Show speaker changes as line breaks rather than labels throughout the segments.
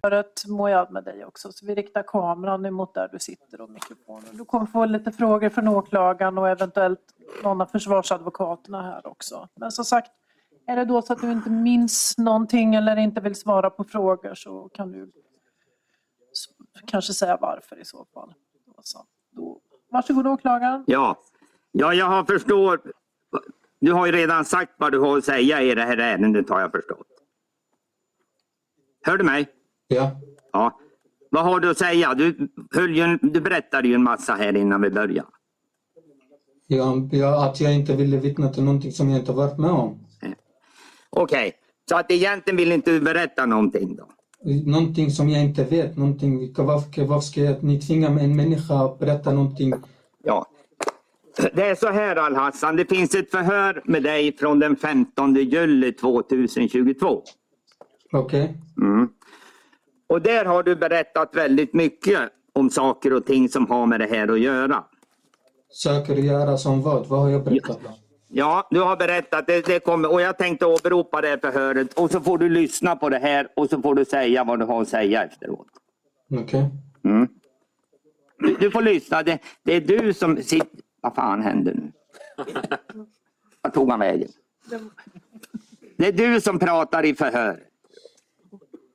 för att må jag med dig också. Så vi riktar kameran emot där du sitter och mikrofonen. Du kommer få lite frågor från åklagaren och eventuellt någon av försvarsadvokaterna här också. Men som sagt, är det då så att du inte minns någonting eller inte vill svara på frågor så kan du s- kanske säga varför i så fall. Och så, då, varsågod åklagaren.
Ja, ja jag har förstår. Du har ju redan sagt vad du har att säga i det här ärendet har jag förstått. Hör du mig?
Ja,
Ja. Vad har du att säga? Du, höll ju, en- du berättade ju en massa här innan vi började.
jag, jag, att jag inte ville vittna till någonting som jag inte varit med om.
Okej, så att egentligen vill inte du berätta någonting då?
Någonting som jag inte vet. Någonting, varför, varför ska jag, ni tvinga en människa att berätta någonting?
Ja. Det är så här Al-Hassan, det finns ett förhör med dig från den 15 juli 2022.
Okej?
Mm. Och där har du berättat väldigt mycket om saker och ting som har med det här att göra.
Söker och göra som vad? Vad har jag berättat? om?
Ja, du har berättat. Det, det kommer, och jag tänkte åberopa det förhöret. Och så får du lyssna på det här och så får du säga vad du har att säga efteråt.
Okej?
Mm. Du, du får lyssna. Det, det är du som sitter... Vad fan händer nu? Vart tog han vägen? Det är du som pratar i förhör.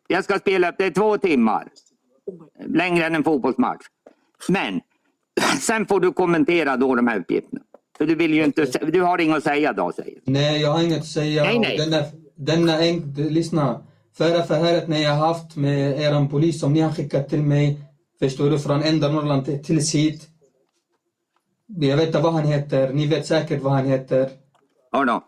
Jag ska spela upp det i två timmar. Längre än en fotbollsmatch. Men sen får du kommentera då de här uppgifterna. För du vill ju inte... sä- Du har inget att säga då, säger du.
Nej, jag har inget att säga.
Nej, nej.
Denna, denna en, lyssna. Förra förhöret när jag haft med er polis som ni har skickat till mig. Förstår du? Från ända Norrland till- tills hit. Jag vet inte vad han heter. Ni vet säkert vad han heter.
Ja, då.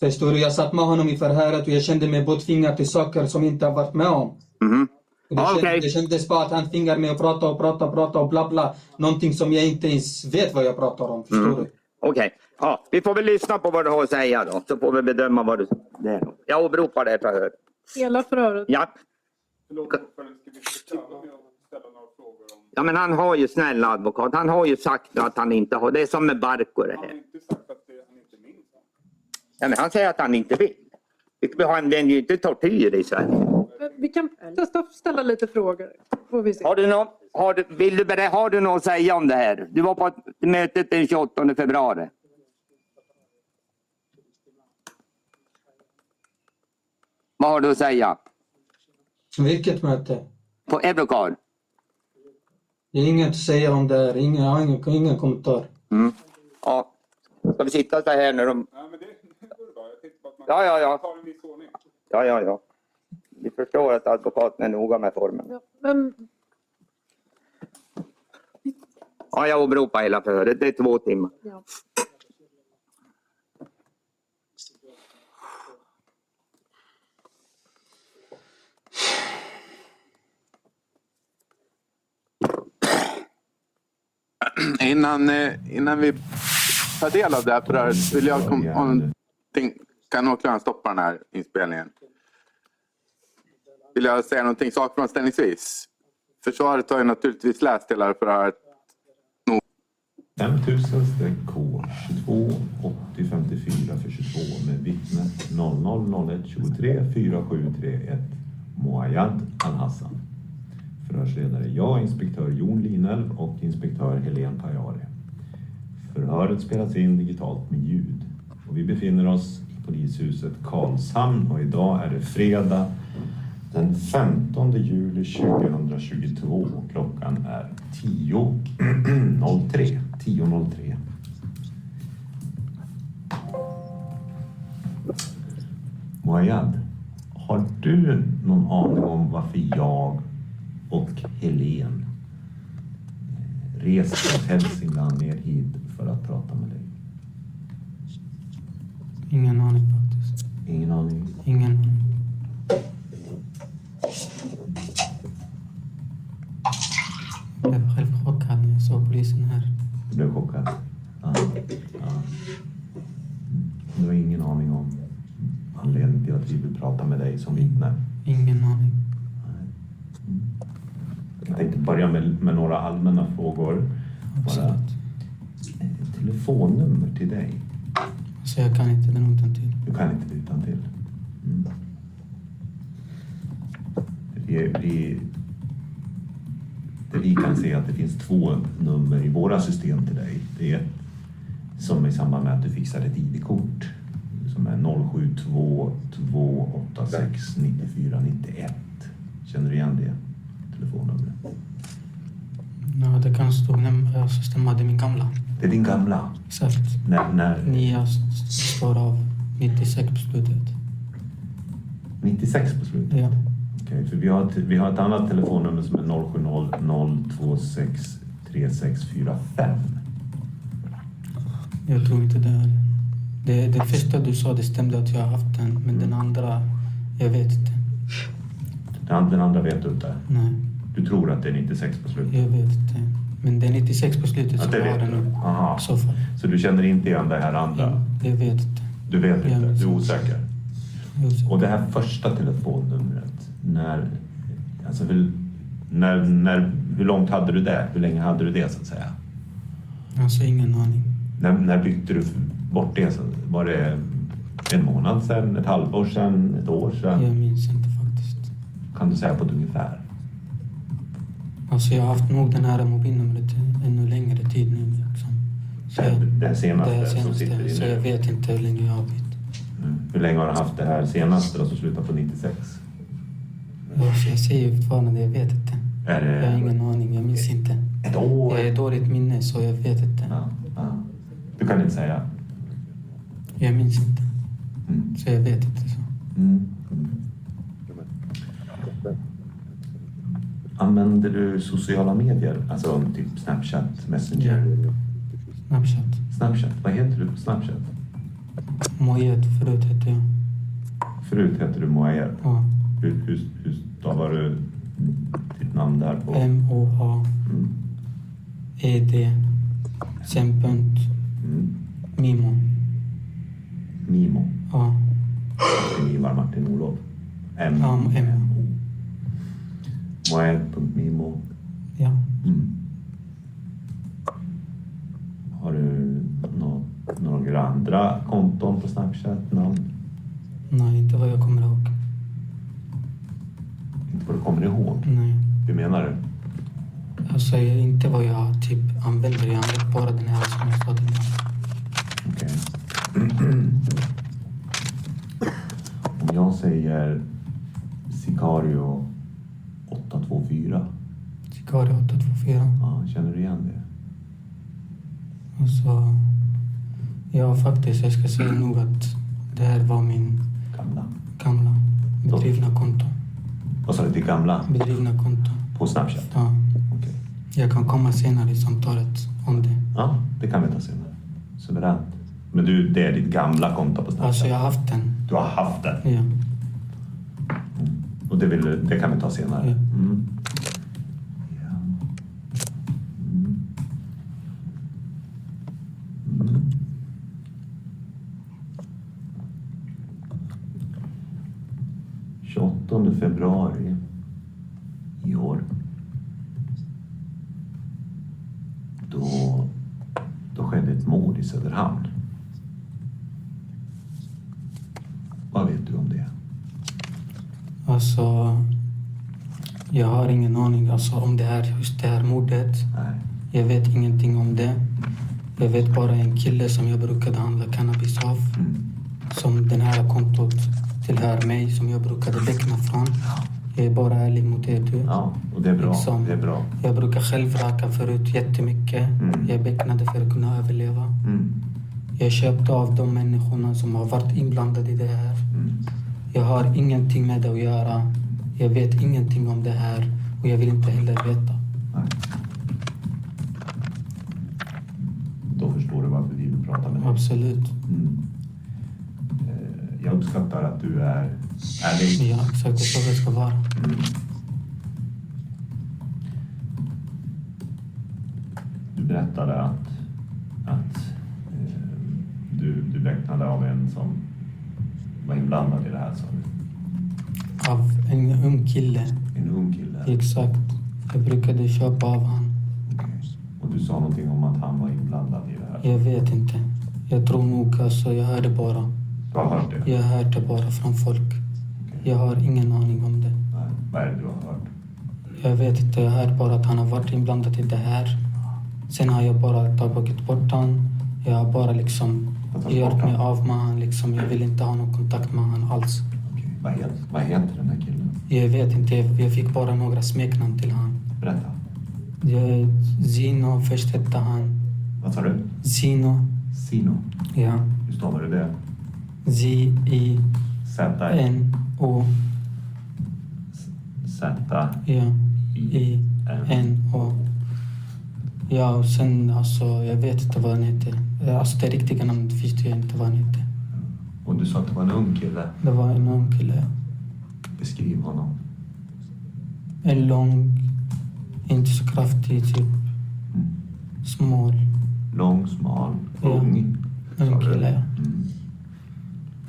Förstår du? Jag satt med honom i förhöret och jag kände mig påtvingad till saker som jag inte har varit med om.
Mhm.
Och Det,
Ja,
känd-
okej.
det kändes bara att han tvingar mig att prata och prata och prata och bla bla. Någonting som jag inte ens vet vad jag pratar om. Förstår du?
Okej, ja, vi får väl lyssna på vad du har att säga då. Så får vi bedöma vad du... Det är. då. Jag åberopar det för hör.
Hela förhöret.
Ja. ja, men han har ju, snälla advokat, han har ju sagt att han inte har... Det är som med Barko det här. Ja, men han säger att han inte vill. Vi använder ju inte tortyr i Sverige.
Men Vi kan testa att ställa lite frågor. Får vi se.
Har du någon, har du, vill du, berä- har du något att säga om det här? Du var på ett- mötet den 28 februari. Vad har du att säga?
Vilket möte?
På Eurocar?
Jag har inget att säga om det här. Ingen, jag har ingen, ingen kommentar.
Mm. Ja. Ska vi sitta så här när de...
Ja, men det det går bra. Jag tänkte bara att man
Ja, ja, ja.
tar en viss ordning.
Ja, ja, ja. Vi förstår att advokaten är noga med formen.
Ja, Men
Ja, jag åberopar hela förhöret. Det är två timmar.
Ja.
Innan, eh, innan vi tar del av det här förhöret vill jag... Kom, om, tänk, kan åklagaren stoppa den här inspelningen? Vill jag säga någonting sakframställningsvis? Försvaret har ju naturligtvis läst hela förhöret.
5000-K228054 för 22 med vittnet 000123 4731 Moayad Al-Hassan. Förhörsledare jag, inspektör Jon Linelv och inspektör Helene Pajari. Förhöret spelas in digitalt med ljud och vi befinner oss i polishuset Karlshamn och idag är det fredag den 15 juli 2022. Klockan är 10.03. 10.03. Moayad, har du någon aning om varför jag och Helen eh, reste från Hälsingland ner hit för att prata med dig?
Ingen aning faktiskt.
Ingen aning.
Ingen aning. Jag blev själv chockad när jag såg polisen här.
Du blev chockad? Ja. Ja. Du har ingen aning om anledningen till att vi vill prata med dig som vittne?
Ingen aning.
Jag tänkte börja med, med några allmänna frågor. Bara
Absolut.
ett telefonnummer till dig.
Så Alltså, jag kan inte den utan till.
Du kan inte det utantill. Mm. Det, det, det vi kan se är att det finns två nummer i våra system till dig. Det är ett som i samband med att du fixar ett ID-kort som är 072 286 94 91. Känner du igen det telefonnumret?
Ja, det kan stå näm- alltså, stämma. Det är min gamla.
Det är din gamla.
Exakt.
När, när
Nya s- s- står av 96 på slutet.
96 på slutet.
Ja.
Okej, för vi har, ett, vi har ett annat telefonnummer som är 070 026 3645.
Jag tror inte det är... Det, det första du sa, det stämde att jag har haft den. Men den andra, jag vet inte.
Den and- den andra vet du inte.
Nej,
Du tror att det är 96 på slutet?
jag vet inte. Men det är 96 på slutet,
Att
så
det
jag har
vet
den
du?
nu.
Aha.
I så fall. Mm,
Så du känner inte igen det här andra?
Jag vet inte.
Du vet
Ja,
inte?
men-
Du är osäker?
Jag vet inte.
Och det här första telefonnumret, när, alltså hur, när, när, hur långt hade du det? Hur länge hade du det så att säga?
Alltså ingen aning.
När, när bytte du bort det? Så var det en månad sedan, ett halvår sedan, ett år sedan?
Jag minns inte faktiskt.
Kan du säga på ett ungefär?
Alltså jag har haft nog den här mobilnumret ännu längre tid nu. Liksom. Så
Det-
jag-
det här senaste
här
som sitter i
Så
nu. Mm.
jag vet inte hur länge jag har bytt.
Hur länge har du haft det här senaste då som slutar på 96?
Alltså jag säger fortfarande, jag vet inte.
Är det
Jag har ingen aning, jag minns inte.
ett år?
Jag har dåligt minne så jag vet inte.
Ja, ja. Du kan inte säga?
Jag minns inte.
Mm.
Så jag vet inte. Så.
Mm. Mm. Använder du sociala medier? Alltså typ Snapchat, Messenger?
Snapchat.
Snapchat, vad heter du på Snapchat?
Mojet förut hette jag.
Förut hette du Moaer.
Ja.
Hur, hur, hur stavar du ditt namn där
Eh.
på?
M-O-A-E-D.
Mm.
E Sen punkt.
Mm.
Mimo.
Mimo.
Ja.
Martin Ivar, Martin Olof. M.
Ja, M.
Moaer.mimo.
ja.
Mm. Har du nå- några andra konton på Snapchat? Namn?
Nej, inte vad jag kommer ihåg.
Inte vad du kommer ihåg?
Nej.
Hur menar du?
Alltså jag- inte vad jag typ använder. Jag använder bara den här som jag sa till dig.
Okej. Om jag säger Sicario 824,
Sicario 824.
ja, känner du igen det?
Alltså, ja faktiskt, jag ska säga nog att det här var min
Gamla?
gamla bedrivna konto.
Vad sa du? Det gamla?
Bedrivna konto.
På Snapchat?
Ja,
Okej.
jag kan komma senare i samtalet om det.
Ja, det kan vi ta senare. Suveränt. Men du, det är ditt gamla konto på Snapchat?
Alltså jag har haft den.
Du har haft det?
Ja.
Och det, vill, det kan vi ta senare.
Ja.
Mm. Ja. Mm. Mm. ...28 februari i år. Då, då skedde ett mord i Söderhamn. Vad vet du om det?
Alltså, jag har ingen aning alltså, om det här, just det här mordet.
Nej.
Jag vet ingenting om det. Jag vet bara en kille som jag brukade handla cannabis av.
Mm.
Som den här kontot tillhör mig, som jag brukade beckna från. Jag är bara ärlig mot er. Du.
Ja, och det är bra.
Liksom.
Det är bra.
Jag brukar själv röka förut jättemycket.
Mm.
Jag becknade för att kunna överleva.
Mm.
Jag köpte av de människorna som har varit inblandade i det här.
Mm.
Jag har ingenting med det att göra. Jag vet ingenting om det här och jag vill inte heller veta.
Nej. Då förstår du varför vi vill prata med dig.
Absolut.
Mm. Eh, Jag uppskattar att du är ärlig.
Ja, exakt. Det är så det ska vara.
Mm. Du berättade att, att eh, du, du beräknade av en som var inblandad i det här, sa du?
Av en ung kille.
En ung kille?
Exakt. Jag brukade köpa av han.
Okej. Och du sa någonting om att han var inblandad i det här?
Jag vet inte. Jag tror nog alltså, jag hörde bara.
Du har hört det?
Jag hörde bara från folk. Jag har ingen aning om det.
Nej. Vad är det du har hört?
Jag vet inte, jag hör bara att han har varit inblandad i det här. Sen har jag bara tagit bort han. Jag har bara liksom
Tagit bort
gjort mig
han?
av med han. Liksom. Jag vill inte ha någon kontakt med han alls.
Okej. Vad, heter, vad heter den här killen?
Jag vet inte, jag jag fick bara några smeknamn till han.
Berätta.
Jag, Zino först hette han.
Vad sa du?
Zino.
Sino.
Ja.
Hur stavar du det?
Z-I-N-O.
Z-I-N. Z-I-N.
Ja. I-N-O. Ja, och sen alltså, jag vet inte vad han hette. Alltså det riktiga namnet visste jag inte vad han hette.
Och du sa att det var en ung kille.
Det var en ung kille.
Beskriv honom.
En lång, inte så kraftig, typ. Smal.
Lång, smal,
Ja.
ung. sa
Ung
du?
kille,
Mm.
ja.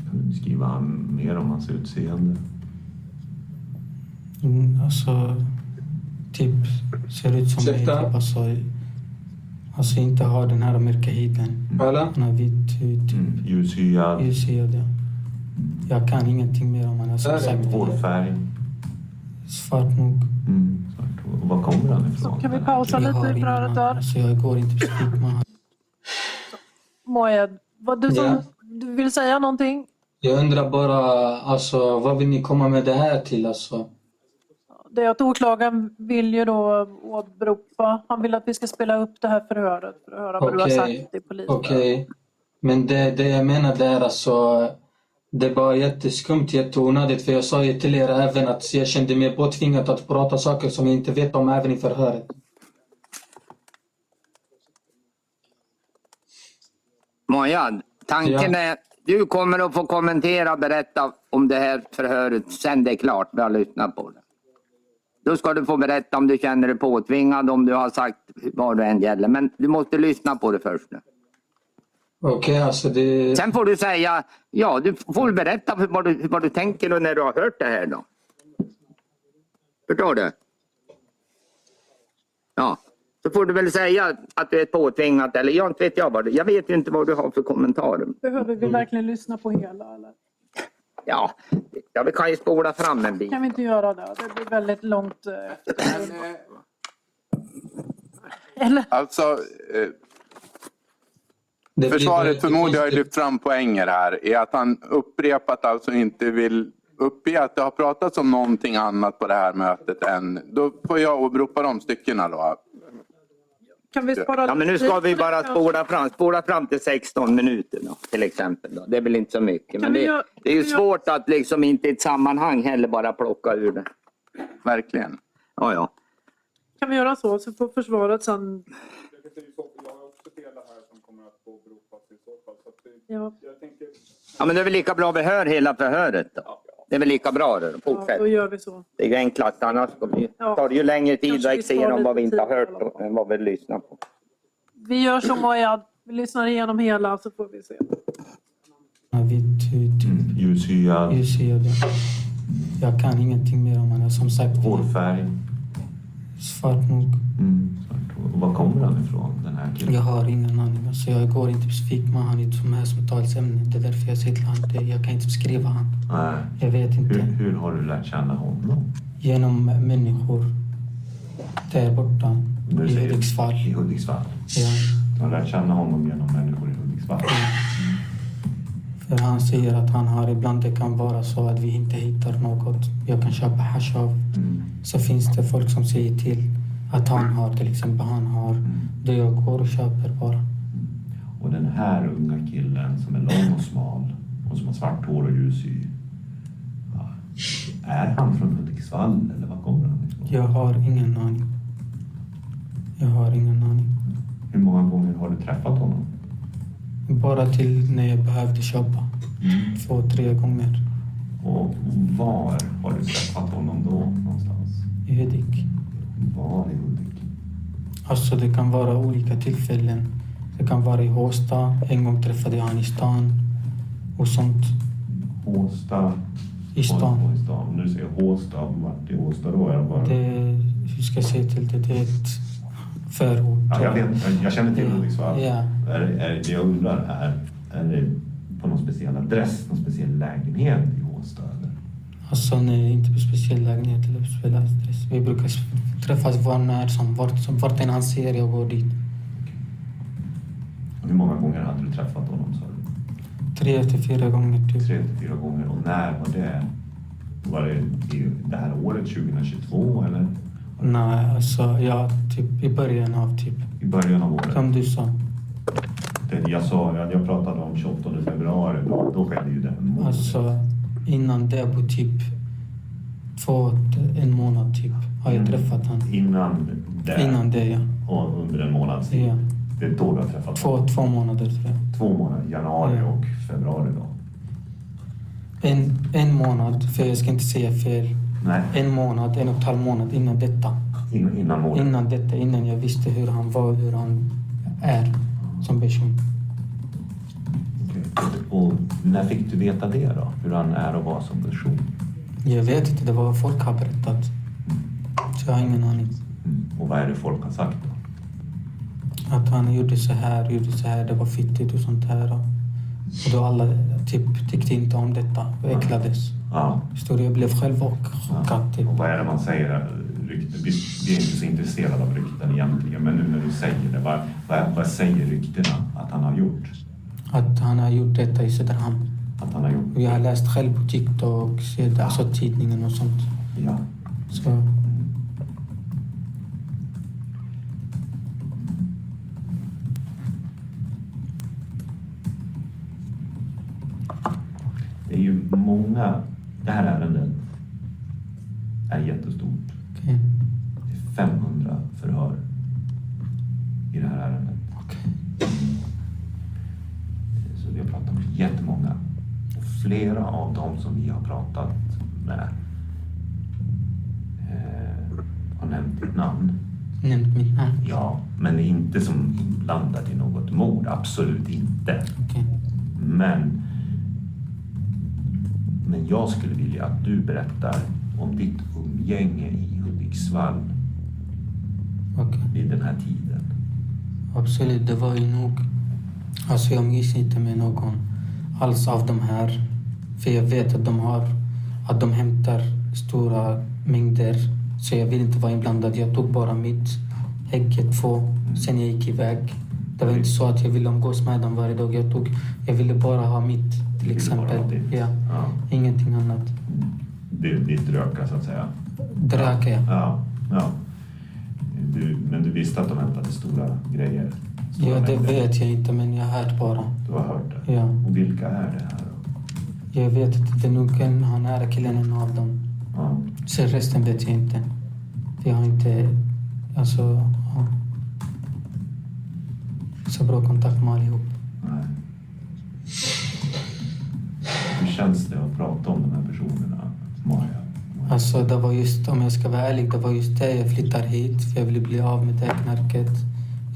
Kan du beskriva han mer om hans utseende?
Mm, alltså, typ ser ut som mig. Typ,
Ursäkta?
alltså, alltså inte har den här mörka huden.
Alla?
Han har vit hud, typ.
Mm. Ljushyad,
ljushyad. Ja. Jag kan ingenting mer om honom.
Där
Som
är
sagt,
hårfärg.
svart nog.
Mm. Svart hår. Och var kommer han ifrån?
Kan vi pausa
Jag
lite
har
i
ingen
brödet
aning.
där?
Alltså, jag går inte på speak med honom.
Moed, vad du, som,
Ja.
du vill säga någonting?
Jag undrar bara, alltså, vad vill ni komma med det här till? Alltså?
Det är att åklagaren vill ju då åberopa, han vill att vi ska spela upp det här förhöret för att höra vad du har
Okej.
sagt till polisen.
Okej. Men det, det jag menar där, alltså, det var jätteskumt, jätteonödigt. För jag sa ju till er även att jag kände mig påtvingad att prata saker som jag inte vet om även i förhöret.
Mojad, tanken
Ja.
är du kommer att få kommentera och berätta om det här förhöret sen det är klart. Vi har lyssnat på det. Då ska du få berätta om du känner dig påtvingad, om du har sagt vad det än gäller. Men du måste lyssna på det först. nu.
Okej, alltså
Mm.
det...
Sen får du säga, ja du får berätta för vad du, vad du tänker och när du har hört det här då. Förstår du? Ja, så får du väl säga att du är påtvingad eller jag inte vet jag vad du, jag vet ju inte vad du har för kommentarer.
Behöver
Mm.
vi verkligen lyssna på hela? Eller?
Ja, ja vi kan ju spola fram en bit.
Kan vi inte göra det? Det blir väldigt långt. eh, efter.
Men, eh,
Eller?
Alltså, eh,
det blir
försvaret
väldigt
förmodar jag har
konstigt.
lyft fram poänger här i att han upprepat alltså inte vill uppge att det har pratats om någonting annat på det här mötet än... Då får jag åberopa de styckena då.
Kan vi spara
Ja, men nu
lite
ska vi
på det
bara
kanske?
spola fram, spola fram till 16 minuter då, till exempel. Då. Det är väl inte så mycket. Men
vi
det,
göra-
det är ju
kan vi göra-
svårt att liksom inte i ett sammanhang heller bara plocka ur det.
Verkligen.
Ja, ja.
Kan vi göra så? Så får försvaret sen...
Det är ju så, jag har också delar här som kommer att åberopas i så fall. Så att det,
Ja,
jag tänker,
Ja, men det är väl lika bra vi hör hela förhöret då. Det är väl lika bra det. då.
ja,
Fortsätt.
då gör vi så.
Det är ju enklast. Annars kommer ju-
Ja.
tar det ju längre tid
Kanske
att
vi
gå
sparar
igenom vad vi
lite
inte har
tid i
hört
alla fall.
och- än vad vi lyssnar på.
Vi gör så Moed. Vi lyssnar igenom hela så får vi se.
Han har vit hud, typ.
Mm. Ljushyad,
ljushyad. ja. Jag kan ingenting mer om honom. Som sagt,
hårfärg.
svart nog.
Mm. Svart hår. Och var kommer han ifrån, den här killen?
Jag har ingen aning. Alltså, jag går inte specifikt med honom i de här samtalsämnen. Det är därför jag säger till honom att jag kan inte beskriva honom.
Nej.
Jag vet
Hur,
inte.
hur har du lärt känna honom?
Genom människor där borta
När du
i
säger-
Hudiksvall.
I Hudiksvall.
Ja.
Du har lärt känna honom genom människor i Hudiksvall.
För han säger att han har ibland det kan vara så att vi inte hittar något jag kan köpa hasch av.
Mm.
Så finns det folk som säger till att han har till exempel han har.
Mm.
Då jag går och köper bara.
Och den här unga killen som är lång och smal och som har svart hår och ljus hy. Ja, är han från Hudiksvall eller var kommer han ifrån?
Jag har ingen aning. Jag har ingen aning.
Hur många gånger har du träffat honom?
Bara till när jag behövde köpa.
Mm.
Två, tre gånger.
Och var har du träffat honom då någonstans?
I Hudik.
Var i Hudik?
Alltså det kan vara olika tillfällen. Det kan vara i Håsta. En gång träffade jag han i stan och sånt.
Håsta.
I stan.
Håsta, I stan. Om du säger Håsta, vart i Håsta då? Är det bara...
Det, hur ska jag säga till det? Det är ett förort.
Ja, jag, vet, jag- jag känner till
Ja,
Hudiksvall.
ja.
Är, är, det jag undrar är, är det på någon speciell adress, någon speciell lägenhet i Håsta? Eller?
Alltså nej, inte på speciell lägenhet eller på speciell adress. Vi brukar s- träffas var när som, vart, som, vart än han ser jag går dit.
Och hur många gånger hade du träffat honom? Sa du?
Tre till fyra gånger typ.
Tre till fyra gånger. Och när var det? Var det i det här året, 2022? Eller
Nej, alltså ja, typ i början av typ,
i början av året?
som du sa.
Det, jag, sa, jag, jag pratade om 28 februari. Då, då skedde ju det.
Alltså innan det på typ två, en månad typ har jag
Mm.
träffat han.
Innan det.
Innan det ja.
Och under en månads tid.
ja.
Det är då du har träffat
Två, två månader tror jag.
två månader, januari
Ja.
och februari då.
En, en månad, för jag ska inte säga fel.
Nej,
En månad, en och en halv månad innan detta.
in, innan målet.
Innan detta, innan jag visste hur han var, hur han är som person.
Okej. Och när fick du veta det då? Hur han är och var som person?
Jag vet inte, det var vad folk har berättat. Så jag har ingen aning.
Och vad är det folk har sagt då?
Att han gjorde så här, gjorde så här, det var fittigt och sånt här. Och och då alla typ tyckte inte om detta och äcklades.
Ja.
Förstår du? Jag blev själv och chockad typ.
Och vad är det man säger? Rykte. Vi, vi är inte så intresserade av rykten egentligen, men nu när du säger det, vad, vad, vad säger ryktena att han har gjort?
Att han har gjort detta i Söderhamn.
Att han har gjort?
Och jag har läst själv på TikTok, sett alltså tidningen och sånt.
Ja.
Så
Det är ju många... Det här ärendet är jättestort.
okej.
Det är 500 förhör i det här ärendet.
Okej.
Så vi har pratat med jättemånga. Och flera av dem som vi har pratat med eh, har nämnt ett namn.
Nämnt mitt namn.
Ja, men det är inte som landat i något mord. Absolut inte.
Okej.
Men, men jag skulle vilja att du berättar om ditt umgänge i Hudiksvall
Okej.
vid den här tiden.
Absolut, det var ju nog. Alltså jag umgicks inte med någon alls av de här. För jag vet att de har, att de hämtar stora mängder. Så jag vill inte vara inblandad. Jag tog bara mitt, häcket två, sen jag gick iväg. Det var inte så att jag ville umgås med dem varje dag. Jag, tog, jag ville bara ha mitt
Du
till
ville bara ha
exempel.
ditt.
Ja,
Ja.
ingenting annat.
Det, ditt röka så att säga.
Drack jag.
Ja, ja. Du, men du visste att de hämtade stora grejer? Stora
Ja, det
mängder.
vet jag inte men jag har hört bara.
Du har hört det?
Ja.
Och vilka är det här då?
Jag vet att det är nog en, han är killen en av dem.
Ja.
Sen resten vet jag inte. Jag har inte alltså, ja. så bra kontakt med allihop.
Nej. Hur känns det att prata om de här personerna, Maja?
Alltså, det var just, om jag ska vara ärlig, det var just det jag flyttar hit. För jag ville bli av med det här knarket.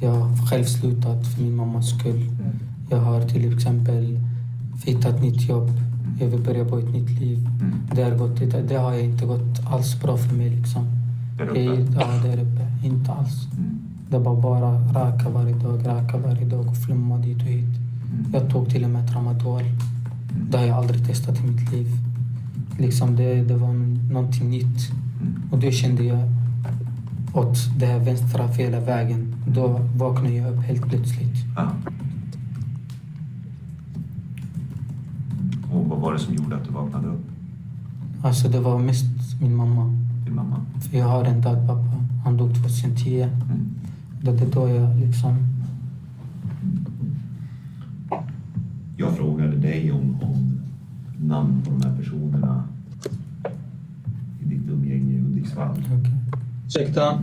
Jag har själv slutat för min mammas skull. Jag har till exempel hittat nytt jobb. Jag vill börja på ett nytt liv.
Mm.
Det har, gått, det, det har jag inte gått alls bra för mig liksom.
Där uppe?
Jag, ja, där uppe. Inte alls.
Mm.
Det var bara röka varje dag, röka varje dag och flumma dit och hit.
Mm.
Jag tog till och med tramadol. Det har jag aldrig testat i mitt liv. Liksom det, det var någonting nytt.
Mm.
Och då kände jag åt det här vänstra fel vägen. Då vaknade jag upp helt plötsligt.
Ja. Och vad var det som gjorde att du vaknade upp?
Alltså det var mest min mamma.
Din mamma?
För jag har en dagpappa. Han dog 2010.
Mm.
Det är då jag liksom...
Jag frågade dig om, om namn på de här personerna i ditt umgänge i Hudiksvall.
okej.
Ursäkta?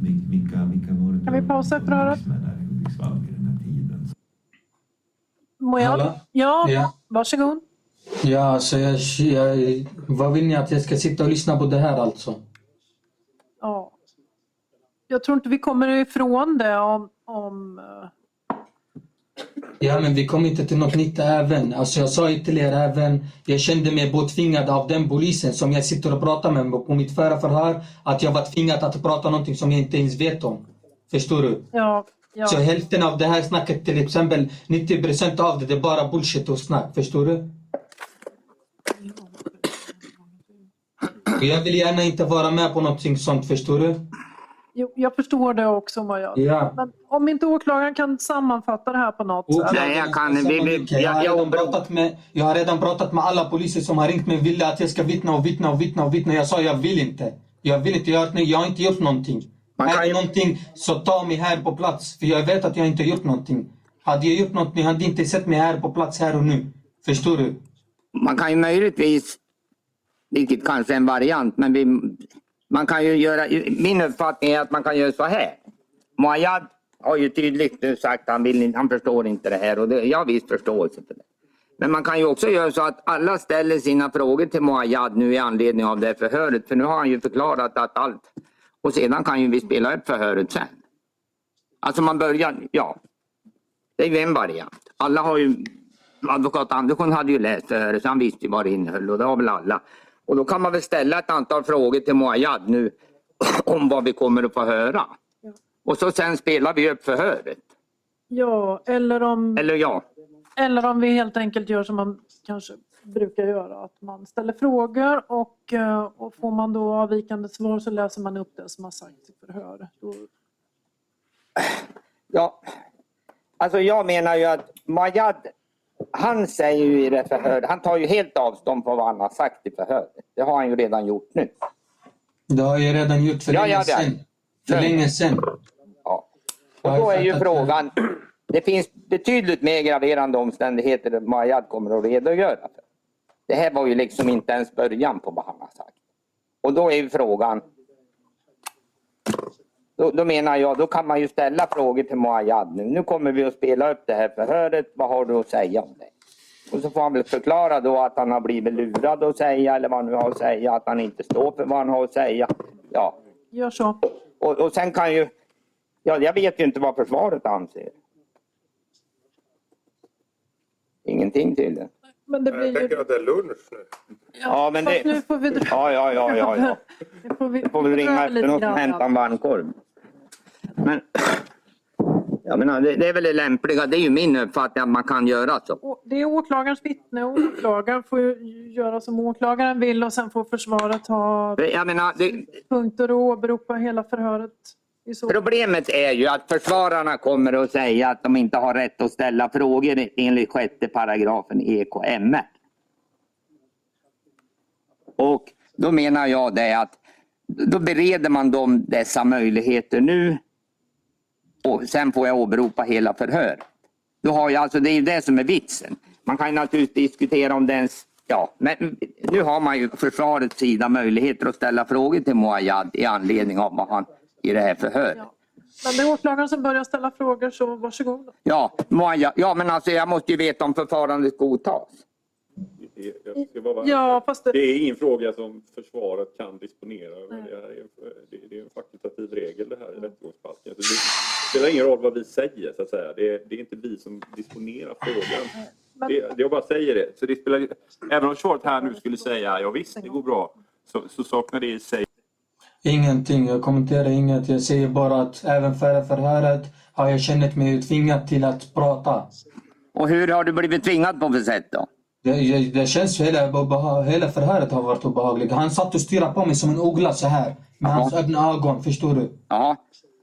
Vil- Vilka, vilka var det
Kan vi pausa ett röra?
umgicks med där i Hudiksvall vid den här tiden?
Må jag?
Hallå?
Ja,
Ja.
varsågod.
Ja, alltså jag, jag, vad vill ni att jag ska sitta och lyssna på det här alltså?
Ja. Jag tror inte vi kommer ifrån det om, om eh,
Ja, men vi kom inte till något nytt även. Alltså jag sa ju till er även, jag kände mig påtvingad av den polisen som jag sitter och pratar med på mitt förra förhör, att jag var tvingad att prata någonting som jag inte ens vet om. Förstår du?
Ja, ja.
Så hälften av det här snacket till exempel, 90 procent av det, det är bara bullshit och snack. Förstår du? Och jag vill gärna inte vara med på någonting sånt, förstår du?
Jo, jag förstår det också Mojad.
Ja.
Men om inte åklagaren kan sammanfatta det här på något
Och-
sätt.
Nej, jag kan- vi- vi-
jag, har
jag-
redan pratat med, jag har redan pratat med alla poliser som har ringt mig och ville att jag ska vittna och vittna och vittna och vittna. Jag sa jag vill inte. Jag vill inte, jag, har- nej, jag har inte gjort någonting.
Man
är
kan
det
ju-
någonting så ta mig här på plats. För jag vet att jag inte har gjort någonting. Hade jag gjort något, ni hade inte sett mig här på plats här och nu. Förstår du?
Man kan ju möjligtvis, vilket kanske är en variant, men vi, man kan ju göra, min uppfattning är att man kan göra så här. Mojad har ju tydligt nu sagt att han, vill, inte- han förstår inte det här och det, jag har viss förståelse för det. Men man kan ju också göra så att alla ställer sina frågor till Mojad nu i anledning av det här förhöret. För nu har han ju förklarat att allt. Och sedan kan ju vi spela upp förhöret sen. Alltså man börjar, ja. Det är ju en variant. Alla har ju, advokat Andersson hade ju läst förhöret så han visste ju vad det innehöll och det har väl alla. Och då kan man väl ställa ett antal frågor till Mojad nu om vad vi kommer att få höra. Och så sen spelar vi upp förhöret.
Ja, eller om,
Eller ja,
eller om vi helt enkelt gör som man kanske brukar göra. Att man ställer frågor och, eh, och får man då avvikande svar så läser man upp det som har sagts i förhör. Då,
Ja, alltså jag menar ju att Majad, han säger ju i det förhör, han tar ju helt avstånd från vad han har sagt i förhöret. Det har han ju redan gjort nu.
Det har jag redan gjort för
Ja,
länge
ja, det är-
sedan. För
Ja.
länge sedan.
Ja.
Jag
Och
har
då är ju
fattat det.
frågan, det finns betydligt mer graverande omständigheter Majad kommer att redogöra för. Det här var ju liksom inte ens början på vad han har sagt. Och då är ju frågan, då, då menar jag, då kan man ju ställa frågor till Majad nu. Nu kommer vi att spela upp det här förhöret, vad har du att säga om det? Och så får han väl förklara då att han har blivit lurad att säga eller vad han nu har att säga, att han inte står för vad han har att säga. Ja,
gör så.
och, och sen kan ju... Ja, jag vet ju inte vad försvaret anser. Ingenting till det.
Men det blir ju...
att det är lunch nu.
Ja, men
Fast
det-
nu får vi dra...
Ja, ja, ja, ja. ja.
Nu får vi,
Jag får väl ringa efter någon som hämtar en varmkorv. Men... Jag menar, det, det är väl det lämpliga. Det är ju min uppfattning att man kan göra så.
Å- Det är åklagarens vittne och åklagaren får ju göra som åklagaren vill och sen får försvaret ha
Jag menar, det,
punkter och åberopa hela förhöret. I så.
Problemet är ju att försvararna kommer att säga att de inte har rätt att ställa frågor enligt sjätte paragrafen E EKMR. Och då menar jag det att då bereder man dem dessa möjligheter nu. Och sen får jag åberopa hela förhöret. Då har jag, alltså, det är ju det som är vitsen. Man kan ju naturligtvis diskutera om det ens... Ja, men nu har man ju försvarets sida möjligheter att ställa frågor till Mojad i anledning av vad han i det här förhöret.
Ja. Men det är åklagaren som börjar ställa frågor så varsågod.
Ja, Mojad, ja men alltså jag måste ju veta om förfarandet godtas.
Det- jag ska bara vara-
Ja, fast
Det
det,
är ingen fråga som försvaret kan disponera över.
Nej.
Det, här är, det, det är en fakultativ regel det här i rättegångsbalken. Så det spelar ingen roll vad vi säger så att säga. Det, är- det är inte vi som disponerar frågan.
men,
Det, det jag bara säger det. Så det spelar, även om svaret här nu skulle säga ja visst, det går bra. Så, så saknar det i sig
Ingenting, jag kommenterar inget. Jag säger bara att även före förhöret har jag känt mig tvingad till att prata.
Och hur har du blivit tvingad på för sätt då?
Det, det, det känns hela, obeha- hela förhöret har varit obehagligt. Han satt och stirrade på mig som en uggla så här. Med hans öppna ögon, förstår du?
Ja,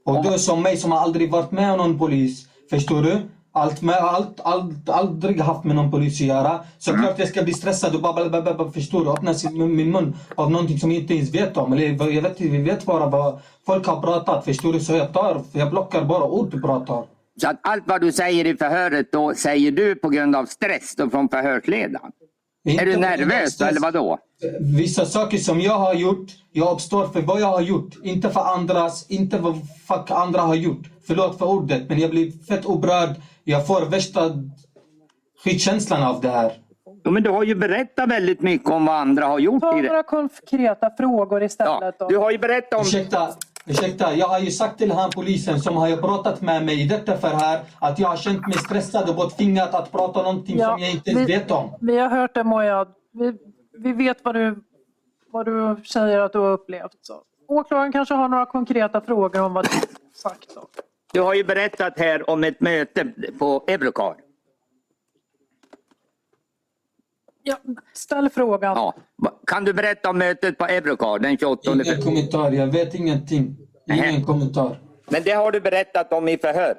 Och du som mig som har aldrig varit med om någon polis, förstår du? Allt med, allt, allt, aldrig haft med någon polis att göra.
Mm.
Såklart jag ska bli stressad och babbla, babbla, babbla, förstår du? Öppna sin, min min mun av någonting som jag inte ens vet om. Eller vad- jag vet, vi vet bara vad folk har pratat, förstår du? Så jag tar, jag plockar bara ord du pratar.
så att allt vad du säger i förhöret då säger du på grund av stress då från förhörsledaren. Är du
Inte-
nervös då, eller vad då?
Vissa saker som jag har gjort, jag uppstår för vad jag har gjort. Inte för andras, inte vad fuck andra har gjort. Förlåt för ordet, men jag blir fett upprörd. Jag får värsta skitkänslan av det här.
Jo, men du har ju berättat väldigt mycket om vad andra har gjort.
ta
I det.
några konkreta frågor
Ja,
istället.
du
då.
har ju berättat om...
Ursäkta, Ursäkta, jag har ju sagt till han polisen som har ju pratat med mig i detta förhör att jag har känt mig stressad och påtvingad att prata om någonting
Ja,
som jag inte ens
vi-
vet om.
Vi har hört det Mojad. Vi, vi vet vad du, vad du säger att du har upplevt. Så. Åklagaren kanske har några konkreta frågor om vad du har sagt. Då.
Du har ju berättat här om ett möte på Eurocar.
Ja, ställ frågan.
Ja. Va- Kan du berätta om mötet på Eurocar den 28
Ingen
februari?
kommentar, jag vet ingenting.
Nej.
Ingen kommentar.
Men det har du berättat om i förhöret.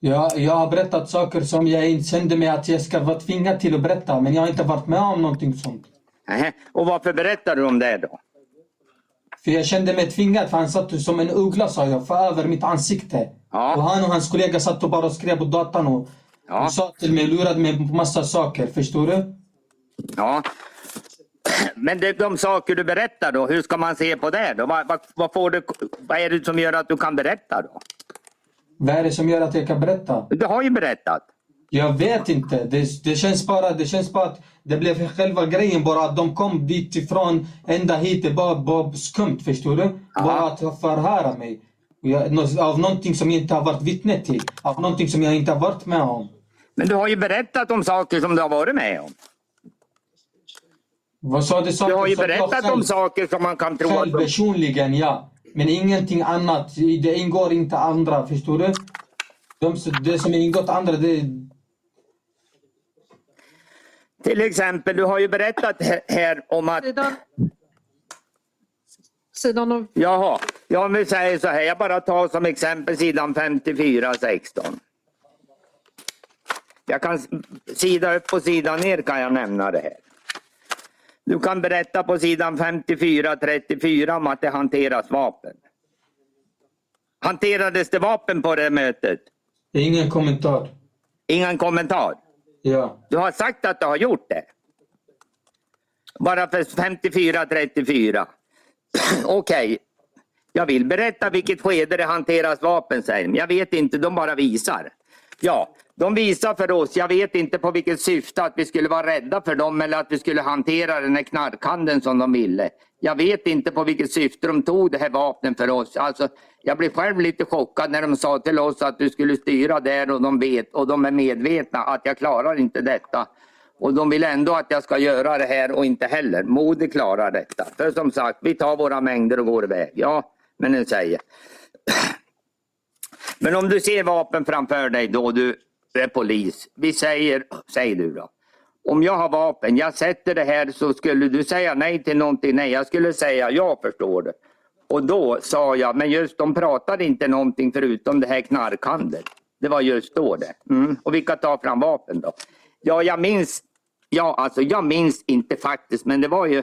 Jag, jag har berättat saker som jag inte kände mig att jag ska vara tvingad till att berätta men jag har inte varit med om någonting sånt.
Nähä. Och varför berättar du om det då?
För jag kände mig tvingad för han satt ju som en uggla sa jag, för över mitt ansikte.
Ja.
Och han och hans kollega satt och bara skrev på datorn och,
Ja.
och sa till mig, lurade mig på massa saker. Förstår du?
Ja. Men det, de saker du berättar då, hur ska man se på det? Då? Vad, vad, vad, får du, vad är det som gör att du kan berätta då?
Vad är det som gör att jag kan berätta?
Du har ju berättat.
Jag vet inte. Det, det, känns bara, det känns bara att det blev själva grejen bara att de kom dit ifrån ända hit. Det bara, bara skumt, förstår du? Bara att förhöra mig. Och Jag, nå- av någonting som jag inte har varit vittne till. Av någonting som jag inte har varit med om.
Men du har ju berättat om saker som du har varit med om.
Vad sa du?
Du har ju
som jag
berättat
själv-
om saker som man kan tro att...
Själv personligen, ja. Men ingenting annat. Det ingår inte andra, förstår du? De, det som ingått andra, det...
Till exempel, du har ju berättat här- här om att...
Sidan, sidan om,
Jaha, ja, om vi säger så här, jag bara tar som exempel sidan 54-16. Jag kan s- sida upp och sida ner kan jag nämna det här. Du kan berätta på sidan 54-34 om att det hanteras vapen. Hanterades det vapen på det mötet?
Det är ingen kommentar.
Ingen kommentar.
Ja.
Du har sagt att du har gjort det. Bara för 54-34. Okej. Jag vill berätta vilket skede det hanteras vapen, säger de. Jag vet inte, de bara visar. Ja, de visar för oss. Jag vet inte på vilket syfte, att vi skulle vara rädda för dem eller att vi skulle hantera den här knarkhandeln som de ville. Jag vet inte på vilket syfte de tog det här vapnet för oss. Alltså, jag blev själv lite chockad när de sa till oss att du skulle styra där och de vet och de är medvetna att jag klarar inte detta. Och de vill ändå att jag ska göra det här och inte heller. Mode klarar detta. För som sagt, vi tar våra mängder och går iväg. Ja, men den säger. Men om du ser vapen framför dig då du är polis. Vi säger, säg du då. Om jag har vapen, jag sätter det här så skulle du säga nej till någonting. Nej, jag skulle säga jag förstår det. Och då sa jag, men just de pratade inte någonting förutom det här knarkhandeln. Det var just då det. Mm. Och vilka tar fram vapen då? Ja, jag minns, ja, alltså, jag minns inte faktiskt, men det var ju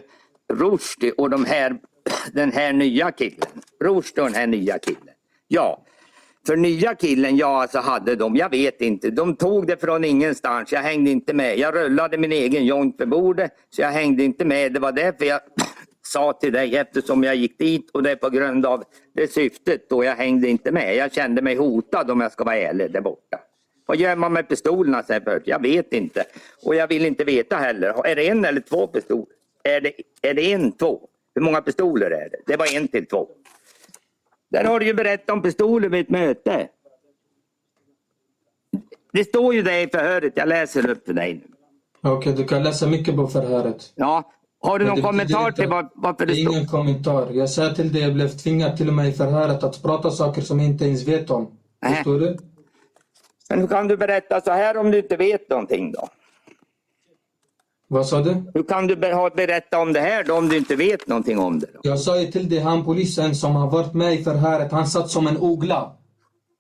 Rushdie och de här, den här nya killen. Rushdie och den här nya killen. Ja, för nya killen, jag alltså hade dem, jag vet inte. De tog det från ingenstans. Jag hängde inte med. Jag rullade min egen joint för bordet. Så jag hängde inte med. Det var därför jag sa till dig eftersom jag gick dit och det är på grund av det syftet då jag hängde inte med. Jag kände mig hotad om jag ska vara ärlig där borta. Vad gör man med pistolerna? säger Bert. Jag vet inte. Och jag vill inte veta heller. Är det en eller två pistoler? Är det, är det en, två? Hur många pistoler är det? Det var en till två. Där har du ju berättat om pistoler vid ett möte. Det står ju det i förhöret. Jag läser upp för dig nu.
Okej, du kan läsa mycket på förhöret.
Ja. Har du
Men
någon
det betyder
kommentar
inte-
till var, varför
Det
det
är
står?
ingen kommentar. Jag sa till dig, jag blev tvingad till och med i förhöret att prata saker som jag inte ens vet om.
Nej.
Förstår du?
Men hur kan du berätta så här om du inte vet någonting då?
Vad sa du?
Hur kan du be- ha- berätta om det här då om du inte vet någonting om det? Då?
Jag sa ju till dig, han polisen som har varit med i förhöret, han satt som en ogla.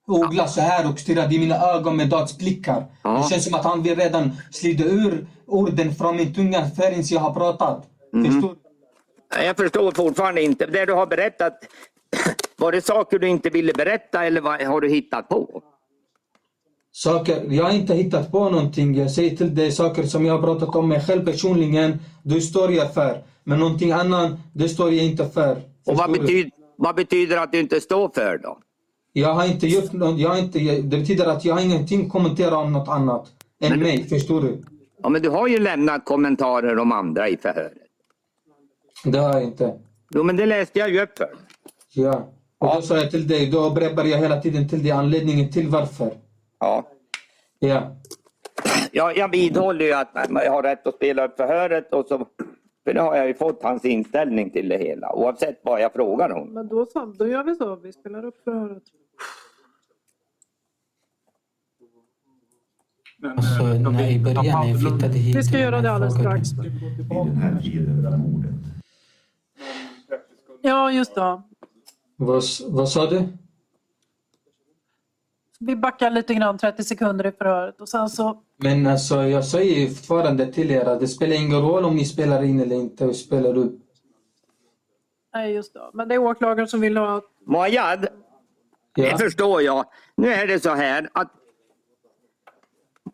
Ogla så här och stirrade i mina ögon med dödsblickar.
Ja.
Det känns som att han vill redan slida ur orden från min tunga förrän jag har pratat.
Mm-hmm.
Förstår du?
Nej, Jag förstår fortfarande inte. Det du har berättat, var det saker du inte ville berätta eller vad har du hittat på?
Saker, jag har inte hittat på någonting. Jag säger till dig saker som jag har pratat om mig själv personligen. Det står jag för. Men någonting annat, det står jag inte för.
Och vad
Förstår du?
betyder, vad betyder att du inte står för då?
Jag har inte gjort något, jag har inte, jag- det betyder att jag har ingenting att kommentera om något annat än mig. Förstår du?
Ja, men du har ju lämnat kommentarer om andra i förhöret.
Det har jag inte.
Jo, men det läste jag ju upp för.
Ja. Och då sa jag till dig, då upprepar jag hela tiden till dig anledningen till varför.
Ja.
Ja.
Ja, jag vidhåller ju att jag har rätt att spela upp förhöret. Och så, för nu har jag ju fått hans inställning till det hela oavsett vad jag frågar om.
Men då, så, då gör vi så, vi spelar upp förhöret.
Alltså, när i början när jag flyttade hit.
Vi ska göra det alldeles
frågade-
strax.
I den här tiden för mordet.
Ja, just det.
Vad, vad sa du?
Vi backar lite grann, 30 sekunder i förhöret och sen så...
Men alltså, jag säger ju fortfarande till er att det spelar ingen roll om ni spelar in eller inte och spelar upp.
Nej, just det. Men det är åklagaren som vill ha...
Mojad,
Ja.
det förstår jag. Nu är det så här att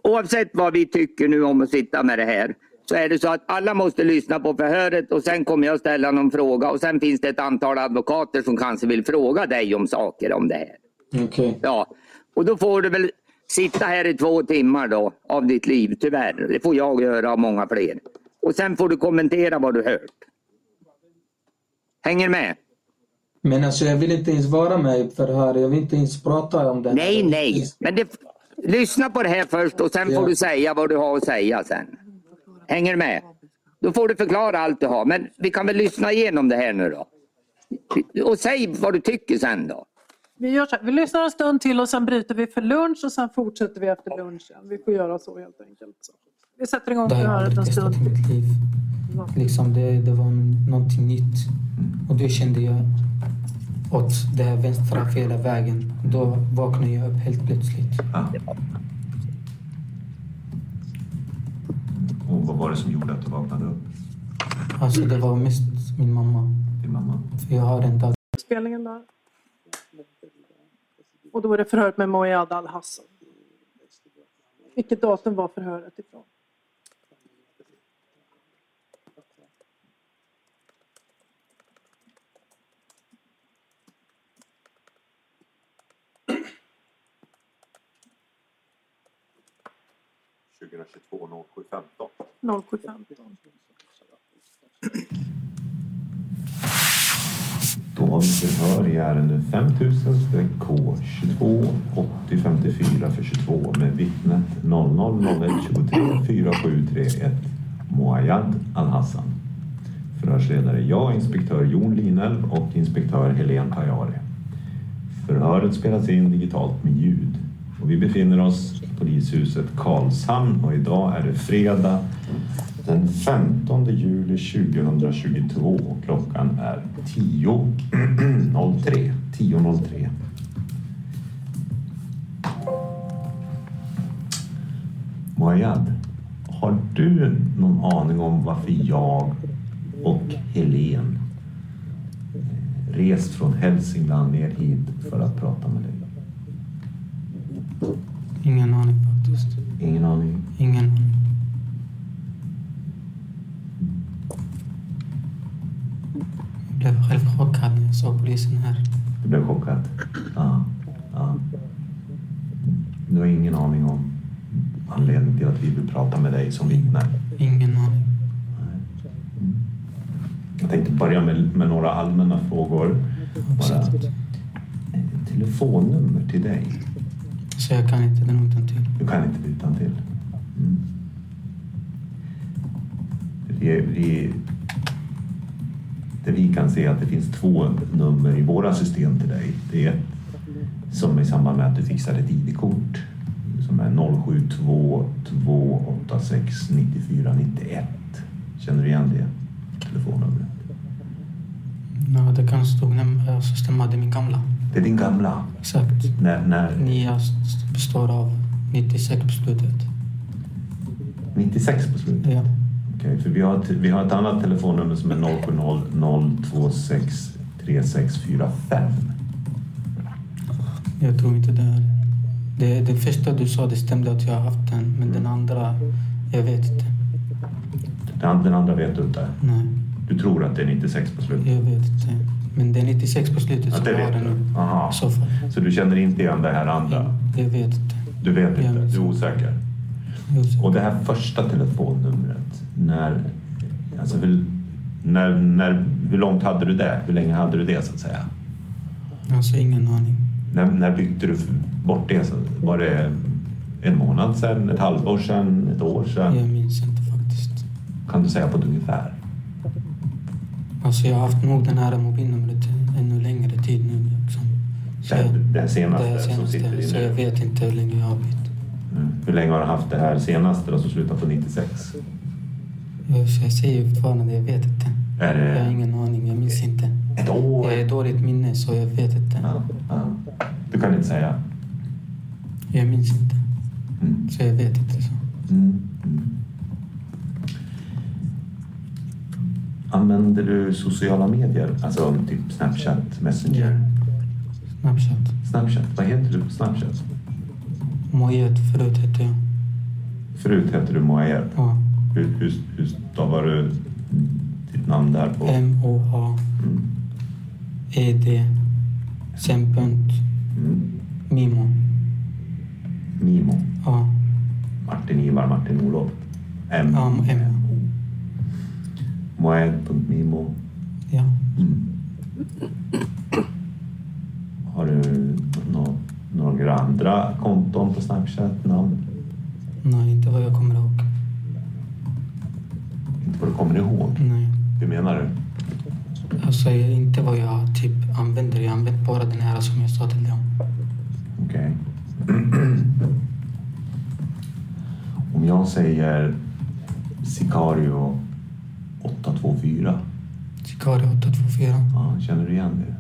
oavsett vad vi tycker nu om att sitta med det här så är det så att alla måste lyssna på förhöret och sen kommer jag ställa någon fråga och sen finns det ett antal advokater som kanske vill fråga dig om saker om det här.
Okej.
Ja, och då får du väl sitta här i två timmar då av ditt liv, tyvärr. Det får jag göra och många fler. Och sen får du kommentera vad du hört. Hänger med?
Men alltså, jag vill inte ens vara med i förhör. Jag vill inte ens prata om det.
Nej, nej. Men det, lyssna på det här först och sen
Ja.
får du säga vad du har att säga sen. Hänger du med? Då får du förklara allt du har. Men vi kan väl lyssna igenom det här nu då. Och säg vad du tycker sen då.
Vi, gör så här. vi lyssnar en stund till och sen bryter vi för lunch och sen fortsätter vi efter lunchen. Vi får göra så helt enkelt. Så. Vi sätter igång
Det har jag
förhöret
aldrig
en
testat
stund.
i mitt liv. Liksom det, det var någonting nytt. Och då kände jag åt det här vänstra fel vägen. Då vaknade jag upp helt plötsligt.
Ah. Och vad var det som gjorde att du vaknade upp?
Alltså det var mest min mamma.
Din mamma?
För jag har en dag
Spelningen där. Och då är det förhöret med Mojad Al-Hassan. Vilket datum var förhöret ifrån?
Okej,
07.15.
Då har vi förhör i ärende 5000-K22 8054 för 22 med vittnet 000123 4731 Moayad Al-Hassan. Förhörsledare jag, inspektör Jon Linelv och inspektör Helene Pajari. Förhöret spelas in digitalt med ljud och vi befinner oss i polishuset Karlshamn och idag är det fredag den 15 juli 2022 och klockan är 10.03. 10.03. Mojad, har du någon aning om varför jag och Helen eh, rest från Hälsingland ner hit för att prata med dig?
Ingen aning faktiskt.
Ingen aning.
Ingen aning. Jag blev själv chockad när jag såg polisen här.
Du blev chockad? Ja. ja. Du har ingen aning om anledningen till att vi vill prata med dig som vittne?
Ingen aning.
Jag tänkte börja med, med några allmänna frågor. Bara.
Absolut.
Eh, Telefonnummer till dig?
Så jag kan inte den utantill.
Du kan inte det utan till. Mm. Det, vi, det vi kan se är att det finns två nummer i våra system till dig. Det är ett som i samband med att du fixade ett ID-kort som är 072 286 94 91. Känner du igen det telefonnumret?
Ja, det kan stå nämna, så stämmer det min gamla.
Det är din gamla.
Exakt.
När, när
Nya s- består av 96 beslutet.
96 på slutet.
Ja.
Okej, för vi har, ett, vi har ett annat telefonnummer som är 0700263645.
Jag tror inte det är. Det, det första du sa, det stämde att jag har haft den. Men den andra, jag vet inte.
Den, den andra vet du inte.
Nej,
Du tror att det är 96 på slutet?
jag vet inte. Men det är 96 på slutet
Ja,
som
det
har
vet
den nu.
du? Aha.
I så fall.
Så du känner inte igen det här andra?
Jag vet inte.
Du vet
Ja,
inte?
men-
Du är osäker?
Jag vet
Och det
inte.
här första telefonnumret, när... Alltså hur, när, när, hur långt hade du det? Hur länge hade du det så att säga?
Alltså ingen aning.
När, när bytte du bort det? Så Var det en månad sedan, ett halvår sedan, ett år sedan?
Jag minns inte faktiskt.
Kan du säga på ett ungefär?
Alltså jag har haft nog den här mobilnumret ännu längre tid nu. Liksom. Så
Det, här-
jag-
det här senaste,
det
som sitter i
så jag
nu?
vet inte hur länge jag har bytt.
Mm. Hur länge har du haft det här senaste då som slutar på 96?
Jag- så Eh, Jag säger ju fortfarande, jag vet inte.
Är
Jag har
det
ingen aning, jag minns inte.
ett år?
Jag har dåligt minne så jag vet inte.
Ja, ja. Du kan inte säga?
Jag minns inte.
Mm.
Så jag vet inte. så.
Mm. Mm. Använder du sociala medier? Alltså typ Snapchat, Messenger?
Snapchat.
Snapchat, vad heter du på Snapchat?
Mojet förut hette jag.
Förut hette du Moaer.
Ja.
Hur, hur, hur stavar du ditt namn där på? Mm.
M-O-A-E-D. Sen punkt.
Mm.
Mimo.
Mimo.
Ja.
Martin Ivar, Martin Olof. M.
Ja, M.
Moaer.mimo.
Ja.
Mm. Har du nå- några andra konton på Snapchat? Namn?
Nej, inte vad jag kommer ihåg.
Inte vad du kommer ihåg.
Nej.
Hur menar du?
Alltså jag- inte vad jag typ använder. Jag använder bara den här som jag sa till dig om.
Okej. Om jag säger Sicario 824,
Sicario 824.
ja, känner du igen det?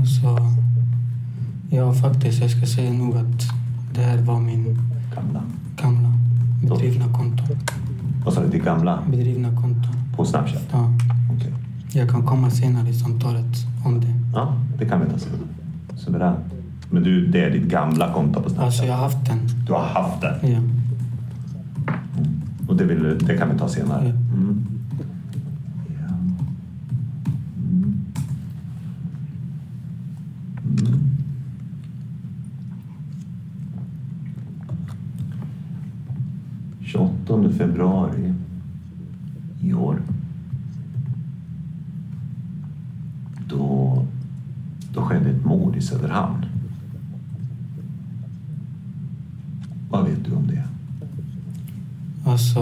Alltså, ja faktiskt, jag ska säga nog att det här var min
Gamla.
gamla bedrivna konto.
Vad sa du? Det gamla?
Bedrivna konto.
På Snapchat?
Ja.
Okej.
Jag kan komma senare i samtalet om det.
Ja, det kan vi ta sen. Suveränt. Men du, det är ditt gamla konto på Snapchat?
Alltså jag har haft den.
Du har haft det?
Ja.
Och det, vill, du- det kan vi ta senare.
Ja.
Mm. Ja. Mm. Mm. ...28 februari i år. Då, då skedde ett mord i Söderhamn. Vad vet du om det?
Alltså,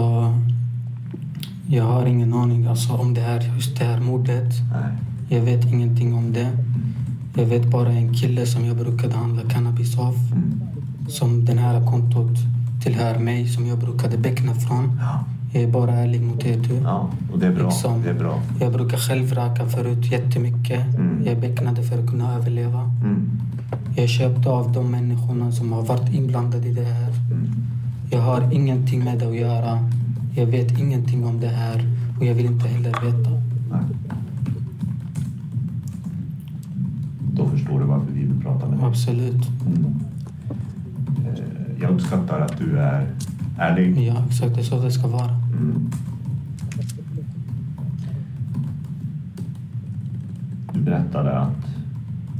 jag har ingen aning alltså, om det här, just det här mordet.
Nej.
Jag vet ingenting om det. Jag vet bara en kille som jag brukade handla cannabis av.
Mm.
Som den här kontot tillhör mig, som jag brukade beckna från.
Ja.
Jag är bara ärlig mot er du.
Ja, och det är bra.
Liksom.
Det är bra.
Jag brukar själv röka förut jättemycket.
Mm.
Jag becknade för att kunna överleva.
Mm.
Jag köpte av de människorna som har varit inblandade i det här.
Mm.
Jag har ingenting med det att göra. Jag vet ingenting om det här och jag vill inte heller veta.
Nej. Då förstår du varför vi vill prata med dig.
Absolut.
Mm. Eh, Jag uppskattar att du är ärlig.
Ja, exakt. Det är så det ska vara.
Mm. Du berättade att,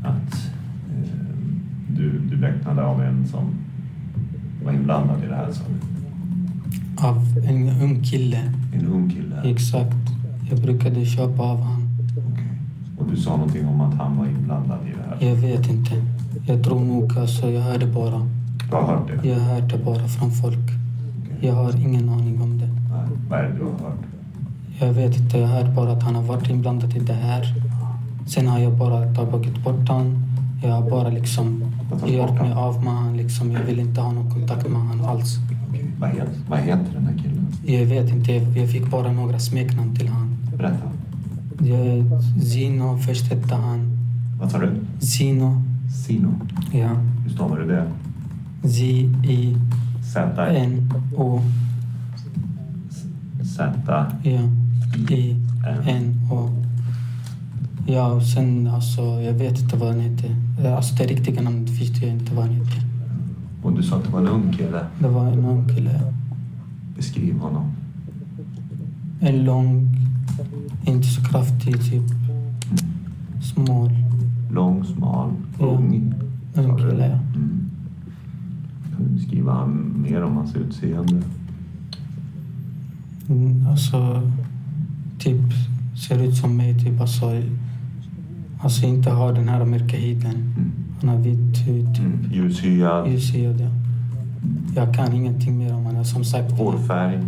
att eh, du, du beräknade av en som var inblandad i det här. Som
Av en ung kille.
en ung kille.
Exakt. Jag brukade köpa av han.
Okej. Och du sa någonting om att han var inblandad i det här.
Jag vet inte. Jag tror nog alltså, jag hörde bara.
Du har hört det?
Jag hörde bara från folk. Jag har ingen aning om det.
Nej, vad är det du har hört?
Jag vet inte, jag hör bara att han har varit inblandad i det här. Sen har jag bara tagit bort han. Jag har bara liksom gjort mig av med han. Liksom. Jag vill inte ha någon kontakt med han alls.
Okej, Vad, heter, vad heter den här killen?
Jag vet inte, jag jag fick bara några smeknamn till han.
Berätta.
Jag, Zino, först hette han.
Vad sa du?
Zino,
Sino.
ja.
Hur stavar du det?
Z-I-N-O,
Z-I-N. Z-I-N.
ja. I-N-O. Ja, och sen alltså, jag vet inte vad han heter. Alltså det riktiga namnet visste jag inte vad han heter.
Och du sa att det var en ung kille.
Det var en ung kille.
Beskriv honom.
En lång, inte så kraftig, typ. Smal.
Lång, smal,
Ja.
ung. sa
Ung
du?
kille, ja.
Mm. Kan du beskriva han mer om hans utseende?
Mm, Alltså, typ ser ut som mig. Typ, alltså,
Alltså inte ha den här mörka huden. Han har vit hud,
Mm.
Ljushyad,
ljushyad. ja. Jag kan ingenting mer om honom. Som sagt,
hårfärg.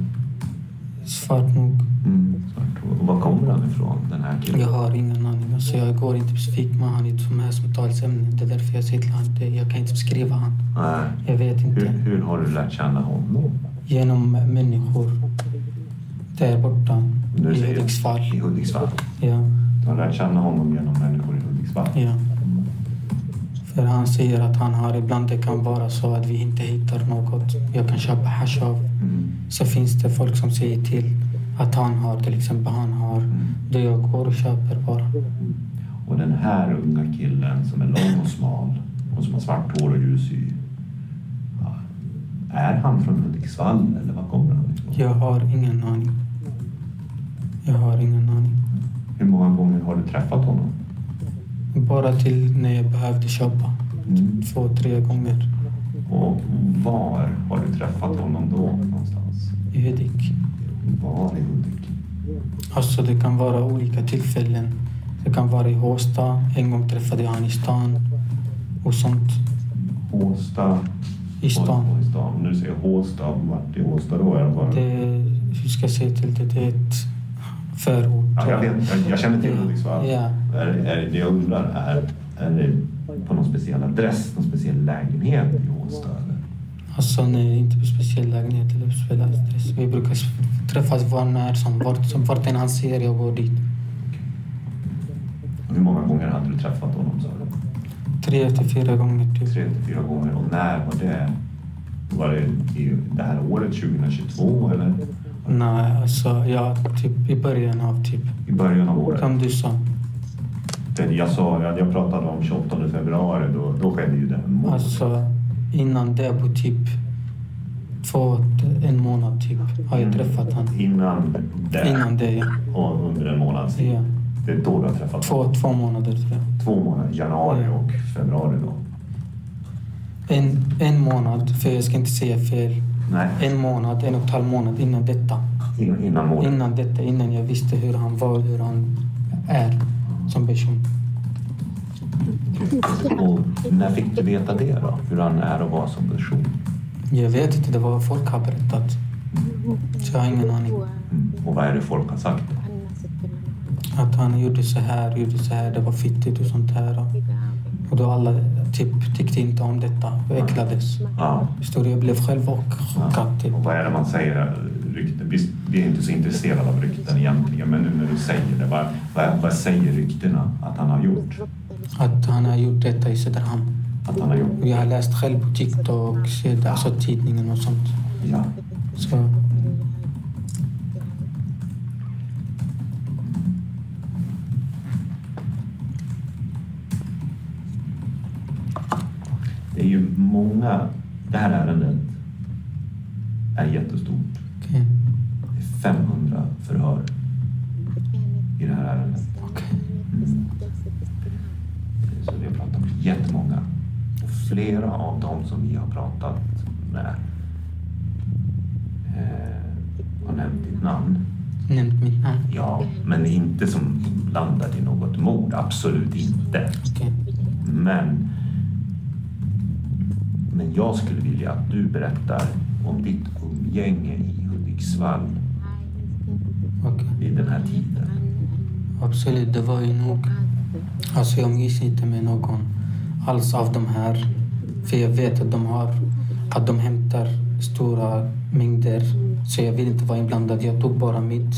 svart nog.
Mm. svart hår. Och var kommer han ifrån, den här
Jag
killen?
har ingen aning. Alltså jag går inte specifikt med honom i ett sånt här samtalsämne. Det är därför jag sitter här. Det- Jag kan inte beskriva honom.
Nej.
Jag vet
Hur,
inte.
hur har du lärt känna honom?
Genom människor där borta
Nu
i
säger-
Hudiksvall.
I Hudiksvall.
Ja,
Du har lärt känna honom genom människor i Hudiksvall?
ja. För han säger att han har, ibland det kan vara så att vi inte hittar något jag kan köpa hasch av.
Mm.
Så finns det folk som säger till att han har, till exempel han har. Då jag går och köper bara.
Och den här unga killen som är lång och smal och som har svart hår och ljus hy. Ja, är han från Hudiksvall eller var kommer han ifrån?
Jag har ingen aning. Jag har ingen aning.
Hur många gånger har du träffat honom?
Bara till när jag behövde köpa.
Mm.
Två, tre gånger
Och var har du träffat honom då någonstans?
i Hudik.
Var i Hudik?
Alltså det kan vara olika tillfällen. Det kan vara i Håsta, en gång träffade jag han i stan och sånt.
Håsta?
I stan.
Och, och i stan. Om du säger Håsta, vart i Håsta då? Är det bara...
Det, hur ska jag säga till det? Det är ett förort.
Ja, jag, vet, jag, jag känner till Hudiksvall.
Ja.
Är, är, det jag undrar är, är det på någon speciell adress, någon speciell lägenhet i Håsta? Eller?
Alltså nej, inte på speciell lägenhet eller på speciell adress. Vi brukar s- träffas var när som, vart, som vart än han ser jag går dit.
Och Hur många gånger hade du träffat honom? Sa du?
Tre till fyra gånger typ.
Tre till fyra gånger. Och när var det? Var det i det här året, 2022? Eller
Nej, alltså ja, typ i början av typ,
i början av året?
som du sa.
Det Jag, sa, jag jag pratade om 28 februari. Då, då skedde ju det här mordet.
Alltså innan det på typ två, en månad typ har jag träffat han.
Innan det
Innan det ja.
och under en månads tid.
ja.
Det är då du har träffat honom.
Två, två månader tror jag.
Två månader, januari och februari då.
En, en månad, för jag ska inte säga fel.
Nej,
En månad, en och en halv månad innan detta.
in, innan målet.
Innan detta, innan jag visste hur han var, hur han är som person.
Och när fick du veta det då? Hur han är och var som person?
Jag vet inte, det var vad folk har berättat. Så jag har ingen aning.
Mm. Och vad är det folk har sagt? då?
Att han gjorde så här, gjorde så här, det var fittigt och sånt här. Och då alla typ tyckte inte om detta och äcklades.
Ja.
Förstår du? Jag blev själv och chockad typ.
Och vad är det man säger? Rykten. Visst, vi är inte så intresserade av rykten egentligen, men nu när du säger det, vad, vad, vad säger ryktena att han har gjort?
Att han har gjort detta i Söderhamn.
Att han har gjort?
Och jag har läst själv på TikTok, sett- alltså tidningen och sånt.
Ja.
Så
Det är ju många... Det här ärendet är jättestort.
okej.
Det är 500 förhör i det här ärendet. Mm.
okej.
Så vi har pratat med jättemånga. Och flera av dem som vi har pratat med eh, har nämnt ditt namn.
Nämnt mitt namn.
Ja, men inte som landat i något mord. Absolut inte.
Okej.
Men, men jag skulle vilja att du berättar om ditt umgänge i Hudiksvall
Okej.
vid den här tiden.
Absolut, det var ju nog. Alltså jag umgicks inte med någon alls av de här. För jag vet att de har, att de hämtar stora mängder. Så jag vill inte vara inblandad. Jag tog bara mitt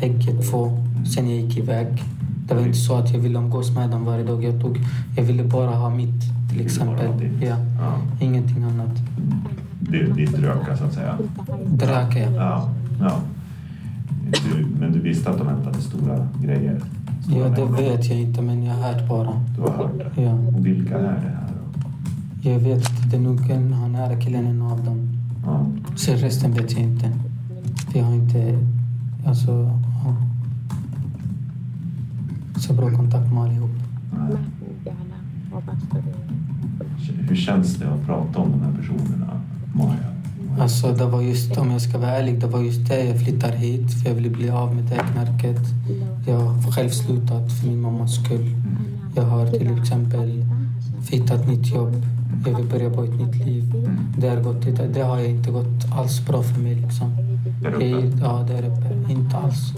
häcke två, sen jag gick iväg. Det var inte så att jag ville umgås med dem varje dag. Jag, tog, jag ville bara ha mitt, till
bara ha
exempel.
ditt.
Ja,
Ja,
ingenting annat.
det, ditt röka så att säga.
Drack jag.
Ja, ja. Du, men du visste att de hämtade stora grejer? Stora
Ja, det
mängder.
vet jag inte, men jag har hört bara.
Du har hört det?
Ja,
Och vilka är det här då?
jag vet inte. Det är nog en, han är killen, en av dem.
Ja.
Sen resten vet jag inte. Vi har inte alltså, ja. så bra kontakt med allihop.
nej. Hur känns det att prata om de här personerna, Maja?
Alltså det var just, om jag ska vara ärlig, det var just det jag flyttar hit för jag ville bli av med det knarket. Jag har själv slutat för min mammas skull. Jag har till exempel hittat nytt jobb. Jag vill börja på ett nytt liv. Det har, gått, det har jag inte gått alls bra för mig liksom.
Där
Jag,
uppe?
ja, där uppe. Inte alls.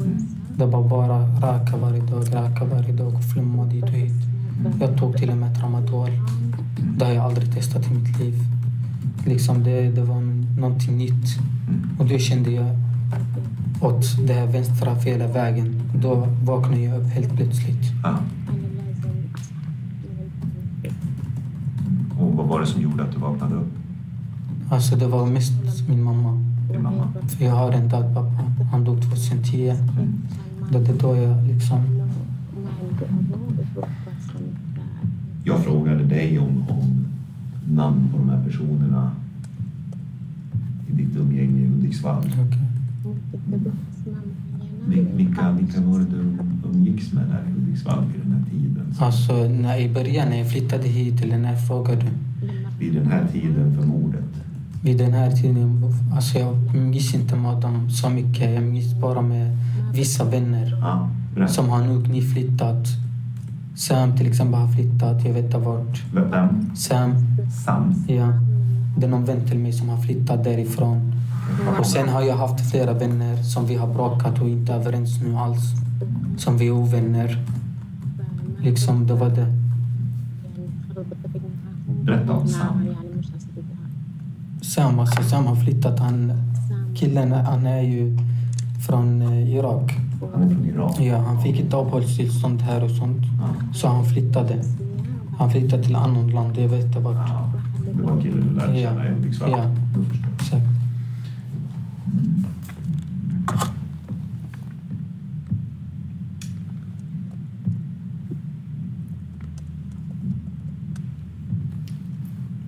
Det var bara röka varje dag, röka varje dag och flumma dit och hit. Jag tog till och med tramadol. Det har jag aldrig testat i mitt liv. Liksom det, det var någonting nytt. Och då kände jag åt det här vänstra fel vägen. Då vaknade jag upp helt plötsligt.
Ja. Och vad var det som gjorde att du vaknade upp?
Alltså det var mest min mamma.
Din mamma?
För jag har en död pappa. Han dog 2010. Det är då jag liksom...
Jag frågade dig om, om namn på de här personerna i ditt umgänge i Hudiksvall.
Okej.
Vil- Vilka, vilka var det du umgicks med där i Hudiksvall vid den här tiden?
Alltså när, i början när jag flyttade hit, eller när frågade du?
Vid den här tiden för mordet?
Vid den här tiden, alltså jag minns inte med dem så mycket. Jag minns bara med vissa vänner.
Ja, berätta.
som har nog nyflyttat. Sam till exempel har flyttat, jag vet inte vart.
Vem- Vem?
Sam,
Sams?
ja. Det är någon vän till mig som har flyttat därifrån. Och sen har jag haft flera vänner som vi har bråkat och inte överens nu alls. Som vi är ovänner. Liksom, det var det.
Berätta om Sam.
Sam, alltså Sam har flyttat. Han, killen, han är ju från eh, Irak.
Han är från Irak.
Ja, han fick ett uppehållstillstånd här och sånt.
Ja.
Så han flyttade. Han flyttade till annat land, jag vet inte vart.
Ja. Det var en kille du lärde känna i
Ja.
Hudiksvall?
Ja.
Då förstår jag.
Exakt.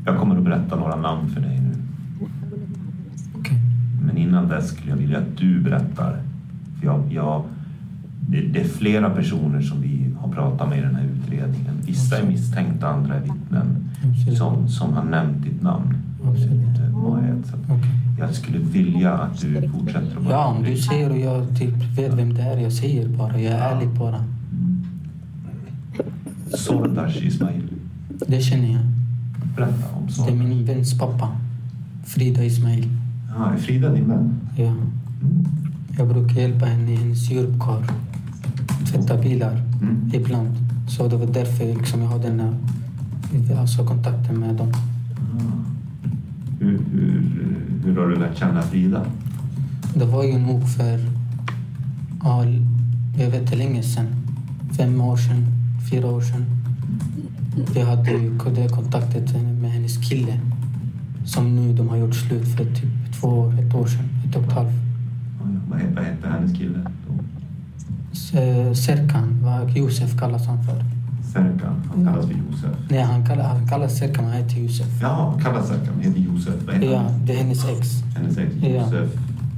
Jag kommer att berätta några namn för dig nu.
Okej.
Men innan dess skulle jag vilja att du berättar. För jag, jag, det, det är flera personer som vi har pratat med i den här utredningen. Vissa är misstänkta, andra är vittnen.
Absolut.
Som, som har nämnt ditt namn.
Absolut.
Eh, Mohamed. Så att
Okej.
Jag skulle vilja att du fortsätter att
Ja, om du säger och jag typ vet vem det är, jag säger bara. Jag är ärlig bara.
Sordash Ismail.
Det känner jag.
Berätta om
Det är
Sordash.
min väns pappa. Frida Ismail.
Ja, är Frida din vän?
Ja. Jag brukar hjälpa henne i hennes djurkar. Tvätta bilar
Mm.
ibland. Så det var därför liksom jag har den här alltså kontakten med dem.
Hur, hur, hur har du lärt känna Frida?
Det var ju nog för, ja, jag vet inte länge sedan. Fem år sedan, fyra år sedan. Jag hade ju det kontaktet med hennes kille. Som nu de har gjort slut för typ två år, ett år sedan, ett och ett halvt.
Ja, ja. Vad hette, vad hette hennes kille? då?
S- Eh, Serkan, vad Josef kallas han för.
Serkan. Han kallas för Josef.
Nej, han kallas, han kallas Serkan, han heter Josef.
Ja, kallas Serkan. Heter Josef. Vad heter
Ja,
han?
det är hennes ex.
Hennes ex
Ja.
Josef.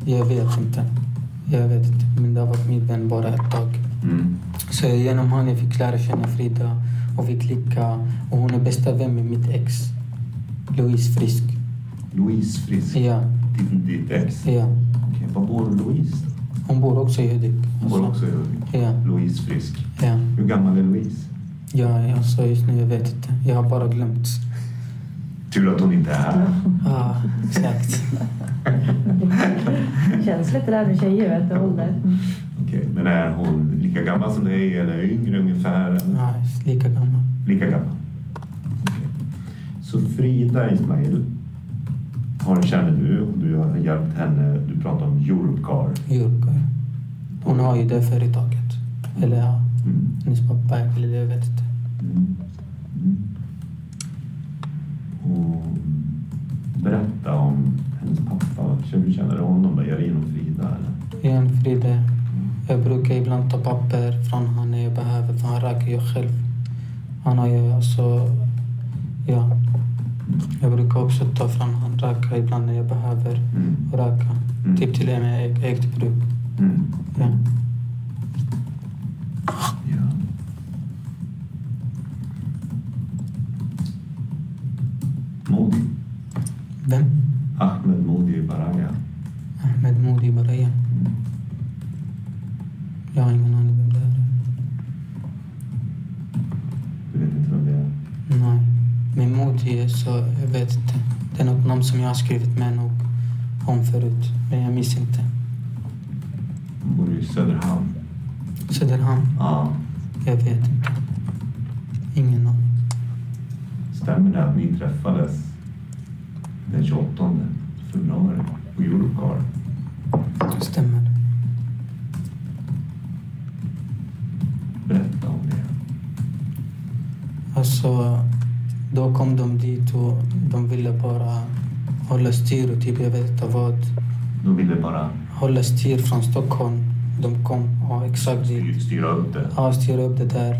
Jag vet inte. Jag vet inte, men det har varit min vän bara ett tag.
Mm.
Så genom honom jag fick lära känna Frida och vi klickade. Och hon är bästa vän med mitt ex, Louise Frisk.
Louise Frisk.
Ja,
Din, ditt ex.
ja.
Okej, var bor Louise då?
Hon bor också i Hudik.
Hon bor också i Hudik.
Ja,
Louise Frisk.
ja.
Hur gammal är Louise?
Ja, alltså just nu jag vet inte. Jag har bara glömt.
Tur att hon inte är här.
Ja, exakt.
Känns lite där med tjejer, vet du, ålder.
Okej, men är hon lika gammal som dig eller yngre ungefär? eller?
Ja, lika gammal.
Lika gammal. Okej. Så Frida Ismail har känner du och du har hjälpt henne. Du pratar om Europcar.
Jurka. Hon har ju det företaget. Eller ja,
Mm.
hennes pappa eller det, jag vet inte.
Mm. Mm. Och berätta om hennes pappa. Hur känner du honom? Då? Gör det genom Frida? Eller?
Igen, Frida.
Mm.
Jag brukar ibland ta papper från honom när jag behöver, för han röker ju själv. Han har ju alltså... Ja. Jag brukar också ta från honom, röka ibland när jag behöver
Mm.
röka.
Mm.
Typ till och med e- eget bruk.
Mm.
Ja.
Ja. Modi.
Vem?
Ahmed Modi Baraya.
Ahmed Modi Baraya.
Mm.
Jag har ingen aning vem det är.
Du vet inte vem det är?
Nej. Men Modi, är så jag vet inte. Det är något namn som jag har skrivit med nog om förut. Men jag minns inte.
Han bor i Söderhamn.
Söderhamn.
Ja.
Jag vet inte. Ingen aning.
Stämmer det att ni träffades den 28 februari på Eurocar?
Stämmer.
Berätta om det.
Alltså, då kom de dit och de ville bara hålla styr och typ, jag vet inte vad.
De ville bara
Hålla styr från Stockholm. De kom och exakt dit.
styr- styra upp det.
Ja, styra upp det där.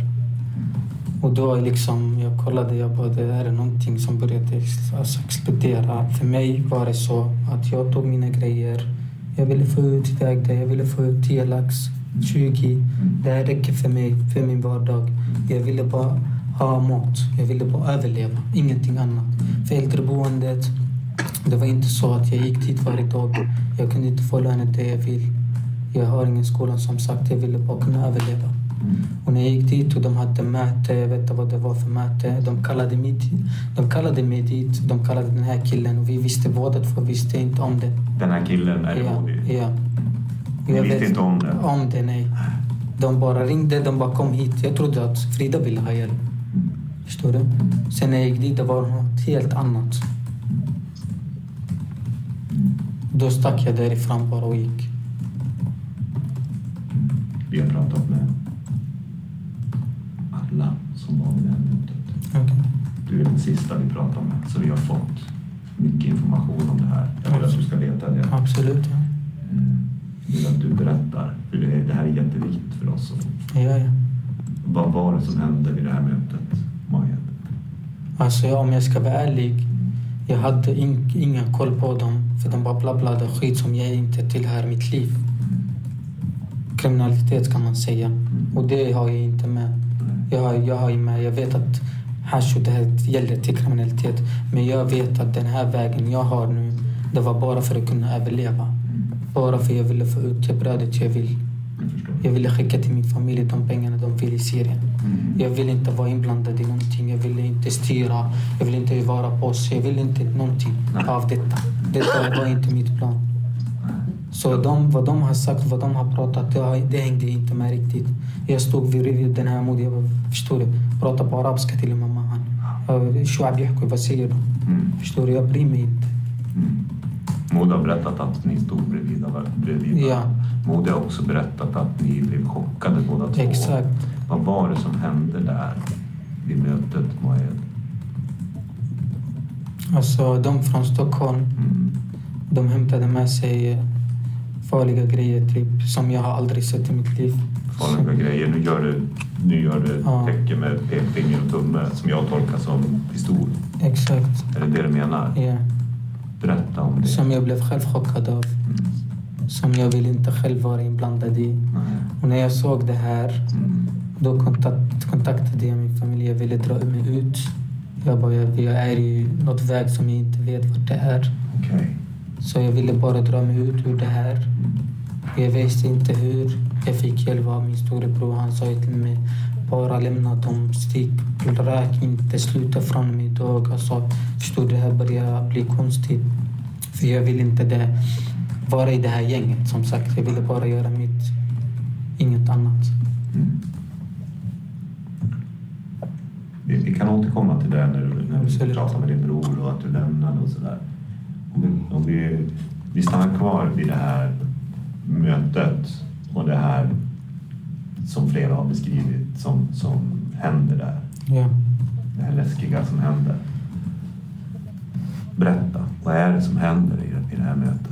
Och då liksom, jag kollade, jag bara, det här är någonting som började ex- alltså, explodera. För mig var det så att jag tog mina grejer. Jag ville få ut iväg det, jag ville få ut 10 lax, 20. Det här räcker för mig, för min vardag. Jag ville bara ha mat, jag ville bara överleva, ingenting annat. För äldreboendet, det var inte så att jag gick dit varje dag. Jag kunde inte få lönen det jag vill. Jag har ingen skola som sagt, jag ville bara kunna överleva. Och när jag gick dit och de hade möte, jag vet inte vad det var för möte. De kallade mig, dit- de kallade mig dit, de kallade den här killen och vi visste båda två visste inte om det.
Den här killen är
Ja,
Modi.
ja.
Ni
Jag
visste
vet-
inte om det?
Om det, nej. De bara ringde, de bara kom hit. Jag trodde att Frida ville ha hjälp. Förstår du? Sen när jag gick dit, det var något helt annat. Då stack jag därifrån bara och gick.
Vi har pratat med alla som var vid det här mötet. Du är den sista vi pratar med, så vi har fått mycket information om det här. Jag vill att du ska veta det.
Absolut, ja.
Jag vill att du berättar, för det är- det här är jätteviktigt för oss.
Ja, ja.
Vad var det som hände vid det här mötet, Maja?
Alltså ja, om jag ska vara ärlig. Jag hade in, ingen koll på dem. För de bara blabblade skit som jag inte tillhör mitt liv. Kriminalitet kan man säga. Och det har jag inte med. Jag, har- jag har ju med, jag vet att hasch och det här gäller till kriminalitet. Men jag vet att den här vägen jag har nu, det var bara för att kunna överleva. Bara för jag ville få ut det brödet jag vill. Jag ville skicka till min familj de pengarna de vill i Syrien. Jag vill inte vara inblandad i någonting. Jag vill inte styra. Jag vill inte vara på oss. Jag vill inte någonting av detta. Detta var inte mitt plan. Så de, vad de har sagt, vad de har pratat, det, har, det hängde inte med riktigt. Jag stod vid, vid den här modiga, förstår du? Pratade på arabiska till mamma. Han. e Shuab Yahku, vad säger du? Förstår du? Jag bryr mig inte.
Maud Mm. har berättat att ni stod bredvid varandra. Bredvid
Ja.
Maud har också berättat att ni blev chockade båda två.
Exakt.
Vad var det som hände där vid mötet, Maja?
Alltså de från Stockholm,
Mm.
de hämtade med sig farliga grejer typ som jag har aldrig sett i mitt liv.
Farliga grejer. Nu gör du, nu gör du
Ja.
tecken med pekfinger och tumme som jag tolkar som pistol.
Exakt,
Är det det du menar?
ja.
Berätta om det.
Som jag blev själv chockad av. Som jag vill inte själv vara inblandad i.
Mm.
Och när jag såg det här, då kontakt, kontaktade jag min familj. Jag ville dra mig ut. Jag bara, jag, jag är i något väg som jag inte vet vart det är.
Okej.
Så jag ville bara dra mig ut ur det här. Jag visste inte hur. Jag fick hjälp av min storebror. Han sa till mig, bara lämna dem, stick, rök inte, sluta från mig idag. Alltså, förstår du, det här börjar bli konstigt. För jag vill inte det, vara i det här gänget, som sagt. Jag ville bara göra mitt, inget annat.
Vi, vi kan återkomma till det när, du- när du
Absolut.
pratar med din bror och att du lämnade och sådär. Om vi, om vi, vi stannar kvar vid det här mötet och det här som flera har beskrivit som, som händer där.
Ja.
Det här läskiga som händer. Berätta, vad är det som händer i, det- i det här mötet?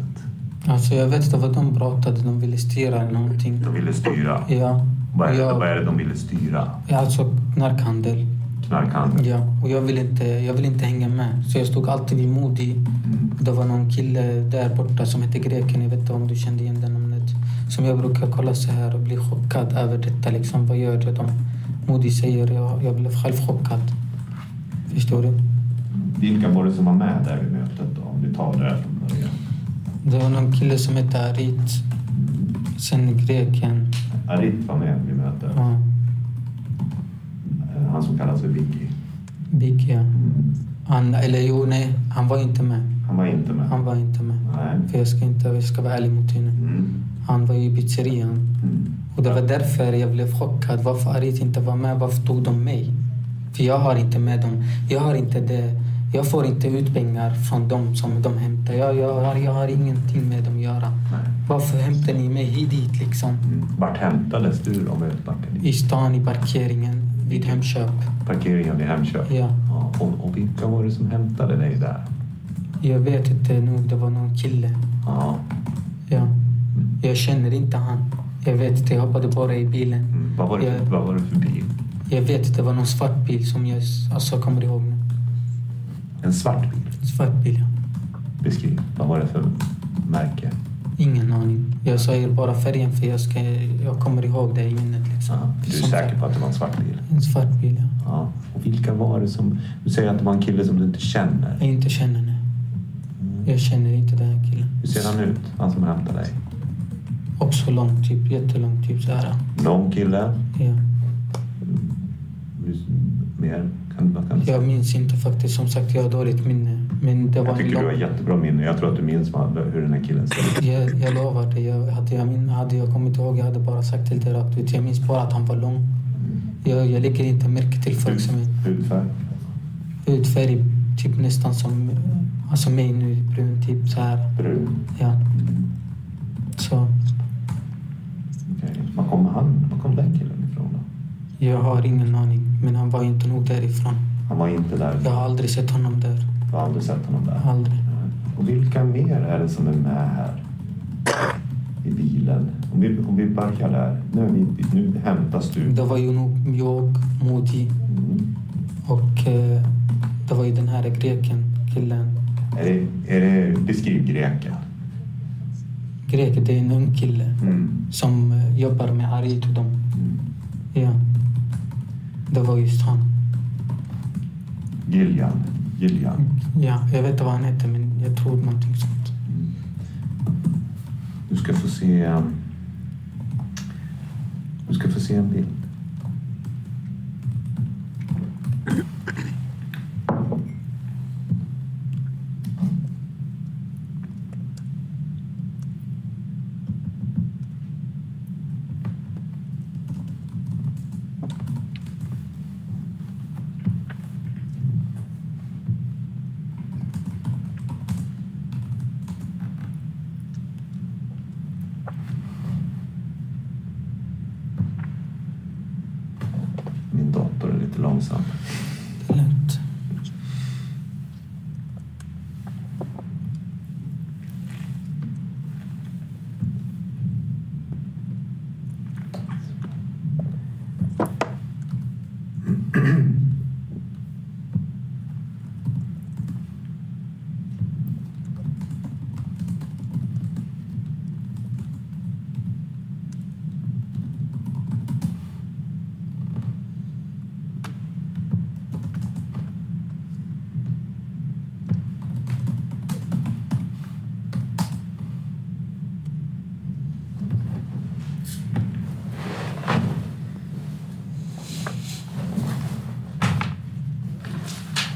Alltså, jag vet inte vad de pratade, de ville styra någonting.
De ville styra.
Ja.
Vad är, det,
Ja.
vad är det de ville styra?
Ja, Alltså, knarkhandel.
Knarkhandel?
Ja, och jag ville inte, jag vill inte hänga med. Så jag stod alltid vid Modi.
Mm.
Det var någon kille där borta som hette Greken, jag vet inte om du kände igen det namnet. Som jag brukar kolla så här och bli chockad över detta. Liksom, vad gör det de Modi säger? Jag, jag blev själv chockad. Förstår du?
Vilka var det som var med där vid mötet då? Om vi tar det här från
Det var någon kille som hette Arit. Sen greken.
Arit var med vid mötet.
Ja,
Eh, Han som kallas för Vicky.
Biki. ja. Han, eller jo, nej. Han var inte med.
Han var inte med.
Han var inte med.
Nej.
För jag ska inte, jag ska vara ärlig mot henne.
Mm.
Han var i pizzerian.
Mm.
Och det var därför jag blev chockad. Varför Arit inte var med? Varför tog de mig? För jag har inte med dem. Jag har inte det. Jag får inte ut pengar från dem som de hämtar. Jag, jag, har, jag har ingenting med dem att göra.
Nej.
Varför hämtar ni mig hit dit liksom?
Mm. Vart hämtades du då? Med parkering?
I stan, i parkeringen, vid Hemköp.
Parkeringen i Hemköp?
Ja.
Ja, Och, och vilka var det som hämtade dig där?
Jag vet inte nog, det var någon kille.
Ja.
Ja. Jag känner inte han. Jag vet inte, jag hoppade bara i bilen.
Mm. Vad, var det för,
Ja.
vad var det för bil?
Jag vet att det var någon svart bil som jag alltså, kommer ihåg nu.
En svart bil?
Svart bil, ja.
Beskriv. Vad var det för märke?
Ingen aning. Jag säger bara färgen för jag, ska, jag kommer ihåg det i minnet. Liksom.
Ja. Du är
Som
säker
sagt,
på att det var en svart bil?
En svart bil, ja.
Ja. Och vilka var det som... Du säger att det var en kille som du inte känner.
Jag inte känner nu. Jag känner inte den här killen.
Hur Mm. ser han ut, han som hämtade dig?
Också lång, typ. Jättelång, typ så här.
Lång kille?
Ja.
Du- Mer? Kan, vad kan du säga?
Jag minns inte faktiskt. Som sagt, jag har dåligt minne. Men det var
Jag
en
tycker du har
lång...
jättebra minne. Jag tror att du minns vad, hur den här killen ser ut.
Jag, jag lovar dig. Jag, hade, jag min, hade jag kommit ihåg, jag hade bara sagt till dig rakt ut. Jag minns bara att han var lång. Jag, jag lägger inte märke till folk som är
Hudfärg?
hudfärg, typ nästan som alltså mig nu, brun, typ så här.
Brun?
Ja. Så
Okej. Var kom han? Var kom den killen ifrån då?
jag har ingen aning. Men han var inte nog därifrån.
Han var inte där.
Jag har aldrig sett honom där.
Jag har aldrig sett honom där.
Aldrig.
Och vilka mer är det som är med här? I bilen? Om vi, om vi backar där. Nu, är vi, nu hämtas du.
Det var ju nog jag, Modi
Mm.
och eh, det var ju den här greken, killen.
Är det, är det, beskriv greken.
Grek, det är en ung kille
Mm.
som eh, jobbar med Arit och dem.
Mm.
Ja. Det var just han.
Giljan. Giljan.
Ja, jag vet inte vad han hette men jag tror någonting sånt.
Du ska få se... Du ska få se en bild. Min dator är lite långsam.
Det är lugnt.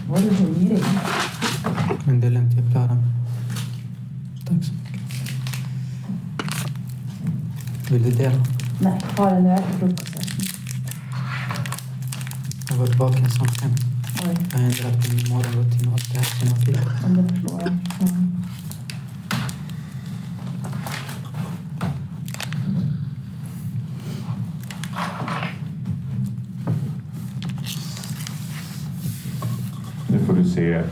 Var du hungrig?
Men det är lugnt, jag klarar mig. Tack så mycket. Vill du dela?
Nej, har den där frukosten.
Jag har varit vaken sedan fem.
Oj,
Jag har ändrat min morgonrutin och allt det här som jag fick.
om det förstår jag. Mm.
Nu får du se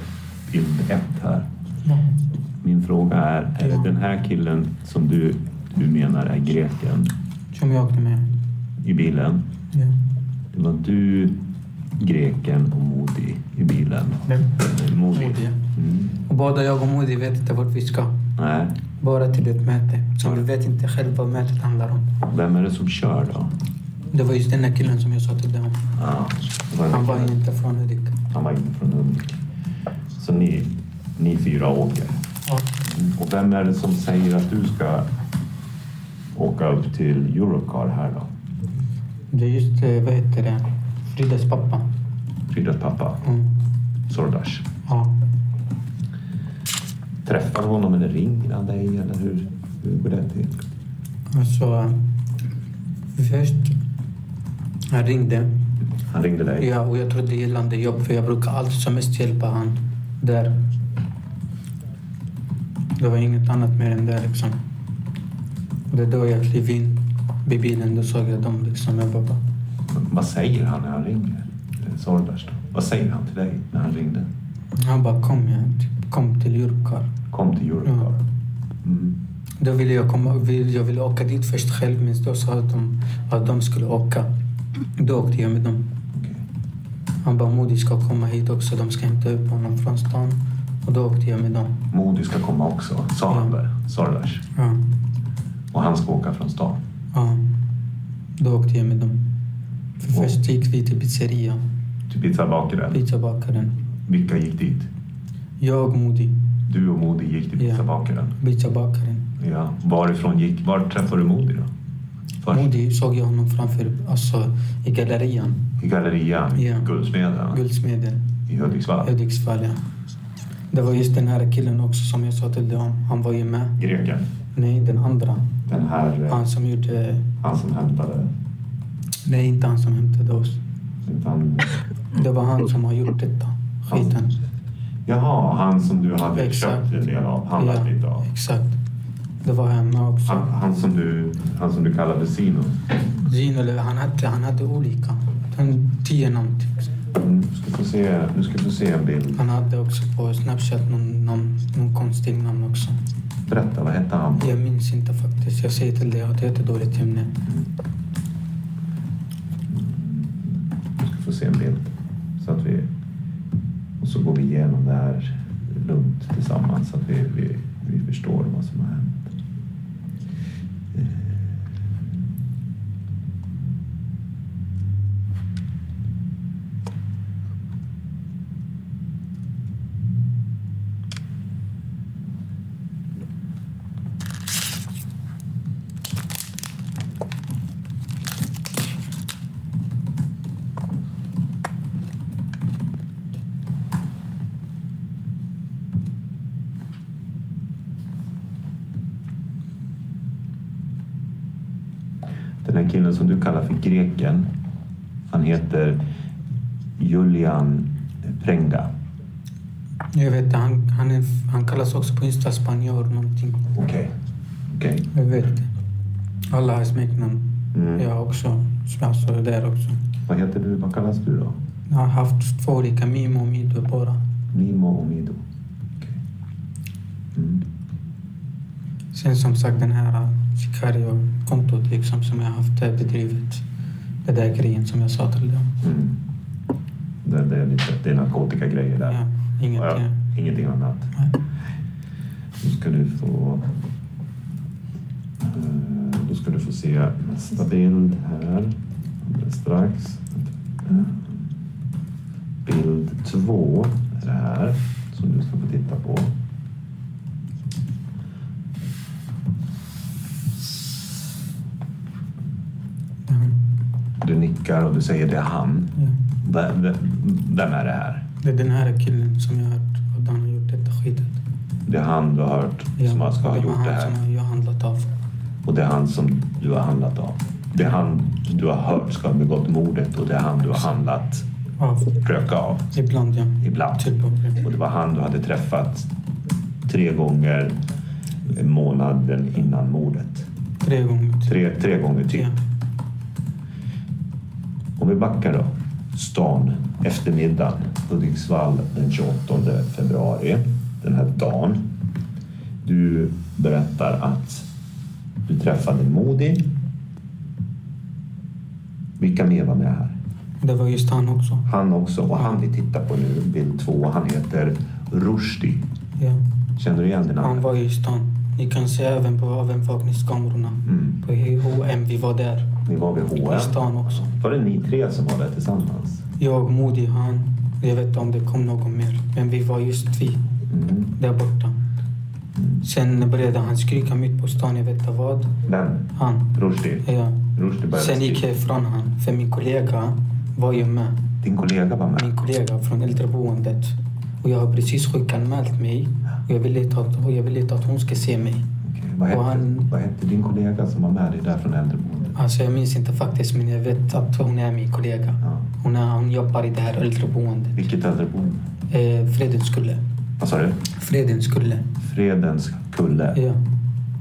bild ett här.
Ja.
Min fråga är, är det den här killen som du, du menar är greken
Som jag åkte med.
i bilen?
Ja.
Det var du, greken och Modi i bilen. Modi.
Modi, ja.
Mm.
Och båda jag och Modi vet inte vart vi ska.
Nej.
Bara till ett möte. Så vi vet inte själv vad mötet handlar om.
Vem är det som kör då?
Det var just den här killen som jag sa till dig om.
Ja, det var den
Han var
killen.
ju inte från Hudik.
Han var inte från Hudik. Så ni, ni fyra åker.
Ja.
Och vem är det som säger att du ska åka upp till Eurocar här då?
Det är just, eh, vad heter det, Fridas pappa.
Fridas pappa,
Mm.
Sordash.
Ja.
Träffar du honom eller ringer han dig eller hur, hur går det till?
Alltså, först han ringde.
Han ringde dig?
Ja, och jag trodde gällande jobb för jag brukar alltid som mest hjälpa han där. Det var inget annat mer än det liksom. Det är då jag klev in i bilen, då såg jag dem liksom. Jag bara,
Vad säger han när han ringer? Eh, Sordash då? Vad säger han till dig när han ringde?
han bara kom jag, typ, kom till Jurkar.
Kom till Eurocar. Mm.
Då ville jag, komma, vill- jag ville åka dit först själv men då sa de att de skulle åka. Då åkte jag med dem.
Okej.
Han bara Modi ska komma hit också, de ska hämta upp honom från stan. Och då åkte jag med dem.
Modi ska komma också, sa han
Ja.
där, Sardash.
Ja,
Och han ska åka från stan.
ja. Då åkte jag med dem. För
Wow.
först gick vi till pizzeria,
Till pizzabakaren.
pizzabakaren.
Vilka gick dit?
Jag och Modi,
Du och Modi gick till
Ja.
pizzabakaren.
pizzabakaren.
Ja. Varifrån gick... Var träffade du Modi då? Först
Modi såg jag honom framför, alltså i gallerian,
i gallerian,
Ja.
Guldsmeden,
Guldsmeden.
i Hudiksvall.
Hudiksvall, ja. Det var just den här killen också som jag sa till dig om. Han var ju med.
Greken.
Nej, den andra.
Den här, eh,
Han som gjorde...
han som hämtade...
Nej, inte han som hämtade oss.
Utan,
Det var han som har gjort detta. Skiten.
jaha, han som du hade
Exakt.
köpt en del av, handlat lite av.
exakt. Det var han med
Han,
också.
han, som du, han som du kallade Sino.
Zino, eller han hade, han hade olika. Den tio namn, typ.
Mm, Nu ska få se, nu ska vi få se en bild.
Han hade också på Snapchat någon, någon, någon konstig namn också.
Berätta, vad hette han?
Jag minns inte faktiskt. Jag säger till dig att jag har jättedåligt minne.
Vi ska få se en bild. Så att vi, och så går vi igenom det här lugnt tillsammans så att vi, vi, vi förstår vad som har hänt. Eh. Den här killen som du kallar för greken, han heter Julian Prengda.
Jag vet inte, han, han, är, han kallas också på Insta spanjor någonting.
Okej. Okej.
Jag vet inte. Alla har smeknamn.
Mm.
Jag också. Alltså där också.
Vad heter du? Vad kallas du då?
Jag har haft två olika, Mimo och Mido bara.
Nimo och Mido. Okej. Mm.
Sen som sagt den här Sicario-kontot liksom som jag haft eh, bedrivet. Det där grejen som jag sa till dig om.
Mm. Det, det, är lite, det är narkotikagrejer där.
Ja, inget.
Ja,
Ja.
Ingenting annat.
Nej.
Då ska du få... eh, Då ska du få se nästa bild här alldeles strax. Bild två är det här som du ska få titta på.
Ja.
Du nickar och du säger det är han.
Ja.
Vem, vem, vem är det här?
Det är den här killen som jag har hört att han har gjort detta skitet.
Det är han du har hört
Ja,
som ska ha
det var
gjort
han
det
som
här.
har- jag har handlat av.
Och det är han som du har handlat av. Det är han du har hört ska ha begått mordet och det är han du har handlat
Av.
röka av
Ibland ja.
ibland.
Typ av det.
Och det var han du hade träffat tre gånger månaden innan mordet.
Tre gånger. Typ.
Tre, tre gånger till.
Ja.
Om vi backar då. Stan, eftermiddagen, Hudiksvall den 28 februari. Den här dagen. Du berättar att du träffade Modi. Vilka mer var med här?
Det var just han också.
Han också. Och han vi tittar på nu, bild två, han heter Rushdie.
Ja.
Känner du igen det
Han
namnet?
var i stan. Ni kan se även på övervakningskamerorna.
Mm.
På H&M vi var där.
Ni var vid
I
H&M.
stan också.
Var det ni tre som var där tillsammans?
Jag, Modi, han. Jag vet inte om det kom någon mer. Men vi var just vi.
Mm.
Där borta.
Mm.
Sen började han skrika mitt på stan, jag vet inte vad.
Den,
Han.
Rushdie.
Ja.
Rushdie började
Sen gick
skrika.
jag ifrån han, för min kollega var ju med.
Din kollega var med.
Min kollega från äldreboendet. Och jag har precis sjukanmält mig. Och jag vill inte att, och jag vill inte att hon ska se mig.
Okej, Vad,
Och
hette,
han-
vad hette din kollega som var med dig där från äldreboendet?
Alltså jag minns inte faktiskt, men jag vet att hon är min kollega.
Ja.
Hon, är, hon jobbar i det här äldreboendet.
Vilket äldreboende?
Eh, Fredens skulle.
Vad sa du?
Fredens skulle.
Fredens kulle
Ja. Eh,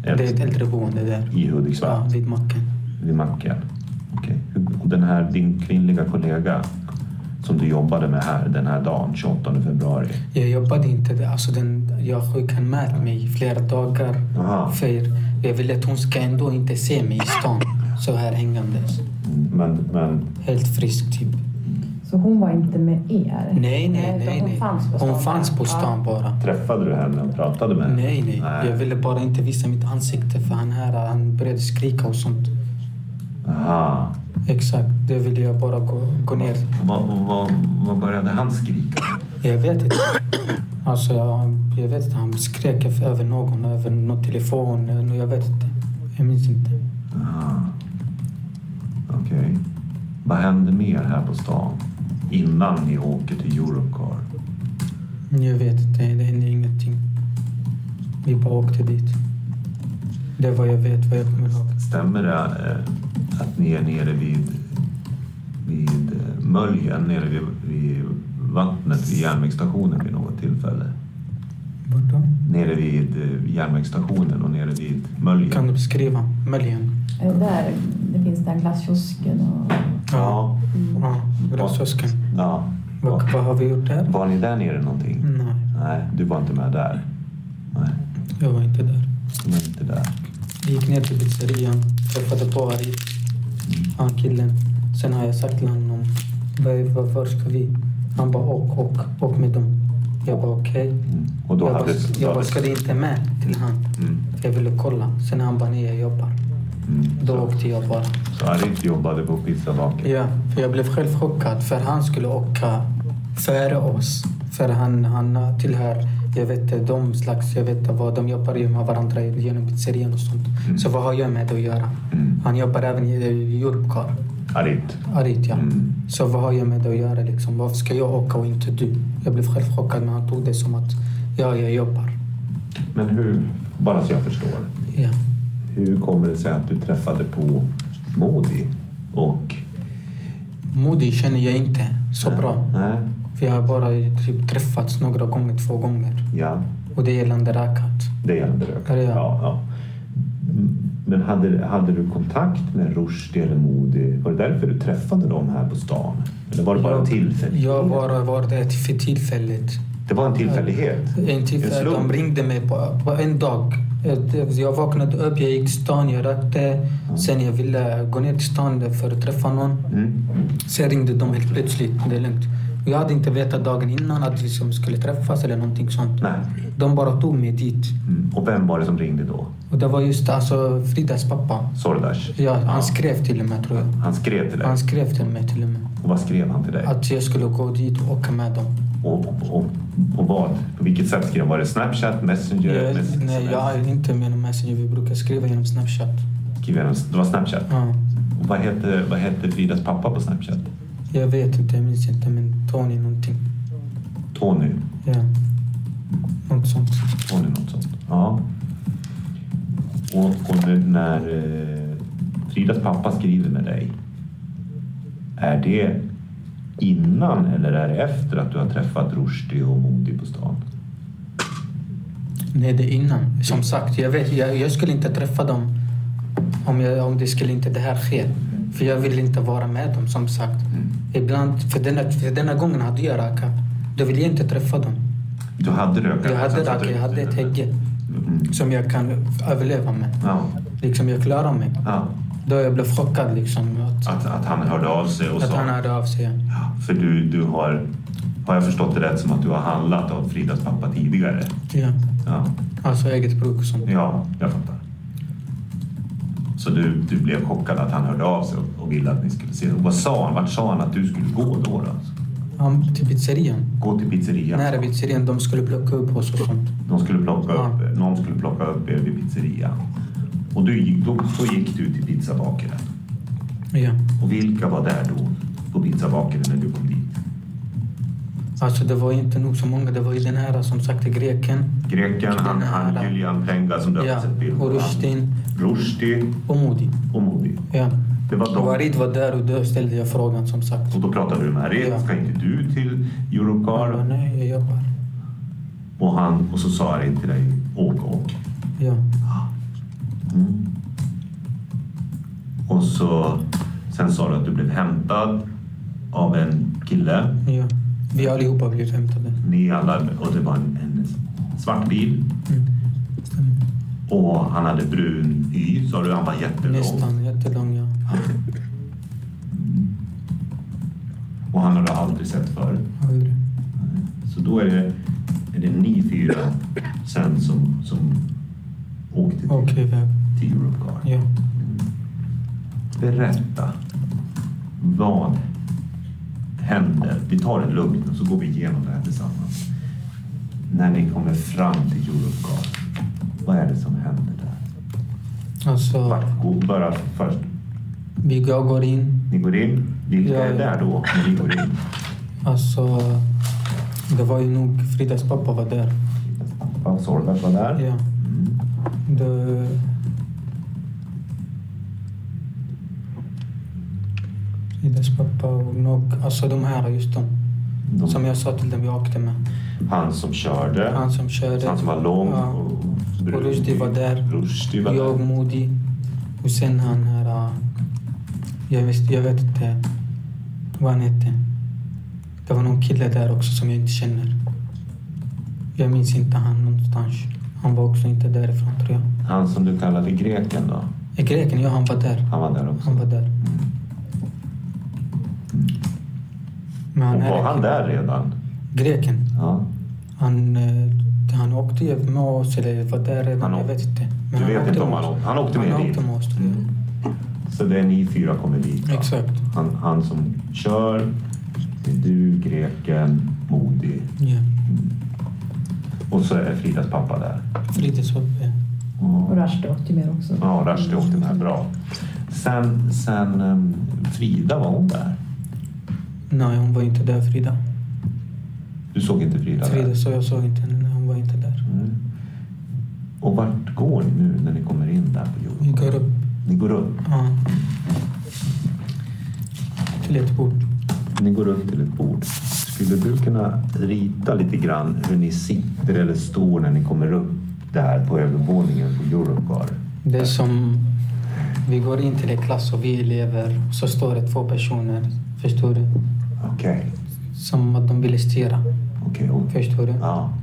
Det är ett
Äldre-
äldreboende där.
i Hudiksvall.
Ja, vid macken.
Vid macken. Okej. Hur- Och den här, din kvinnliga kollega som du jobbade med här den här dagen, 28 februari.
Jag jobbade inte. där. Alltså den, jag sjukanmält mig i flera dagar.
Aha.
För jag ville att hon ska ändå inte se mig i stan. Så här hängandes.
Men, men
Helt frisk typ.
Så hon var inte med er?
Nej, nej,
utan
nej.
Hon
nej.
fanns på stan?
Hon fanns på stan bara.
träffade du henne och pratade med henne?
Nej, nej. Jag ville bara inte visa mitt ansikte för han här han började skrika och sånt.
Aha.
Exakt. Det ville jag bara gå, gå ner.
Vad, vad, vad började han skrika?
Jag vet inte. Alltså, jag, jag vet inte. Han skrek över någon, över någon telefon. eh, Jag vet inte. Jag minns inte.
Aha. Okej. Vad hände mer här på stan innan ni åker till Eurocar?
Jag vet inte. Det hände ingenting. Vi bara åkte dit. Det var jag vet, vad jag kommer ihåg.
Stämmer det eh, att ni är nere vid, vid eh, Möljen, nere vid, vid vattnet vid järnvägsstationen vid något tillfälle?
Vadå?
Nere vid eh, järnvägsstationen och nere vid Möljen?
Kan du beskriva? Möljen?
Är det där det finns den glasskiosken och...
Ja.
Ja, Glasöskan.
ja.
Vad, vad har vi gjort där?
Var ni där nere någonting?
Nej,
Nej, du var inte med där. Nej,
jag var inte där.
du var inte där.
Vi gick ner till pizzerian, träffade på Ari, han killen. Sen har jag sagt till honom, "Vad- vad- var ska vi? Han bara, åk, åk, åk med dem. Jag bara, okej.
Mm. Och då
Jag,
hade
bara-
du...
jag bara, ska du inte med till han?
Mm.
Jag ville kolla. Sen han bara, nej jag jobbar.
Mm.
Då
Så,
åkte jag bara.
så Arif jobbade på pizzabaken?
Ja, för jag blev själv chockad för han skulle åka före oss. För han, han tillhör, jag vet inte, de slags, jag vet inte vad, de jobbar ju med varandra genom pizzerian och sånt.
Mm.
Så vad har jag med det att göra? Han jobbar även i- i Europcar,
Arif?
Arit ja.
Mm.
Så vad har jag med det att göra liksom? Varför ska jag åka och inte du? Jag blev själv chockad men han tog det som att, ja, jag jobbar.
Men hur, bara så jag förstår.
Ja.
Hur kommer det sig att du träffade på Modi? Och...
Modi känner jag inte så bra.
Nej.
Vi har bara typ träffats några gånger, två gånger.
Ja,
Och det är gällande Rakat.
det gällde rök.
Ja, det gör jag.
ja, ja. Mm, Men hade, hade du kontakt med Rushdie eller Modi? Var det därför du träffade dem här på stan? Eller var det bara en tillfällighet?
Jag bara var där till- för tillfället.
Det var en tillfällighet.
En tillfällighet.
slump.
De ringde mig på, på en dag. Ett- alltså, Jag vaknade upp, jag gick till stan, jag rökte. Sen jag ville gå ner till stan för att träffa någon.
Mm.
Sen ringde de helt plötsligt. Det är lugnt. Jag hade inte vetat dagen innan att vi som skulle träffas eller någonting sånt.
Nej.
De bara tog mig dit.
Mm. Och vem var det som ringde då?
Och det var just alltså Fridas pappa.
Sordash?
Ja, han skrev till och med tror jag.
Han skrev till dig?
Han skrev till mig till och med.
Och vad skrev han till dig?
Att jag skulle gå dit och åka med dem.
Och, och, och, och vad? På vilket sätt skrev han? Var det Snapchat, Messenger?
Jag,
mess-
nej, jag är inte med Messenger. Vi brukar skriva genom Snapchat.
Skrev han- Det var Snapchat?
Ja.
Och vad hette, vad hette Fridas pappa på Snapchat?
Jag vet inte, jag minns inte. Men Tony någonting.
Tony?
Ja. Något sånt.
Tony något sånt? Ja. Och, och nu när eh, Fridas pappa skriver med dig, är det innan eller är det efter att du har träffat Rushdie och Modi på stan?
Nej, det är innan. Som sagt, jag, vet, jag, jag skulle inte träffa dem om, jag, om det skulle inte det här ske. För jag vill inte vara med dem, som sagt. Ibland, för denna, för denna gången hade jag raka. Då ville jag inte träffa dem.
Du hade rökat?
Jag hade
sen satte
raka,
du-
jag hade ett hägge
Mm.
som jag kan överleva med.
Ja.
Liksom, jag klarar mig.
ja.
Då jag blev chockad liksom. Att,
Att, att han hörde av sig och
Att
sa...
han hörde av sig. ja.
Ja, För du, du har, har jag förstått det rätt som att du har handlat av Fridas pappa tidigare?
Ja.
Ja,
Alltså eget bruk och sånt.
ja jag fattar. Så du, du blev chockad att han hörde av sig och- och ville att ni skulle se. Vad sa han? Vart sa han att du skulle gå då? då?
Han, till pizzerian.
Gå till pizzerian.
Nära pizzerian. De skulle plocka upp oss och sånt.
De skulle plocka
Ja.
upp, någon skulle plocka upp er vid pizzerian. Och du, gick- då, så gick du till pizzabakaren.
Ja.
Och vilka var där då på pizzabakaren när du kom dit?
Alltså det var inte nog så många. Det var ju den här som sagt greken.
Greken, han, han, Julian Penga som du har
Ja.
sett bild på.
Och Rushdin
Rushdie
och Modi.
och Modi.
Ja.
Det var de.
Warid var där och då ställde jag frågan som sagt.
Och då pratade du med Aret.
Ja.
Ska inte du till
Han bara,
Eurocar?
nej, jag jobbar.
Och, han, och så sa Aret till dig, åk, åk.
Ja.
Mm. Och så, sen sa du att du blev hämtad av en kille.
ja. Vi allihopa blev hämtade.
Ni alla, och det var en, en svart bil.
Mm. Stämmer.
Och han hade brun hy, sa du. Han var jättelång.
Nästan jättelång, ja.
Och han hade aldrig sett förut.
Ja, hur?
Så då är det, är det ni fyra sen som, som åkte till,
Åkte iväg.
till Europcar.
Ja.
Berätta. Vad händer? Vi tar det lugnt och så går vi igenom det här tillsammans. När ni kommer fram till Europcar, vad är det som händer där?
Alltså,
Vart går, bara först,
vi går går in.
ni går in. Vilka
Ja.
är där då när ni går in?
Alltså, det var ju nog Fridas pappa var där.
Vad Sordas var där.
Ja.
Mm.
Det... Fridas pappa och nog, alltså de här, just de.
De,
Som jag sa till dem jag åkte med.
Han som körde.
Han som körde.
Han som var lång
Ja.
och brun. typ.
Och Rushdie var där.
Rushdie var
Jag,
där.
Modi och sen han här... äh, Jag, visste, jag vet inte vad han hette. Det var någon kille där också som jag inte känner. Jag minns inte han någonstans. Han var också inte därifrån tror jag.
Han som du kallade greken då?
Eh, Greken, ja han var där.
Han var där också.
Han var där. Men
Och var
här-
han där redan?
Greken.
Ja.
Han, eh, han åkte ju med oss eller var där redan.
Han
jag
åkte-
vet inte.
Du vet
åkte
inte om
med
han
oss.
åkte- han åkte med
Han
dit.
åkte med oss. tror jag.
Så det är ni fyra kommer dit? va?
Exakt.
Han, han som kör, det är du, greken, Modi
Ja.
och så är Fridas pappa där.
Fritidshoppet.
Och Rushdie åkte med också.
Ja, Rushdie åkte med. Bra. Sen, sen em, Frida, var hon där?
Nej, hon var inte där Frida.
Du såg inte Frida
Frida
där?
så jag såg inte henne. Nej, Hon var inte där.
Mm. Och vart går ni nu när ni kommer in där på
Vi
jorden?
går upp
Ni går upp?
ja, till ett bord.
Ni går upp till ett bord. Skulle du kunna rita lite grann hur ni sitter eller står när ni kommer upp där på övervåningen på Eurocar?
Det är som... Vi går in till en klass och vi är elever. Så står det två personer, förstår du?
Okej,
Som att de ville styra,
okej. och-
förstår du?
Ja,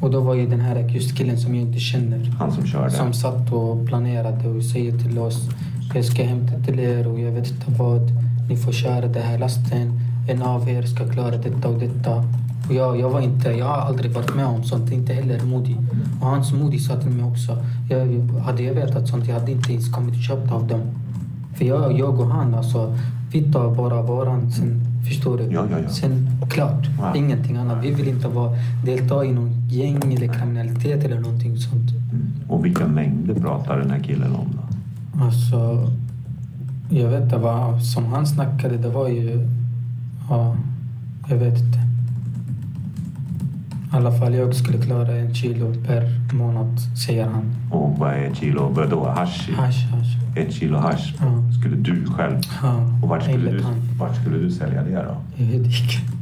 Och då var ju den här just killen som jag inte känner.
han som körde.
Som satt och planerade och säger till oss jag ska hämta till er och jag vet inte vad. Ni får köra den här lasten. En av er ska klara detta och detta. Och jag, jag, var inte, jag har aldrig varit med om sånt, inte heller Modi. Och hans Modi sa till mig också. Jag, hade jag vetat sånt, jag hade inte ens kommit och köpt av dem. För jag, jag och han, alltså, vi tar bara varan sen, förstår du?
Ja, ja, ja.
Sen, klart,
Ja.
ingenting annat. Vi vill inte vara, delta i någon gäng eller kriminalitet eller någonting sånt.
Mm. Och vilka mängder pratar den här killen om då?
Alltså, jag vet inte vad som han snackade. Det var ju... Ja, jag vet inte. I alla fall jag skulle klara en kilo per månad, säger han.
Och vad är ett kilo, vadå, hasch? i-
Hasch, hasch.
Ett kilo hasch
Ja.
skulle du själv...
Ja,
Och vart skulle,
enligt
du,
han.
vart skulle du sälja det då?
Jag vet inte.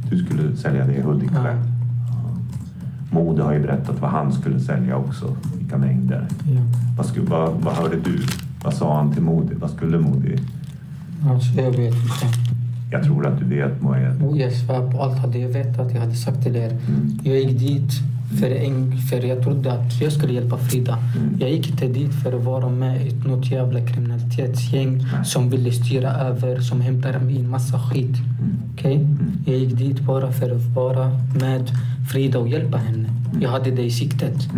Du skulle sälja det i Hudik
Ja.
själv? Ja. Mode har ju berättat vad han skulle sälja också, vilka mängder.
Ja.
Vad, skulle, vad, vad hörde du? Vad sa han till Modi? Vad skulle Modi?
Alltså, jag vet inte.
Jag tror att du vet Moed.
Och jag svär på allt. Hade jag vetat, jag hade sagt till er. Jag gick dit för, en, för jag trodde att jag skulle hjälpa Frida. Jag gick inte dit för att vara med i något jävla kriminalitetsgäng som ville styra över, som hämtar min massa skit. Okej? Jag gick dit bara för att vara med Frida och hjälpa henne. Jag hade det i siktet.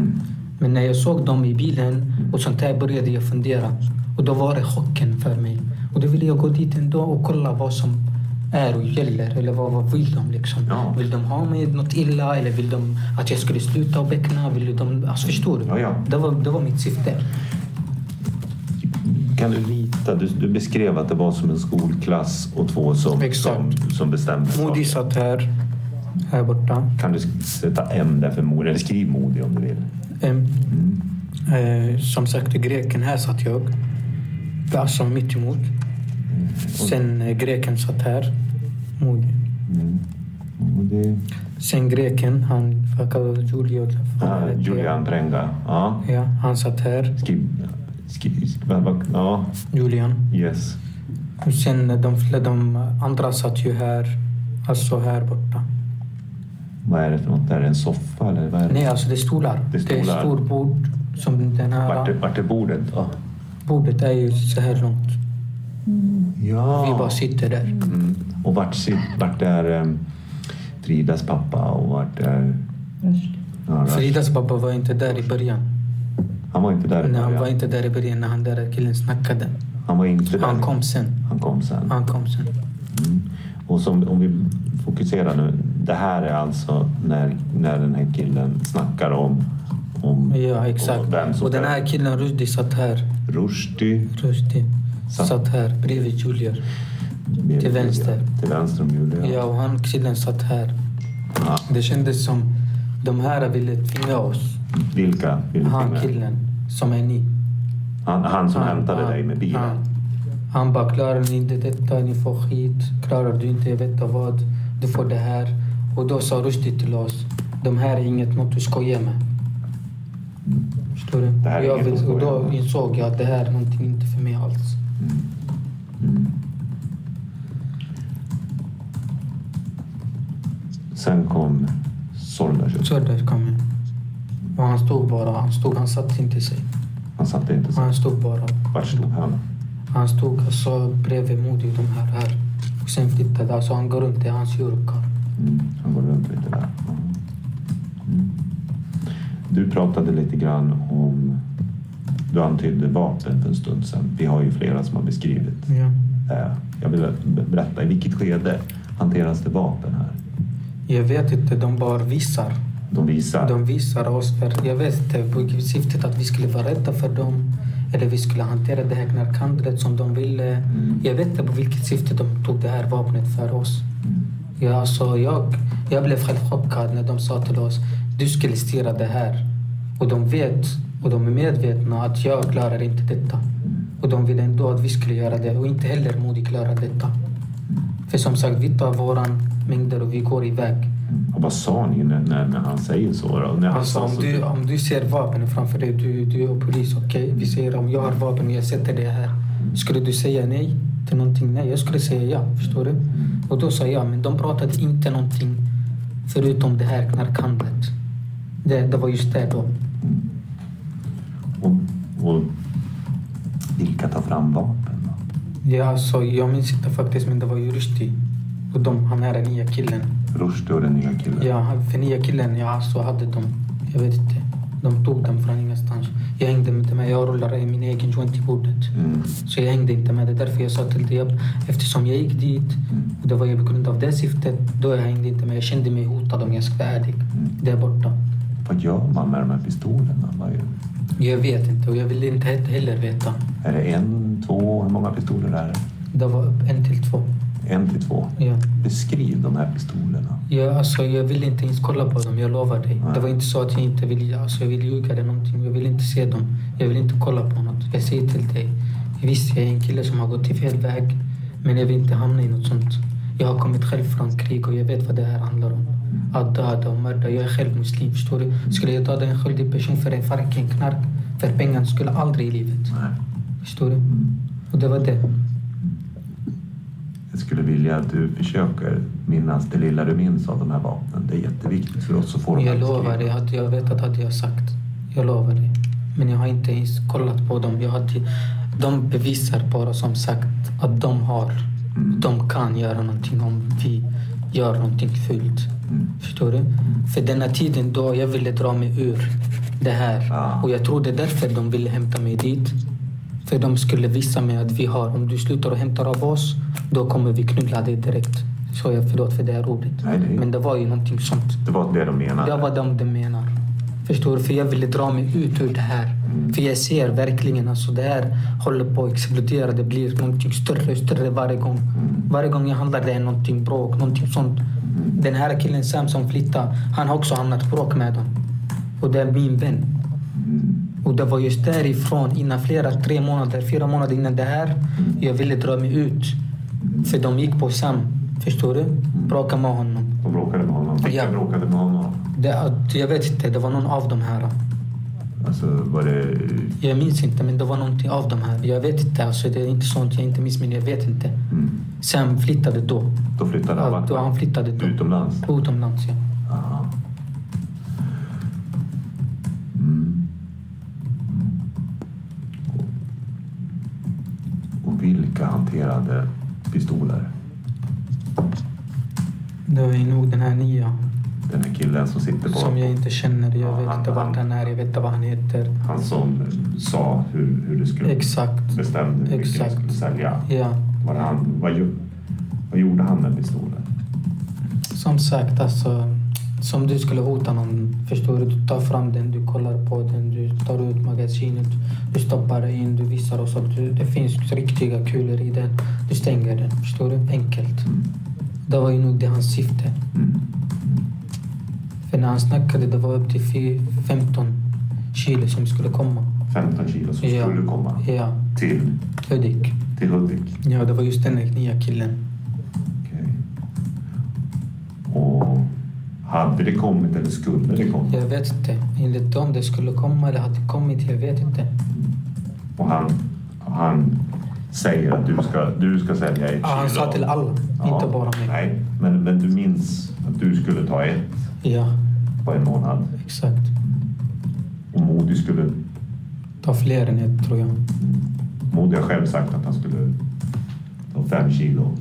Men när jag såg dem i bilen och sånt här började jag fundera. Och då var det chocken för mig. Och då ville jag gå dit ändå och kolla vad som är och gäller. Eller vad, vad vill de liksom?
Ja.
Vill de ha mig något illa? Eller vill de att jag skulle sluta och beckna? Vill de, alltså förstår du?
Ja, ja.
Det, var, det var mitt syfte.
Kan du rita? Du, du beskrev att det var som en skolklass och två som,
Exakt.
som, som bestämde
Modi
saker.
satt här, här borta.
Kan du sk- sätta M där för Modi? Eller skriv Modi om du vill.
Ehm,
Mm.
eh, som sagt, greken här satt jag. Alltså mitt emot.
Mm.
Sen eh, greken satt här. Modi.
Modi.
Sen greken, han vad kallades Julio.
Ah, Julian Prenga. Ja.
Ja, han satt här.
Skriv... skriv, skriv vad- vad- ja,
Julian.
yes.
Och sen de, fl- de andra satt ju här. Alltså här borta.
Vad är det för något? Är det en soffa eller? Vad är det?
Nej, alltså det är stolar.
Det är stolar.
stor bord. Som den
Vart, är,
här
vart är bordet? Ja.
bordet är ju så här långt. Vi
ja.
bara sitter där.
Mm. Och vart, sit- vart är em, Fridas pappa och vart är... Ja,
Fridas pappa var inte där i början.
han var inte där i
Nej, han
början.
var inte där i början när han där killen snackade.
Han var inte där.
Han kom sen.
Han kom sen.
Han kom sen.
Mm. Och som, om vi fokuserar nu. Det här är alltså när, när den här killen snackar om, om
Ja, exakt.
Och vem som
Och den
är-
här killen Rushdie satt här.
Rushdie.
Rushdie
Satt.
satt här bredvid Julia.
med-
Till vänster.
Till vänster om Julia.
Ja, och han killen satt här.
Ja.
Det kändes som de här ville tvinga oss.
Vilka? Vilka
Han
med?
killen som är ni.
Han, han som
Han-
hämtade
han-
dig med bilen?
Han, han bara, klarar ni inte detta, ni får skit. Klarar du inte, jag vet inte vad, du får det här. Och då sa Rushdie till oss, de här är inget något du skojar med. Förstår du?
Det här är
jag
inget att
och
skoja
då
med.
insåg jag att det här är någonting inte för mig alls.
Sen kom Sordash.
Så där kom jag. Och han stod bara, han stod, han satt inte sig.
Han satte inte sig.
Han stod bara.
Vart stod han?
Han stod alltså bredvid Modi och de här här. Och sen flyttade, alltså han går runt, det är hans jurkar.
Mm, han går runt lite där. Mm. Mm. Du pratade lite grann om... Du antydde vapen för en stund sedan. Vi har ju flera som har beskrivit
Ja.
det. Jag vill be- berätta, i vilket skede hanteras det vapen här?
Jag vet inte, de bara visar.
De visar.
De visar oss för, jag vet inte, på syftet att vi skulle vara rädda för dem. Eller vi skulle hantera det här knarkhandlet som de ville. Jag vet inte på vilket syfte de tog det här vapnet för oss. Ja, alltså jag, jag blev själv chockad när de sa till oss, du skulle styra det här. Och de vet, och de är medvetna att jag klarar inte detta. Och de vill ändå att vi skulle göra det och inte heller Modi klarar detta. För som sagt, vi tar våran mängder och vi går iväg.
Och vad sa ni när, när, när han säger så? Då? När han
Alltså
sa
om
så
du, om du ser vapen framför dig, du, du är polis, okej? Vi säger om jag har vapen och jag sätter det här. Skulle du säga nej till någonting? Nej, jag skulle säga ja. Förstår du? Och då sa jag, men de pratade inte någonting förutom det här knarkhandlet. Det, det var just det då.
och, och vilka tar fram vapen? Då?
Ja, alltså, jag minns inte faktiskt, men det var ju Rushdie. Och de, han är den nya killen.
Rushdie och den nya killen.
Ja, han- för nya killen, ja, så hade de, jag vet inte. De tog dem från ingenstans. Jag hängde inte med, jag rullade i min egen joint i bordet.
Mm.
Så jag hängde inte med. Det är därför jag sa till dig eftersom jag gick dit och det var ju på grund av det syftet. Då jag hängde inte med. Jag kände mig hotad om jag ska vara ärlig. Där borta.
Vad gör man med de här pistolerna? Vad är,
Jag vet inte och jag ville inte he- heller veta.
är det en, två? Hur många pistoler är det?
Det var en till två.
En till två.
Ja.
Beskriv de här pistolerna.
Jag, alltså, jag ville inte ens kolla på dem, jag lovar dig.
Nej.
Det var inte så att jag inte ville, alltså, jag ville ljuga eller någonting. Jag ville inte se dem. Jag ville inte kolla på något. Jag säger till dig. Visst, jag är en kille som har gått till fel väg. Men jag vill inte hamna i något sånt. Jag har kommit själv från krig och jag vet vad det här handlar om. Att döda och mörda. Jag är själv muslim, förstår du? Skulle jag döda en skyldig person för en farken knark, för pengarna skulle aldrig i livet. Förstår du? Och det var det.
Jag skulle vilja att du försöker minnas det lilla du minns av de här vapnen. Det är jätteviktigt för oss att få dem
Jag lovar dig
beskrivna.
att jag vet att hade jag sagt. Jag lovar dig. Men jag har inte ens kollat på dem. Jag hade, de bevisar bara som sagt att de har. De kan göra någonting om vi gör någonting fult. Förstår du? För den här tiden då jag ville dra mig ur det här.
Ah.
Och jag tror det är därför de ville hämta mig dit. För de skulle visa mig att vi har, om du slutar och hämtar av oss, då kommer vi knulla dig direkt. Så jag förlåt för det här ordet.
Nej, nej.
Men det var ju någonting sånt.
Det var det de
Det
menade.
var de de menar. Förstår du? För jag ville dra mig ut ur det här. För jag ser verkligen, alltså det här håller på att explodera. Det blir någonting större och större varje gång. Varje gång jag handlar det är någonting bråk, någonting sånt. Den här killen Sam som flyttade, han har också hamnat i bråk med dem. Och det är min vän. Och det var just därifrån, innan flera, tre månader, fyra månader innan det här, jag ville dra mig ut. För de gick på Sam, förstår du? Bråkade med honom.
De bråkade med honom. Vilka
Ja.
bråkade med honom?
Det, att- jag vet inte, det var någon av de här.
Alltså var det...
Jag minns inte, men det var någonting av de här. Jag vet inte, alltså, det är inte sånt jag inte minns, men jag vet inte. Sen flyttade då.
mm. Då flyttade han
Ja, då han flyttade då.
utomlands.
Utomlands, ja.
Aha. Mm. Och vilka hanterade pistoler?
Det var nog den här nya
Den här killen som sitter på...
som jag inte känner.
Ja,
Jag
han-
vet
Mm.
inte vart han är, jag vet inte vad han heter.
Han som sa hur, hur det skulle...
Exakt.
Bestämde hur mycket du
Exakt.
skulle sälja.
Ja,
Var det han, vad, gjo- vad gjorde han med pistolen?
som sagt, alltså. Som du skulle hota någon, förstår du? Du tar fram den, du kollar på den, du tar ut magasinet, du stoppar in, du visar oss att du- det finns riktiga kulor i den. Du stänger den, förstår du? Enkelt. Det var ju nog det hans syfte. För när han snackade, det var upp till fy- 15 kilo som skulle komma.
15 kilo som
Ja.
skulle komma
Ja,
till,
Hudik.
till Hudik.
Ja, det var just den nya killen.
Okej. Och hade det kommit eller skulle det komma?
Jag vet inte. Enligt dem, det skulle komma eller hade kommit, jag vet inte.
Och han, han säger att du ska, du ska sälja ett
Ja, han
kilo.
sa till alla,
Ja.
inte bara mig.
Nej, men, men du minns att du skulle ta ett
Ja,
på en månad
exakt.
och Modi skulle...
Ta fler än ett, tror jag.
Modi har själv sagt att han skulle ta fem kilo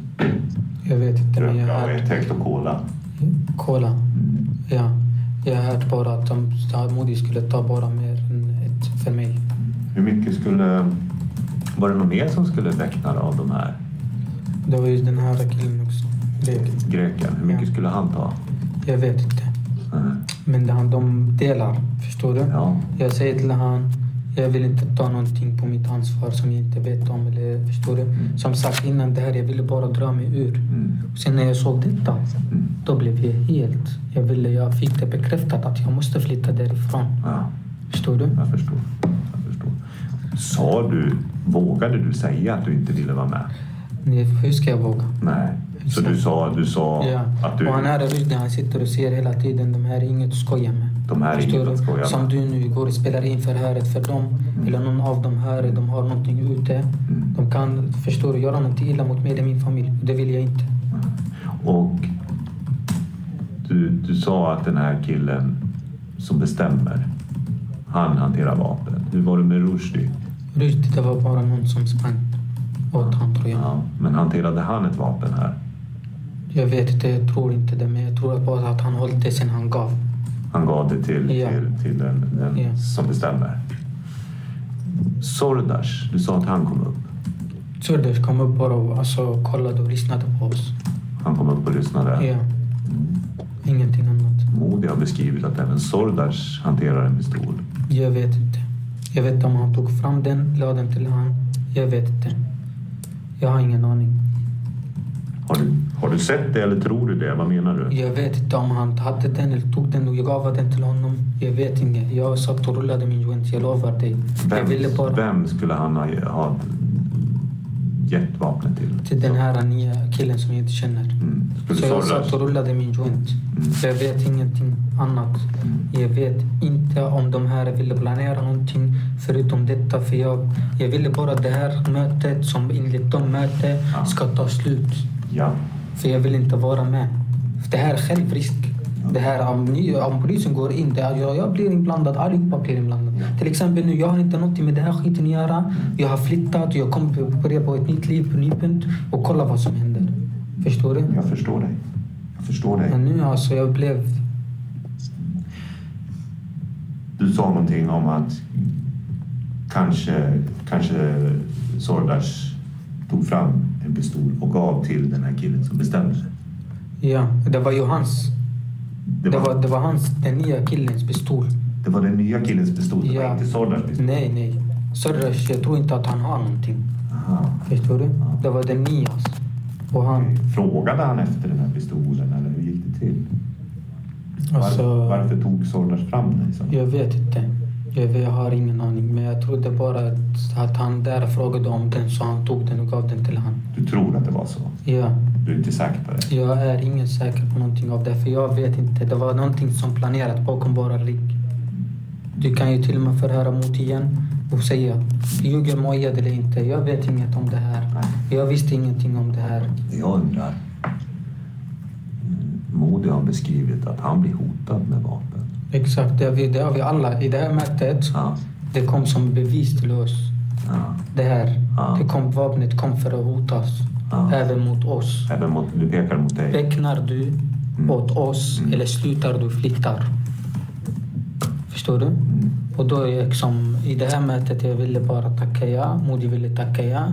Jag vet inte, men jag
röka
har
och
hört...
ett hekto cola.
Kolla. Ja. Jag har hört bara att de, att Modi skulle ta bara mer än ett för mig.
Hur mycket skulle... Var det någon mer som skulle väckna av de här
Det var ju den här killen också. Grek.
greken? Hur mycket
Ja.
skulle han ta?
Jag vet inte.
Nej.
Men det han, de delar, förstår du?
Ja.
Jag säger till han, jag vill inte ta någonting på mitt ansvar som jag inte vet om. Eller, förstår du? Som sagt innan det här, jag ville bara dra mig ur.
Mm.
Och sen när jag såg detta, då blev jag helt... Jag, ville, jag fick det bekräftat att jag måste flytta därifrån.
ja.
Förstår du?
Jag förstår. Jag förstår. Sa du, vågade du säga att du inte ville vara med?
Nej, Hur ska jag våga?
Nej. Så du sa, du sa
Ja.
att du...
Och han här är rysd, han sitter och ser hela tiden, de här är inget att skoja med.
De här är
Förstår
inget
du?
att skoja med. Mm.
Som du nu går och spelar in förhöret för dem, eller någon av de här, de har någonting ute. De kan, förstår du, göra någonting illa mot mig eller min familj. Det vill jag inte.
Och du, du sa att den här killen som bestämmer, han hanterar vapen. Hur var det med Rushdie?
Rysd, det var bara någon som sprang åt honom tror jag.
Ja. Men hanterade han ett vapen här?
Jag vet inte, jag tror inte det, men jag tror bara att han höll det sen han gav.
Han gav det till,
Ja.
till, till den, den
Ja.
som bestämmer. Sordas, du sa att han kom upp.
Surdesh kom upp bara och alltså, kollade och lyssnade på oss.
Han kom upp och lyssnade.
Ja. Ingenting annat.
Modi har beskrivit att även Sordas hanterar en pistol.
Jag vet inte. Jag vet om han tog fram den, la den till han. Jag vet inte. Jag har ingen aning.
Har du, har du sett det eller tror du det? Vad menar du?
Jag vet inte om han hade den eller tog den och jag gav den till honom. Jag vet inget. Jag satt och rullade min joint, jag lovar dig. Jag
Vem,
ville bara
vem skulle han ha, ha gett vapnet till?
till den här nya killen som jag inte känner.
Mm.
Så
Skulle
jag
Sordas...
satt och rullade min joint.
Mm.
Jag vet ingenting annat. Jag vet inte om de här ville planera någonting förutom detta. För jag, jag ville bara det här mötet som enligt dem möte
Ja.
ska ta slut.
Ja.
För jag vill inte vara med. För det här är självrisk. Det här om, ni, om polisen går in, det är, jag, jag blir inblandad, allihopa blir inblandad. Till exempel nu, jag har inte någonting med den här skiten att göra. Jag har flyttat, jag kommer börja på ett nytt liv på ny punkt och kolla vad som händer. Förstår du?
Jag förstår dig. Jag förstår dig.
Men nu alltså, jag blev...
Du sa någonting om att kanske, kanske Sordas tog fram en pistol och gav till den här killen som bestämde sig.
Ja, det var ju hans.
Det var, det var,
det var hans, den nya killens pistol.
den nya killens pistol, det
Ja.
var inte Sordas pistol.
Nej, nej. Sörres, jag tror inte att han har någonting.
Aha.
Förstår du? Det var den nias. Och han,
Frågade han efter den här pistolen eller hur gick det till? Var,
alltså...
Varför tog Sordas fram den? liksom? i så fall?
Jag vet inte. Jag, vet, jag har ingen aning. Men jag trodde bara att, att han där frågade om den så han tog den och gav den till han.
Du tror att det var så?
Ja,
Du är inte säker på det?
jag är ingen säker på någonting av det. För jag vet inte. Det var någonting som planerat bakom våra ligg. Du kan ju till och med förhöra mot igen och säga ljuger Mojad eller inte. Jag vet inget om det här. Jag visste ingenting om det här.
Det jag undrar. Mm, Modi har beskrivit att han blir hotad med vapen.
Exakt, det har vi, det har vi alla. I det här mötet,
Ja.
det kom som bevis till oss.
Ja.
Det här,
Ja.
det kom, vapnet kom för att hota oss.
Ja.
Även mot oss.
Även mot, du pekar mot dig.
Räknar du åt oss eller slutar du flyttar? Förstår du? Och då är jag liksom, i det här mötet jag ville bara tacka ja, Modi ville tacka ja.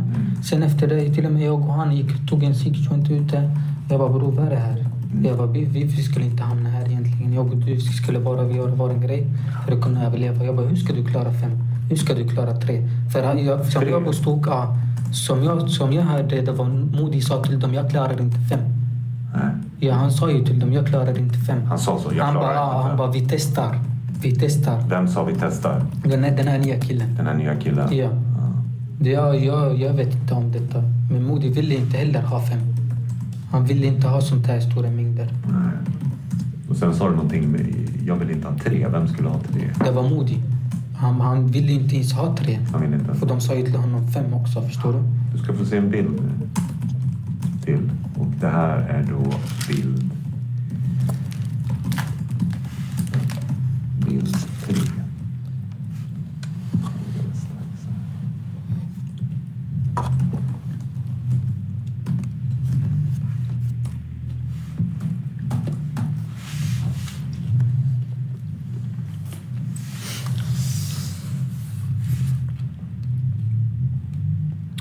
Sen efter det, till och med jag och han gick, tog en cigg, tog inte ute. Jag bara bror vad är det här? Jag bara, vi, vi, vi skulle inte hamna här egentligen. Jag och du skulle bara göra vår grej för att kunna överleva. Jag bara, hur ska du klara fem? Hur ska du klara tre? För han- jag, som jag påstod, ja, som jag, som jag hörde, det var Modi sa till dem, jag klarar inte fem.
Nej.
Ja, han sa ju till dem, jag klarar inte fem.
Han sa så, jag
Han bara,
klarar
ja,
inte.
han bara, vi testar. Vi testar.
Vem sa vi testar?
Den här, den här nya killen.
Den här nya killen?
Ja. Det, jag, jag, jag vet inte om detta. Men Modi ville inte heller ha fem. Han ville inte ha sånt här stora mängder.
Nej. Och sen sa du någonting med, jag vill inte ha tre. Vem skulle ha tre?
Det var Modi. Han, han ville inte ens ha tre.
Han vill inte.
För de sa ju till honom fem också, förstår du?
Du ska få se en bild nu. Till. Och det här är då bild... Bild tre.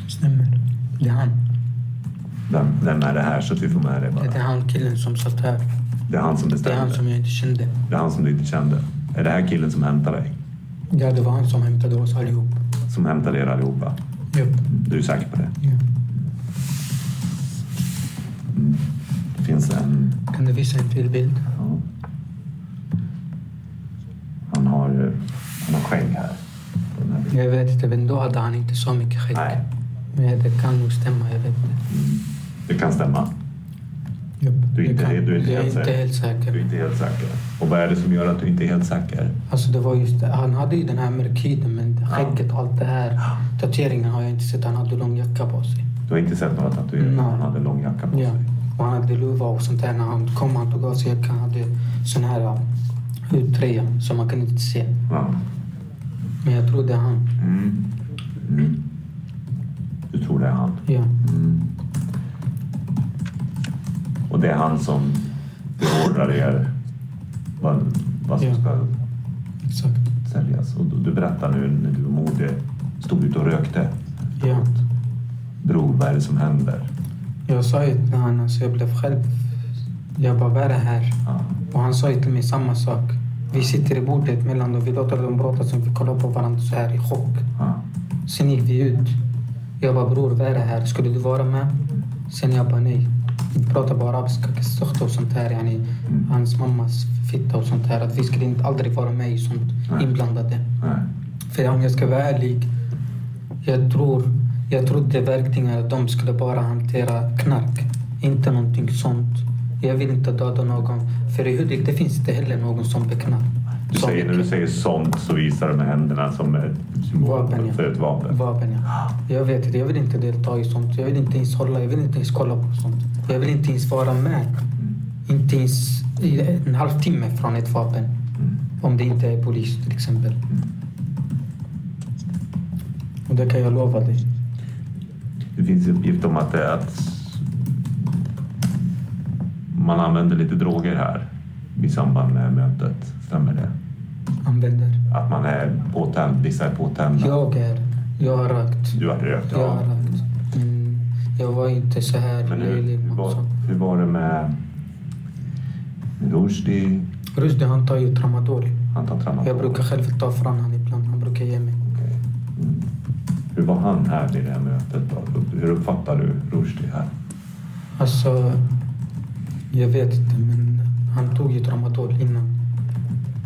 Stämmer. Det är han.
Vem, vem är det här så att vi får med det
Det är
bara?
han killen som satt här.
Det är han som
Det är
bestämde.
han som jag inte kände.
Det är han som du inte kände. Är det här killen som hämtar dig?
Ja, det var han som hämtade oss allihop.
Som hämtar er allihopa?
Japp.
Du är säker på det?
Ja.
Det finns en...
Kan du visa en till bild?
Ja. Han har, eh, han har skägg här. Den här bilden.
Jag vet inte, men då hade han inte så mycket skägg.
Nej,
Men det kan nog stämma, jag vet inte.
det kan stämma. Du är inte,
Det kan-
du är inte
jag är
helt
inte
säker.
helt säker.
Du är inte helt säker. Och vad är det som gör att du inte är helt säker?
Alltså det var just, han hade ju den här mörkhyden, men skägget och allt det här. Tatueringen har jag inte sett. Han hade lång jacka på sig.
Du har inte sett några tatueringar?
Nej.
Han hade lång jacka på
Ja.
sig.
Och han hade luva och sånt där. När han kom han tog av sig jackan. Han hade sån här ja, hudtröja som man kunde inte se.
Ja.
Men jag tror det är han.
Mm. Mm. Du tror det är han?
Ja.
Mm. Och det är han som beordrar er vad, vad som
Ja.
ska
Exakt.
säljas. Och du, du berättar nu när du och Modi stod ute och rökte.
Ja.
Bror, vad är det som händer?
Jag sa ju till honom, alltså jag blev själv... Jag bara, vad är det här?
Ja.
Och han sa ju till mig samma sak. Vi sitter i bordet mellan dem, vi låter dem prata, sen vi kollar på varandra så här i chock.
Ja.
Sen gick vi ut. Jag bara, bror vad är det här? Skulle du vara med? Sen jag bara, nej. Vi pratade bara arabiska, kassakhta och sånt här. Yani,
Mm.
hans mammas fitta och sånt här. Att vi skulle inte aldrig vara med i sånt
Nej.
inblandade.
Nej.
För om jag ska vara ärlig, jag tror, jag trodde verkligen att de skulle bara hantera knark. Inte någonting sånt. Jag vill inte döda någon. För i Hudik det finns inte heller någon som beknar.
Du
Som
säger, när du säger sånt så visar du med händerna som ett symbol
Vapen, ja.
för ett vapen.
Vapen, ja. Jag vet det. Jag vill inte delta i sånt. Jag vill inte ens hålla. Jag vill inte ens kolla på sånt. Jag vill inte ens vara med.
Mm.
Inte ens i en halvtimme från ett vapen.
Mm.
Om det inte är polis till exempel. Och det kan jag lova dig.
Det finns uppgift om att, det är att man använder lite droger här i samband med mötet. Stämmer det?
använder.
Att man är påtänd, vissa är påtända.
Jag är, jag har rökt.
Du har rökt,
Jag har
ja.
rökt. Men jag var inte så här
Men hur,
löjlig. alltså.
hur, var,
också.
hur var det med med Rushdie?
Rushdie han tar ju tramadol.
Han tar tramadol.
Jag brukar själv ta från honom ibland. Han brukar ge mig.
Okej. Mm. Hur var han här vid det här mötet? Då? Hur uppfattar du Rushdie här?
Alltså, jag vet inte men han tog ju tramadol innan.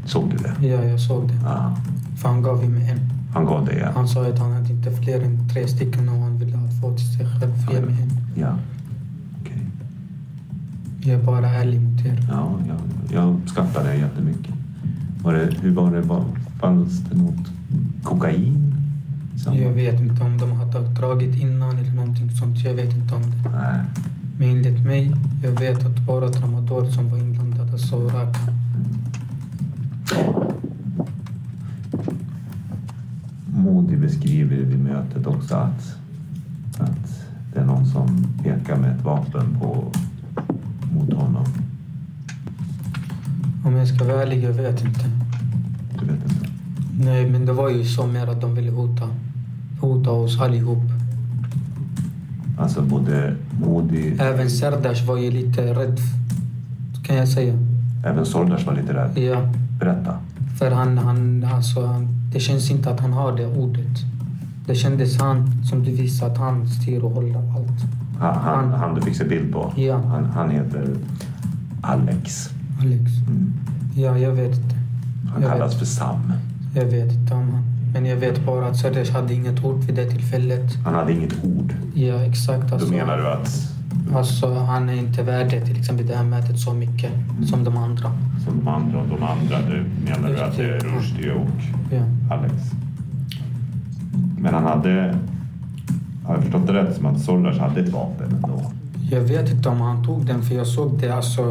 Såg du det?
Ja, jag såg det.
Ja,
För han gav ju mig en.
han gav dig en.
Han sa att han hade inte fler än tre stycken och han ville ha två till sig själv. Ge mig en.
Ja. Okej.
Jag är bara ärlig mot er.
Ja, jag, jag uppskattar det jättemycket. Var det, hur var det? Var, fanns det något kokain? Som,
Jag vet inte om de har tag- dragit innan eller någonting sånt. Jag vet inte om det.
Nej.
Men enligt mig, jag vet att bara tramadol som var inblandad, alltså rök.
Modi beskriver vid mötet också att, att det är någon som pekar med ett vapen på, mot honom.
Om jag ska vara ärlig, jag vet inte.
Du vet inte?
Nej, men det var ju så mer att de ville hota. Hota oss allihop.
Alltså både Modi,
Även Serdash var ju lite rädd, kan jag säga.
även Sordas var lite rädd.
Ja,
Berätta.
för han, han, alltså, han, det känns inte att han har det ordet. Det kändes han, som du visar, att han styr och håller allt.
Han, han,
Han-
han du fick se bild på.
Ja.
Han, han heter Alex.
Alex.
Mm.
Ja, jag vet inte.
Han
Jag
kallas
vet.
för Sam.
Jag vet inte om han. Men jag vet bara att Serdash hade inget ord vid det tillfället.
Han hade inget ord.
Ja, exakt.
Då
Alltså,
menar du att
alltså, han är inte värd det, till exempel det här mötet så mycket som de andra.
som de andra och de andra, nu menar du att det är Rushdie och
Ja.
Alex. Men han hade, har jag förstått det rätt, som att Soldars hade ett vapen ändå?
Jag vet inte om han tog den, för jag såg det alltså,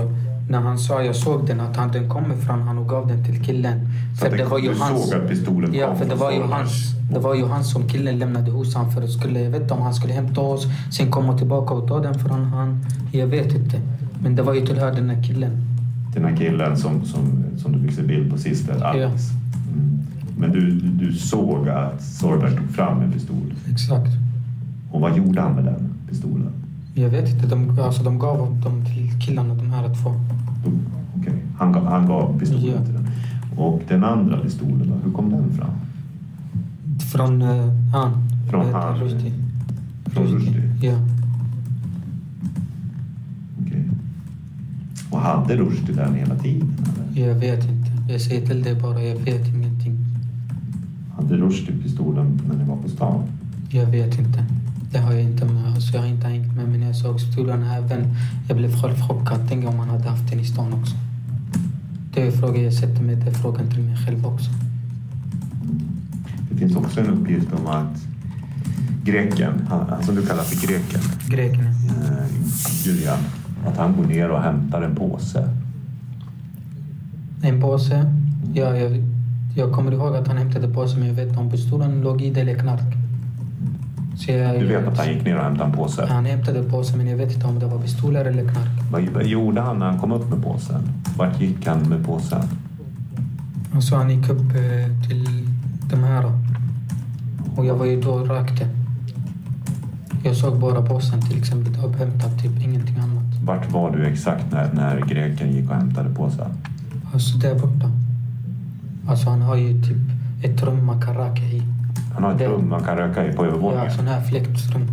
när han sa jag såg den, att han, den kommer från han och gav den till killen.
Så
För
att
det, var ju
du
hans.
såg att pistolen
Ja,
kom
för det
från
var, ju
Soldars.
hans, det var ju han som killen lämnade hos han för att skulle, jag vet inte om han skulle hämta oss, sen komma tillbaka och ta den från han. Jag vet inte. Men det var ju tillhör den här killen.
Den här killen som, som, som du fick se bild på sist, där, Alex. Mm. Men du, du, du såg att Soldars tog fram en pistol.
Exakt.
Och vad gjorde han med den pistolen?
Jag vet inte, de, alltså, de gav dem till killarna, de här två.
Okej, han, gav- han gav pistolen
Ja.
till den. Och den andra pistolen då, hur kom den fram?
Från eh, han.
Från
Eh,
han.
Rushdie.
Från Rushdie?
Ja.
Okej. Och hade Rushdie den hela tiden? Eller?
Jag vet inte. Jag säger till dig bara, jag vet ingenting.
Hade Rushdie pistolen när ni var på stan?
Jag vet inte. Det har jag inte med. Alltså, jag har inte hängt med. Men när jag såg stolen även. Jag blev själv chockad. Tänk om man hade haft den i stan också. Det är frågan jag sätter mig. Det är frågan till mig själv också.
Det finns också en uppgift om att greken, han, han som du kallar för greken,
Grekerna.
eh, Julian, att han går ner och hämtar en påse.
En påse. Ja, jag, jag kommer ihåg att han hämtade påsen. Men jag vet inte om pistolen låg i det eller knark. Så jag,
Du vet att han gick ner och hämtade en påse.
Han hämtade påsen men jag vet inte om det var pistoler eller knark.
Vad, vad gjorde han när han kom upp med påsen? Vart gick han med påsen?
Alltså han gick upp eh, till de här. Och jag var ju då och rökte. Jag såg bara påsen till exempel upphämtad, typ ingenting annat.
Vart var du exakt när, när greken gick och hämtade påsen?
Alltså där borta. Alltså han har ju typ ett rum man kan röka i.
Han har ett
Det-
rum man kan röka i på
Ja,
övervåningen.
sån här fläktrum.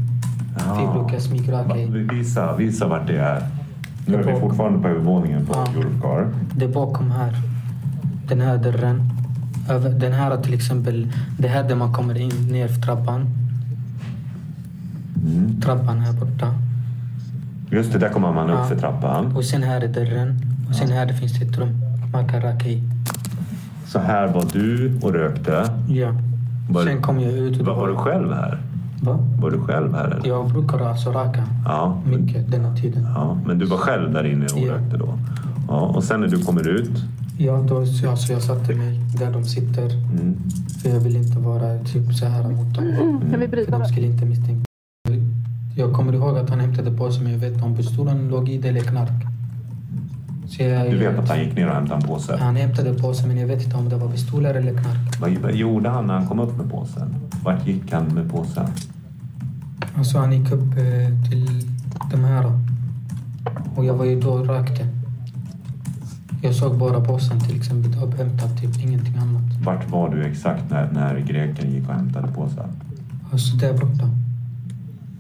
Vi brukar smygröka
Va-
i.
Visa, visa vart det är. Nu är vi
Bak.
fortfarande på övervåningen på
Ja.
Europcar.
Det är bakom här. Den här dörren. Över- Den här till exempel. Det här där man kommer in ner för trappan.
Mm.
Trappan här borta.
Just det, där kommer man upp
Ja.
för trappan.
Och sen här är dörren. Och sen här finns det ett rum man kan röka i.
Så här var du och rökte.
Ja.
Var-
sen kom jag ut och...
Var, var du själv här?
Va?
Var du själv här? Eller?
Jag brukar alltså röka
Ja.
mycket denna tiden.
ja. Men du var själv där inne och
Ja.
rökte då? Ja. Och sen när du kommer ut?
Ja, då, alltså, jag satte mig där de sitter.
Mm.
För jag vill inte vara typ så här mot dem.
Kan vi
För de skulle inte misstänka. Jag kommer ihåg att han hämtade på sig men jag vet inte om pistolen låg i det eller knark. Så jag,
Du vet att han gick ner och hämtade en påse?
Han hämtade påsen men jag vet inte om det var pistoler eller knark.
Vad vad gjorde han när han kom upp med påsen? Vart gick han med påsen?
Alltså han gick upp eh, till de här. Och jag var ju då och rökte. Jag såg bara påsen till exempel upphämtad, typ ingenting annat.
Vart var du exakt när, när greken gick och hämtade påsen?
Alltså där borta.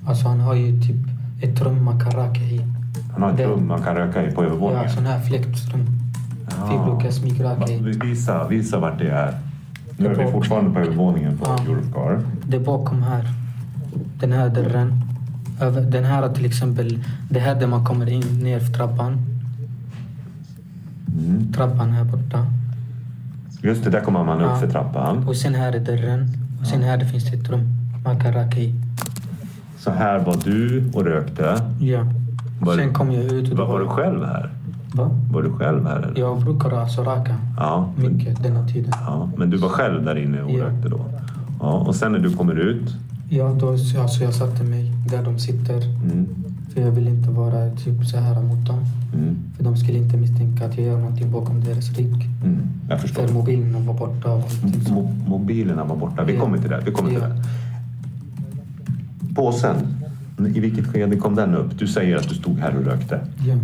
Alltså han har ju typ ett rum man kan röka i.
Han har ett
Det-
rum man kan röka i på övervåningen.
Ja, sån här fläktrum.
Ah.
Vi brukar
Va-
smygröka i.
Visa, visa vart det är. Nu är vi
På-
fortfarande på övervåningen på
Ja.
Europcar.
Det är bakom här. Den här dörren. Över- Den här till exempel. Det här där man kommer in ner för trappan.
Mm.
Trappan här borta.
Just det, där kommer man upp
Ja.
för trappan.
Och sen här är dörren. Och sen här det finns det ett rum man kan röka i.
Så här var du och rökte.
Ja.
Var-
sen kom jag ut. Och
Var, var du själv här?
Va?
Var du själv här? Eller?
Jag brukar alltså röka
Ja.
mycket denna tiden.
ja. Men du var själv där inne och
Ja.
rökte då? Ja. Och sen när du kommer ut?
Ja, då, alltså jag satte mig där de sitter.
Mm.
För jag vill inte vara typ så här mot dem.
Mm.
För de skulle inte misstänka att jag gör någonting bakom deras rygg.
Mm. Jag förstår.
För mobilen var borta och allting så.
Mo- Mobilerna var borta. Vi
Ja.
kommer till det. Vi kommer till
Ja.
det. Påsen. I vilket skede kom den upp? Du säger att du stod här och rökte.
Ja.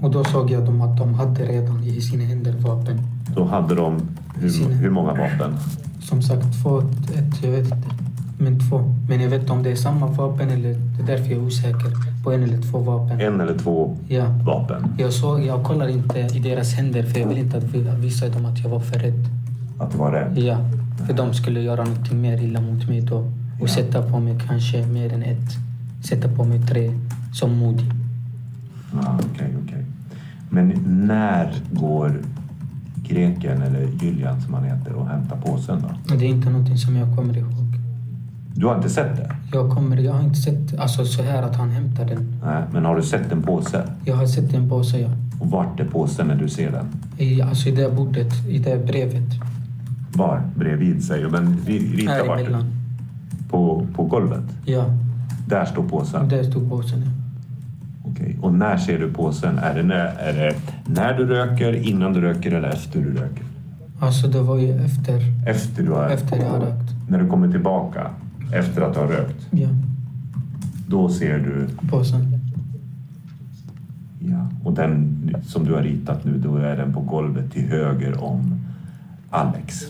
Och då såg jag dem att de hade redan i sina händer vapen.
Då hade de hur,
Sina.
hur många vapen?
Som sagt två, ett, jag vet inte. Men två. Men jag vet inte om det är samma vapen eller det är därför jag är osäker på en eller två vapen.
En eller två
Ja.
vapen?
Jag, såg, jag kollar inte i deras händer för jag vill inte att vi- visa dem att jag var för rädd.
Att det var det?
Ja, för de skulle göra någonting mer illa mot mig då. Och
Ja.
sätta på mig kanske mer än ett. Sätta på mig tre som modig.
Ah, okej, okej. Men när går greken, eller Julian som han heter, och hämtar påsen då?
Men Det är inte någonting som jag kommer ihåg.
Du har inte sett det?
Jag, kommer, jag har inte sett alltså, så här att han hämtar den.
Nej, men har du sett en påse?
Jag har sett den på sig, ja.
Och vart är påsen när du ser den?
I, alltså i det bordet, i det brevet.
Var? Bredvid säger du, men ri- rita
här
vart?
emellan.
På, på golvet?
Ja,
Där står påsen?
där stod påsen. ja.
Okej. Och när ser du påsen? Är det, när, är det när du röker, innan du röker eller efter du röker?
Alltså det var ju efter,
Efter du har...
efter jag har rökt.
När du kommer tillbaka efter att du har rökt,
Ja,
då ser du...
påsen.
Ja. Och den som du har ritat nu, då är den på golvet till höger om Alex.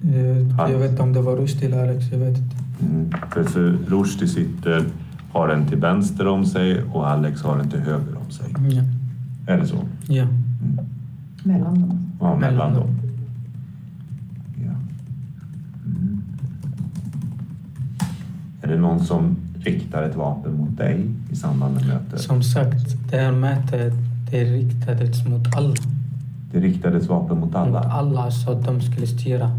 Jag,
Han-
jag vet inte om det var Rushdie eller Alex, jag vet inte.
Mm. För, för Rushdie sitter, har den till vänster om sig och Alex har den till höger om sig.
Mm, Ja,
Är det så?
ja.
Mellan dem.
Ja, mellan
Mellan
dem.
dem.
Ja. Mm. Är det någon som riktar ett vapen mot dig i samband med mötet?
Som sagt, det här mötet det riktades mot alla.
Det riktades vapen mot alla?
Mot alla så att de skulle styra.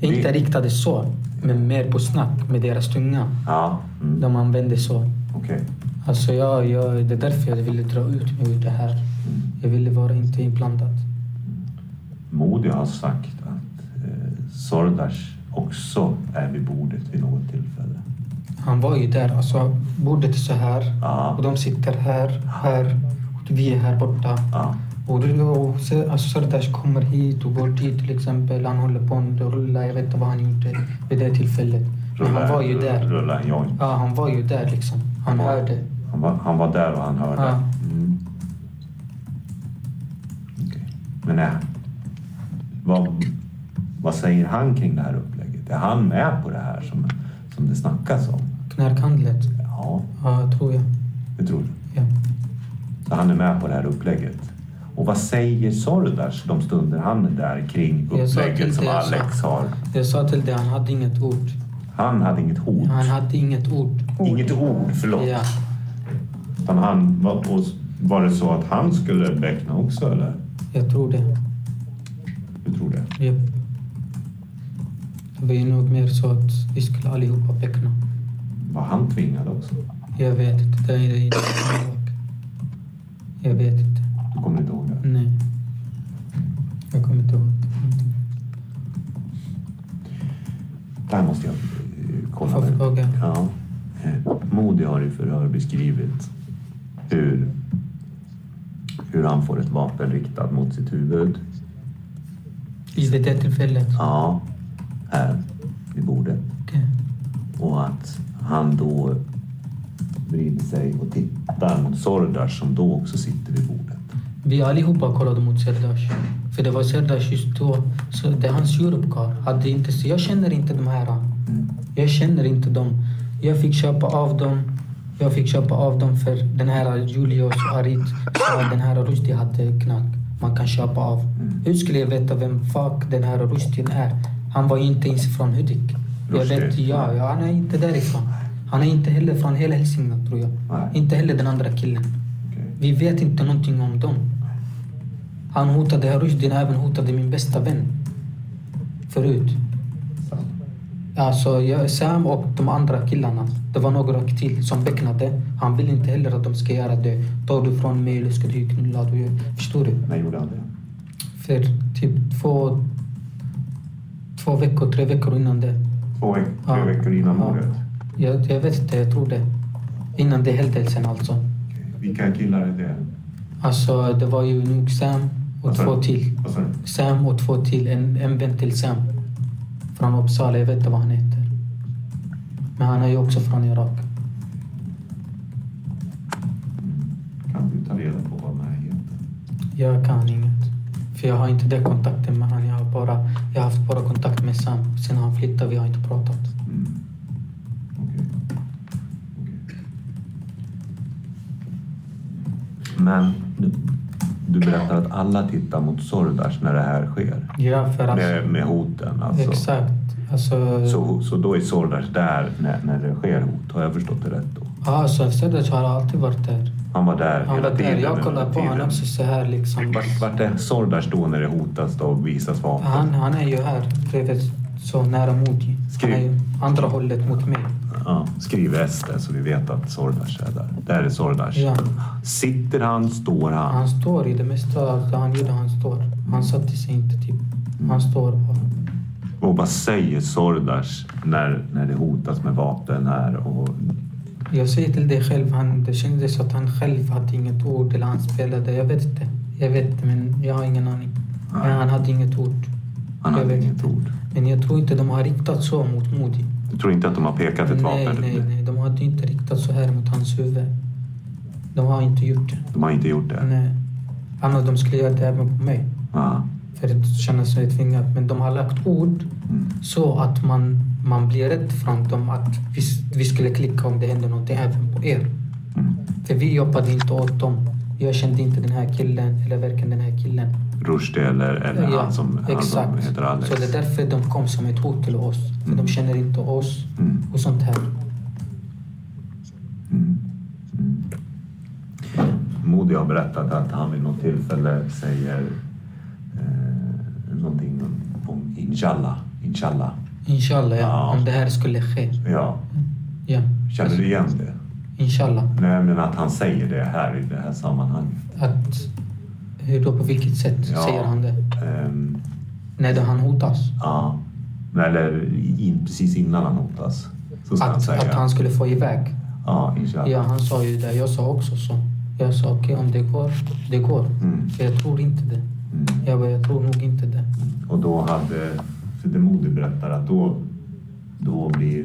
Inte riktades så, men mer på snack med deras tunga.
Ja, mm.
De använde så.
okej.
Alltså jag, jag, det är därför jag ville dra ut mig ur det här. Jag ville vara inte inblandad.
Modi har alltså sagt att eh, Sordas också är vid bordet vid något tillfälle.
Han var ju där. Alltså, bordet är så här.
Ja,
Och de sitter här, här. Och vi är här borta.
ja,
Och, du- och så- alltså, Sardash kommer hit och går dit till exempel. Han håller på med att rulla. Jag vet inte vad han gjorde vid det tillfället. Men han var ju där.
Rulla en joint.
Ja, han var ju där liksom. Han hörde.
Han var, han var där och han hörde.
Ja.
Mm. Okej. Men nej. Vad, vad säger han kring det här upplägget? Är han med på det här som, som det snackas om?
Knarkhandlet.
Ja,
Ja, tror jag.
det tror du.
Ja.
Så han är med på det här upplägget. Och vad säger Sordas de stunder han är där kring
Jag sa
upplägget
till
som
dig, jag
Alex har?
Jag sa till dig, han hade inget ord.
Han hade inget hot.
Han hade inget ord.
Inget ord, förlåt.
Ja.
Utan han, var, och var det så att han skulle beckna också eller?
Jag tror det.
Hur tror du?
Japp. Det var ju nog mer så att vi skulle allihopa beckna.
Var han tvingad också?
Jag vet inte. Det är inte min sak. Jag vet inte.
Du kommer inte ihåg det?
Nej. Jag kommer inte ihåg. någonting.
Där måste jag eh, kolla.
Får
med-
fråga?
Ja. Eh, Modi har i förhör beskrivit hur hur han får ett vapen riktat mot sitt huvud.
Vid det där tillfället?
Ja, här vid bordet.
Okej.
Och att han då vrider sig och tittar mot Sordas som då också sitter vid bordet.
Vi allihopa kollade mot Serdash. För det var Serdash just då. Så det är hans Europcar. Hade inte, så jag känner inte de här. Jag känner inte dem. Jag fick köpa av dem. Jag fick köpa av dem för den här Julius Arit sa den här Rushdie hade knack. Man kan köpa av. Hur skulle jag veta vem fuck den här Rushdie är? Han var ju inte ens från Hudik. Jag
Rushdie?
vet, ja, ja, han är inte därifrån. Han är inte heller från hela Hälsingland tror jag.
Nej.
Inte heller den andra killen. Vi vet inte någonting om dem. Han hotade Rushdie, även hotade min bästa vän. Förut. Alltså, jag, Sam och de andra killarna. Det var några till som becknade. Han vill inte heller att de ska göra det. Tar du från mig eller ska du knulla? Du, förstår du?
När gjorde han det?
För typ två, två veckor, tre veckor innan det.
Två veck-
Ja.
tre veckor innan
Ja.
mordet.
Jag, jag vet inte, jag tror det. Innan det händelsen alltså.
Vilka killar är det?
Alltså, det var ju nog Sam och
Vad sa
två
du?
till.
Vad sa du?
Sam och två till. En, en vän till Sam. Från Uppsala. Jag vet inte vad han heter. Men han är ju också från Irak.
Kan du ta reda på vad den här heter?
Jag kan inget. För jag har inte den kontakten med honom. Jag har, bara, jag har haft bara kontakt med Sam. Sen han flyttade, vi har inte pratat.
Mm. Okej. Okej. Men du, du berättar att alla tittar mot Sordas när det här sker.
Ja, för att...
Med, med hoten alltså.
Exakt. Alltså,
Så, så då är Sordas där när, när det sker hot. Har jag förstått det rätt då?
ja, så Serdac har alltid varit där.
Han var där
Han
hela
var där.
tiden.
Jag kollade
hela
på honom
tiden.
också så här liksom.
Vart, vart är Sordas då när det hotas då och visas vapen?
Han, han är ju här bredvid, så nära mot. Han
Skriv.
är ju andra hållet mot mig.
Ja, skriv S där så vi vet att Sordas är där. Där är Sordas.
Ja.
Sitter han, står han?
Han står i det mesta av det han gjorde. Han står. Han satte sig inte typ.
Mm.
Han står bara.
Och vad säger Sordas när, när det hotas med vapen här? Och,
Jag säger till dig själv, han, det kändes att han själv hade inget ord eller han spelade. Jag vet inte. Jag vet inte, men jag har ingen aning. Men han hade inget ord.
han
jag
har
vet
inget
inte.
ord.
Men jag tror inte de har riktat så mot Modi.
Du tror inte att de har pekat ett
Nej,
vapen? typ.
nej, nej. De hade inte riktat så här mot hans huvud. De har inte gjort det.
De har inte gjort det?
Nej. Annars de skulle göra det även på mig.
Ja.
För att känna sig tvingad. Men de har lagt ord
Mm.
så att man, man blir rädd från dem att vi, vi skulle klicka om det händer någonting även på er.
Mm.
För vi jobbade inte åt dem. Jag kände inte den här killen eller varken den här killen.
Rushdie eller, eller
Ja,
han, som, han som heter Alex?
Så det är därför de kom som ett hot till oss. För de känner inte oss
Mm.
och sånt här.
Modi har berättat att han vid något tillfälle säger eh, någonting om, om inshallah. Inshallah.
Inshallah, ja.
Ja.
Om det här skulle ske.
Ja,
Ja.
känner du igen det?
Inshallah.
Nej, Eh, men att han säger det här i det här sammanhanget.
Att, hur då, på vilket sätt
Ja.
säger han det?
Ehm,
När då han hotas?
Ja. Eller in, precis innan han hotas. Så ska han
Att,
säga.
att han skulle få iväg.
Ja, inshallah.
Ja, han sa ju det. Jag sa också så. Jag sa okej, om det går, det går.
Mm.
För jag tror inte det.
Mm.
Jag bara, jag tror nog inte det.
Och då hade... För det Modi berättar att då, då blir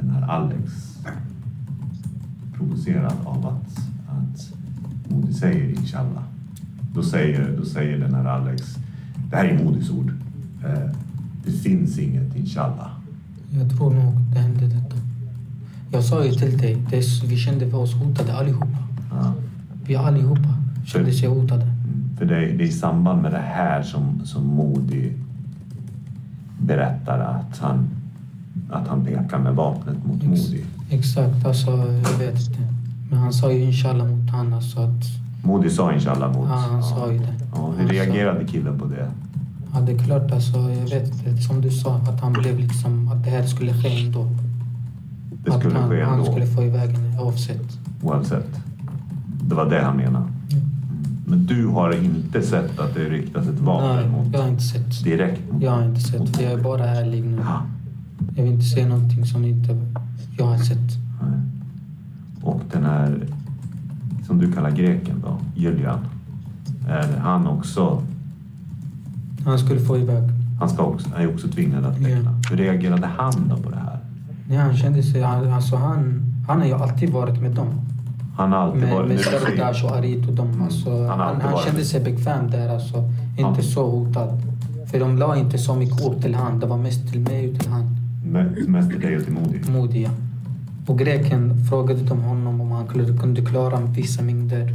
den här Alex provocerad av att, att Modi säger inshallah. Då säger, då säger den här Alex, det här är Modis ord. Eh, det finns inget inshallah.
Jag tror nog det hände detta. Jag sa ju till dig, det, är- vi kände oss hotade allihopa.
Ja. Mm.
Vi allihopa kände sig hotade.
För det är, det är i samband med det här som, som Modi berättar att han, att han pekar med vapnet mot Modi.
Exakt, alltså jag vet inte. Men han sa ju inshallah mot honom så att...
Modi sa inshallah mot...
Ja, han sa ju det.
Ja,
Han
hur
sa-
reagerade killen på det?
Ja, det är klart alltså. Jag vet inte. Som du sa, att han blev liksom... Att det här skulle ske ändå.
Det skulle
att han,
ske
han
ändå,
skulle få iväg henne oavsett.
oavsett. Det var det han menade.
Mm.
Men du har inte sett att det riktas ett
Nej,
vapen
jag har
mot...
inte sett.
Direkt mot...
Jag har inte sett. För jag är bara ärlig nu.
Ja.
Jag vill inte säga någonting som inte jag har sett.
Nej. Och den här, som du kallar greken då, Julian. Är han också...
Han skulle få iväg.
Han ska också, är ju också tvingad att
Ja.
teckna. Hur reagerade han då på det här?
Nej, han kände sig... Han, alltså han, han har ju alltid varit med dem.
Han har alltid
Med,
varit...
med
nu ser-
Sardash och Arit och dem. Alltså,
har
han han,
alltid varit
kände
med.
sig bekväm där alltså.
Ja.
Inte så hotad. För de la inte så mycket ord till han. Det var mest till mig och till han.
me- Mest till dig och till Modi.
Modiga. Och greken frågade de honom om han kunde- kunde klara vissa mängder.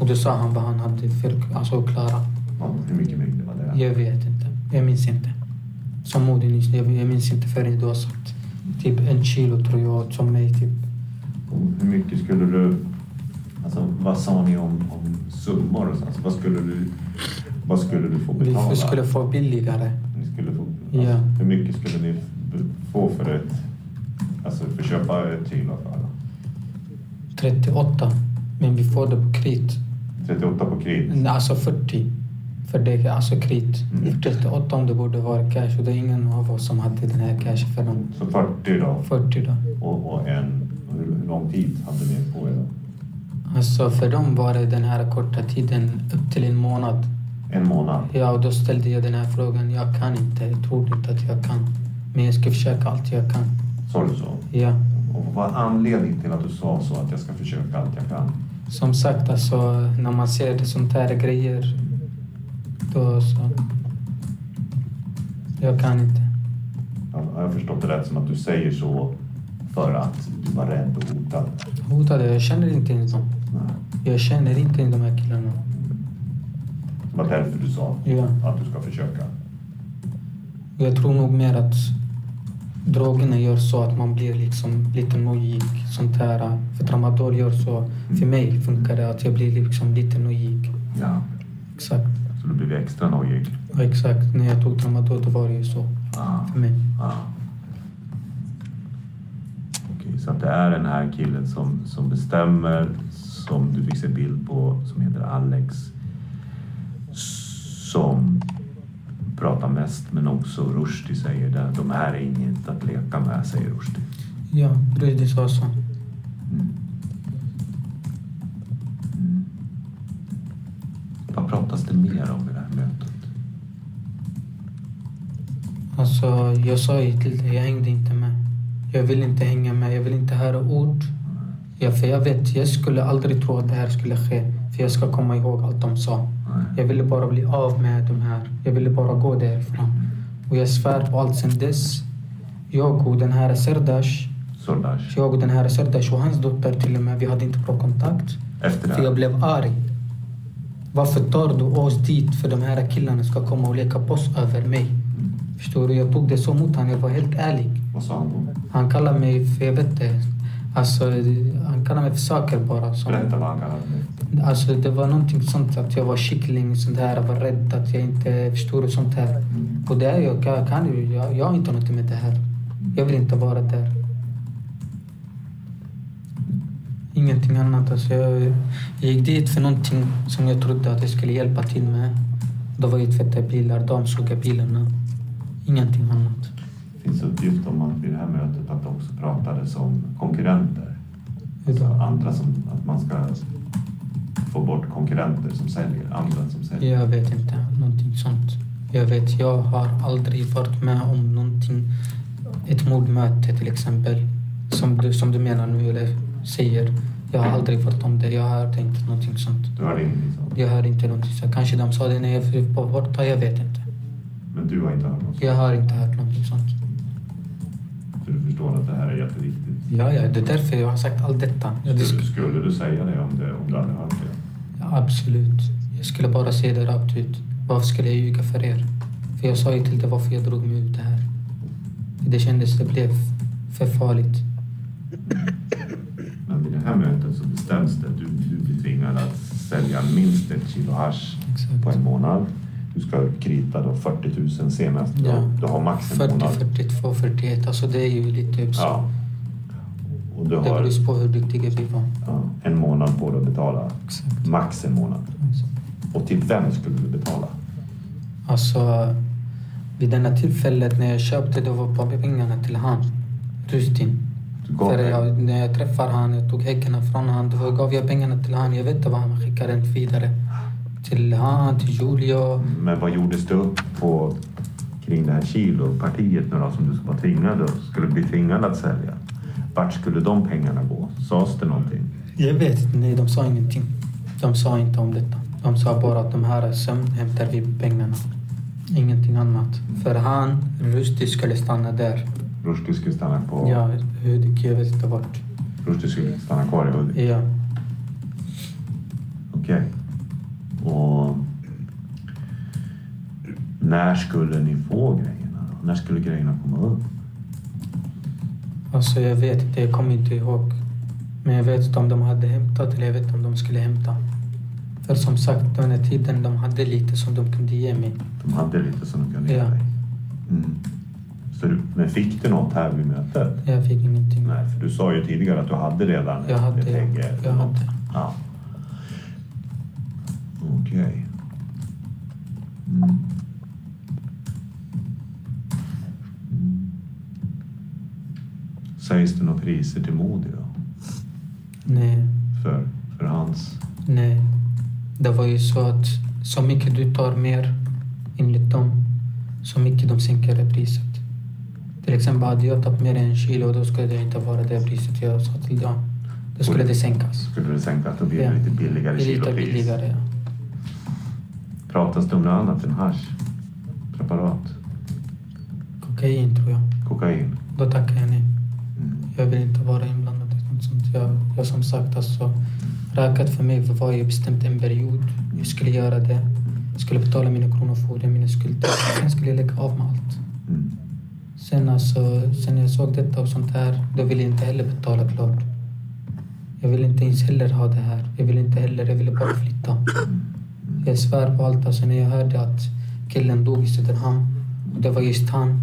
Och då sa han vad han hade för, alltså, att klara.
Ja, hur mycket mängd det var det?
Jag vet inte. Jag minns inte. Som Modi nyss, jag jag minns inte förrän du har sagt. Typ en kilo tror jag, som mig typ.
Och Hur mycket skulle du... Alltså, vad sa ni om, om summor? och så? Alltså, vad, skulle du, vad skulle du få
Vi
betala?
vi skulle få billigare.
Ni skulle få, alltså,
Ja.
Hur mycket skulle ni f- få för ett... Alltså för att köpa ett kilo för alla?
38. Men vi får det på krit.
38 på kredit.
Alltså 40. För det är alltså krit. 38 om det borde vara cash. Och det är ingen av oss som hade den här cash för dem.
Så 40 då.
40 då.
Och, och en... Hur, hur lång tid hade ni på er då?
Alltså för dem var det den här korta tiden, upp till en månad.
En månad.
Ja, och då ställde jag den här frågan. Jag kan inte. Jag tror inte att jag kan. Men jag ska försöka allt jag kan.
Sa du så?
Ja.
Och vad var anledningen till att du sa så att jag ska försöka allt jag kan?
Som sagt, alltså, när man ser det sånt här grejer, då så... Jag kan inte.
Ja, Har jag förstått det rätt som att du säger så för att du var rädd och hotad?
Hotade, jag känner inte ens dem.
Nej.
Jag känner inte ens de här killarna.
Det var därför du sa
Ja.
att du ska försöka.
Jag tror nog mer att drogerna gör så att man blir liksom lite nojig. Sånt här. äh, För tramadol gör så. För mig funkar det att jag blir liksom lite nojig.
Ja.
Exakt.
Så du blev extra nojig?
Ja, Exakt. När jag tog tramadol då var det ju så
Ah.
för mig.
Ah. Okej, så att det är den här killen som, som bestämmer, som du fick se bild på, som heter Alex. Som pratar mest, men också Rushdie säger det. De här är inget att leka med, säger Rushdie.
Ja, Rudy sa så.
Vad pratas det mer om i det här mötet?
Alltså, jag sa ju till dig, jag hängde inte med. Jag vill inte hänga med, jag vill inte höra ord. Ja, för jag vet, jag skulle aldrig tro att det här skulle ske. För jag ska komma ihåg allt de sa. Jag ville bara bli av med de här. Jag ville bara gå därifrån. Och jag svär på allt sen dess. Jag och den här Serdash,
Sordash.
jag och den här Serdash och hans dotter till och med, vi hade inte bra kontakt.
Efter det
För jag
här.
blev arg. Varför tar du oss dit för de här killarna ska komma och leka boss över mig? Förstår du? Jag tog det så mot honom. Jag var helt ärlig.
Vad sa han då?
Han kallar mig för, jag vet inte. Alltså, han kallar mig för saker bara. Som,
Berätta vad han kallade dig.
alltså, det var någonting sånt att jag var kyckling, sånt här. Jag var rädd att jag inte förstod och sånt här. Och det är jag, jag kan ju. Jag, jag har inte något med det här. Jag vill inte vara där. Ingenting annat. Alltså jag gick dit för någonting som jag trodde att jag skulle hjälpa till med. Det var ju tvätta bilar, dammsuga bilarna. Ingenting annat.
Det finns uppgift om att vid det här mötet att det också pratades om konkurrenter.
Hur
Alltså
då?
andra som, att man ska få bort konkurrenter som säljer, andra som säljer.
Jag vet inte. Någonting sånt. Jag vet, jag har aldrig varit med om någonting. Ett mordmöte till exempel. Som du, som du menar nu eller säger. Jag har aldrig varit om det. Jag har inte någonting sånt.
Du liksom. har ingenting sånt.
Jag hörde inte någonting sånt. Kanske de sa det när jag var borta. Jag vet inte.
Men du har inte hört något sånt.
Jag har inte hört någonting sånt.
För du förstår att det här är jätteviktigt.
Ja, ja, det är därför jag har sagt allt detta. Jag
Skulle,
disk-
skulle du säga det om, det om du hade hört det?
ja, absolut. Jag skulle bara se det rakt ut. Varför skulle jag ljuga för er? För jag sa ju till dig varför jag drog mig ut det här. Det kändes, det blev för farligt.
Men vid det här mötet så bestäms det. Du, du blir tvingad att sälja minst ett kilo hasch
Exakt.
på en månad. Du ska krita då 40 000 senast.
Ja.
Du har max en
40,
månad.
42, 41. Alltså det är ju lite upp så.
Ja. Och du
Det
har
beror på hur duktiga vi var.
ja, en månad på dig att betala.
Exakt.
Max en månad. Och till vem skulle du betala?
Alltså, vid denna tillfället när jag köpte det var pengarna till han, Rustin.
Du gav
För
dig-
jag, när jag träffar han, jag tog häckarna från han, då gav jag pengarna till han. Jag vet inte vad han skickade inte vidare. till han, till Julia.
Men vad gjordes det upp på kring det här kilopartiet nu då, som du var tvingad, skulle bli tvingad att sälja? Vart skulle de pengarna gå? Sades det någonting?
Jag vet inte, nej de sa ingenting. De sa inte om detta. De sa bara att de här är sömn hämtar vi pengarna. Ingenting annat. För han, Rushdie, skulle stanna där.
Rushdie skulle stanna på...
Ja, Hudik, jag vet inte vart.
Rushdie skulle stanna kvar i Hudik?
Ja.
Okej. Och... När skulle ni få grejerna? då? När skulle grejerna komma upp?
Alltså jag vet inte, jag kommer inte ihåg. Men jag vet inte om de hade hämtat eller jag vet inte om de skulle hämta. För som sagt, den här tiden de hade lite som de kunde ge mig.
De hade lite som de kunde ge
Ja.
dig. Mm. Så du, men fick du något här vid mötet?
Jag fick ingenting.
Nej, för du sa ju tidigare att du hade redan
Jag hade,
ett ägg. eller
jag
något.
hade.
Ja. Okej. Mm. Mm. Sägs det några priser till Modi då?
Nej,
För, för hans...
nej. Det var ju så att så mycket du tar mer enligt dem, så mycket de sänker det priset. Till exempel hade jag tagit mer än en kilo, då skulle det inte vara det priset jag sa till dem. Då skulle det sänkas.
Skulle du sänka att det blir
Ja.
lite billigare
Lite
kilopris?
billigare, ja.
Pratas det om något annat än hasch? Preparat?
Kokain tror jag.
Kokain?
Då tackar jag nej.
Mm.
Jag vill inte vara inblandad i sånt. sånt. Jag, jag som sagt, alltså, rökat för mig var ju bestämt en period.
Mm.
Jag skulle göra det. Jag skulle betala mina kronofogdar, mina skulder. Sen skulle jag lägga av med allt.
Mm.
Sen alltså, sen jag såg detta och sånt här, då ville jag inte heller betala klart. Jag ville inte ens heller ha det här. Jag ville inte heller, jag ville bara
Mm.
flytta. Jag svär på allt. Alltså när jag hörde att killen dog i Söderhamn och det var just han.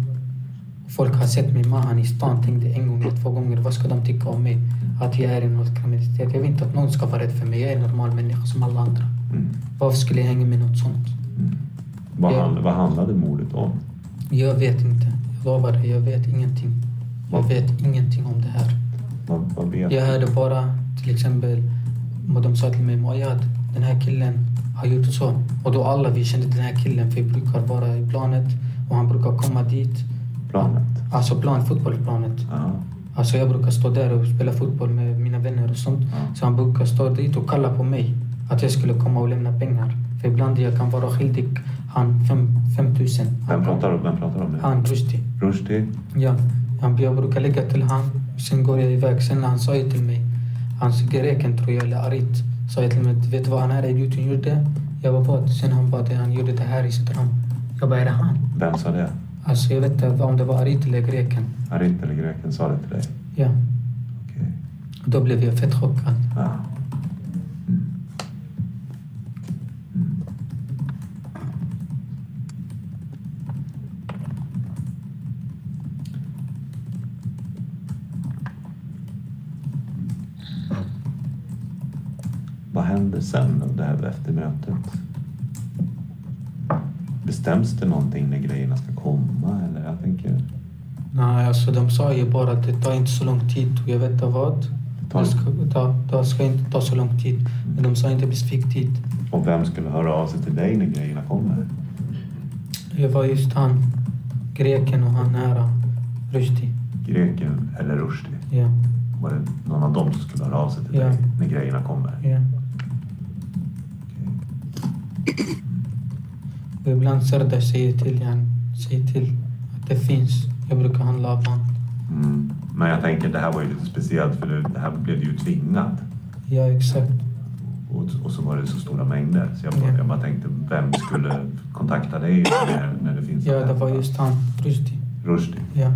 Folk har sett mig med han i stan, tänkte en gång eller två gånger, vad ska de tycka om mig? Att jag är i något kriminalitet. Jag vill inte att någon ska vara rädd för mig. Jag är en normal människa som alla andra.
Mm.
Varför skulle jag hänga med något sånt?
Vad,
Ja.
hand, vad handlade mordet om?
Jag vet inte. Jag lovar dig, jag vet ingenting. Jag vet ingenting om det här.
Vad, vad vet
Jag
du?
hörde bara till exempel, vad de sa till mig, Mojad, den här killen har gjort så. Och då alla vi kände den här killen, för vi brukar vara i planet och han brukar komma dit.
Planet?
Alltså plan, fotbollsplanet.
Ja.
Alltså jag brukar stå där och spela fotboll med mina vänner och sånt.
Ja.
Så han brukar stå dit och kalla på mig. Att jag skulle komma och lämna pengar. För ibland jag kan vara skyldig han fem- 5000.
Vem pratar om, vem pratar om nu?
Han Rushdie.
Rushdie?
Ja, han, jag brukar lägga till han. Sen går jag iväg. Sen han sa ju till mig, han greken tror jag, eller arit, sa jag till mig, vet du vad den här idioten gjorde? Jag var vad? Sen han bara, det han gjorde det här i Söderhamn. Jag bara, är det han?
Vem sa det?
Alltså jag vet inte om det var arit eller greken.
Arit eller greken sa det till dig?
Ja,
Okej.
då blev jag fett chockad.
Ja. Vad händer sen då, det här efter mötet? Bestäms det någonting när grejerna ska komma? Eller jag tänker,
Nej, alltså de sa ju bara att det tar inte så lång tid. Och jag vet inte vad.
Tolv.
Det ska, ta, det ska inte ta så lång tid. Men de sa inte specifik tid.
och vem skulle höra av sig till dig när grejerna kommer?
Det var just han, greken och han nära, Rushdie.
Greken eller Rushdie?
Ja,
Var det någon av dem som skulle höra av sig till
Ja.
dig när grejerna kommer?
ja. Och ibland Serdar säger till igen, säger till att det finns. Jag brukar handla av han.
Mm. Men jag tänker, det här var ju lite speciellt för det, det här blev ju tvingat.
Ja, exakt.
Och, och så var det så stora mängder. Så jag,
Ja.
bara, jag bara tänkte, vem skulle kontakta dig när, när det finns
Ja,
att
det var
hämta?
just han, Rushdie.
Rushdie.
Ja,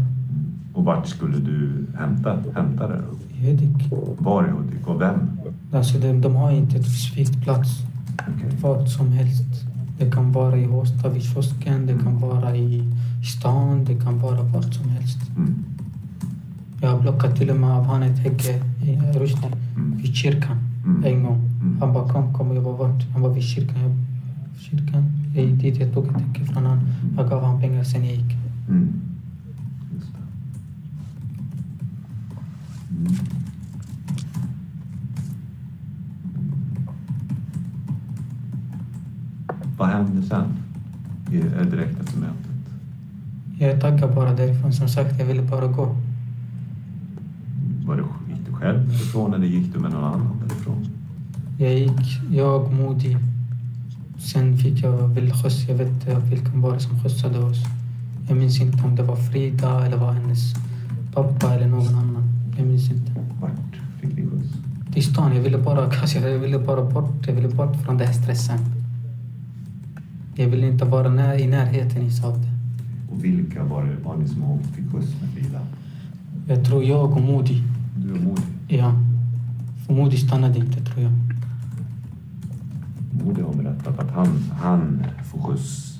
Och vart skulle du hämta, hämta det då?
Hudik.
Var i Hudik och vem?
Alltså de, de har inte ett specifikt plats.
Okej.
Vart som helst. Det kan vara i Håsta vid kiosken, det
Mm.
kan vara i stan, det kan vara vart som helst.
Mm.
Jag har blockat till och med av han ett hägge i Rushdie,
Mm.
vid kyrkan,
Mm.
en gång.
Mm.
Han bara kom, kom. Jag bara vart? Han bara vid kyrkan. Jag, kyrkan. Jag gick dit, jag tog ett hägge från han. Jag gav han pengar, sen jag gick.
Mm. Just det. Mm. hände sen? I, eh, direkt efter mötet?
Jag tackar bara därifrån. Som sagt, jag ville bara gå.
Var det, gick du själv därifrån eller gick du med någon annan därifrån?
Jag gick, jag, Modi. Sen fick jag väl skjuts. Jag vet inte vilken var det som skjutsade oss. Jag minns inte om det var Frida eller var hennes pappa eller någon annan. Jag minns inte.
Vart fick ni skjuts?
I stan. Jag ville bara, alltså, jag ville bara bort. Jag ville bort från den här stressen. Jag ville inte vara när, i närheten i Saudi.
Och vilka var det var ni som åkte fick skjuts med bilen?
Jag tror jag och Modi.
Du och Modi.
Ja. För Modi stannade inte, tror jag.
Modi har berättat att han, han får skjuts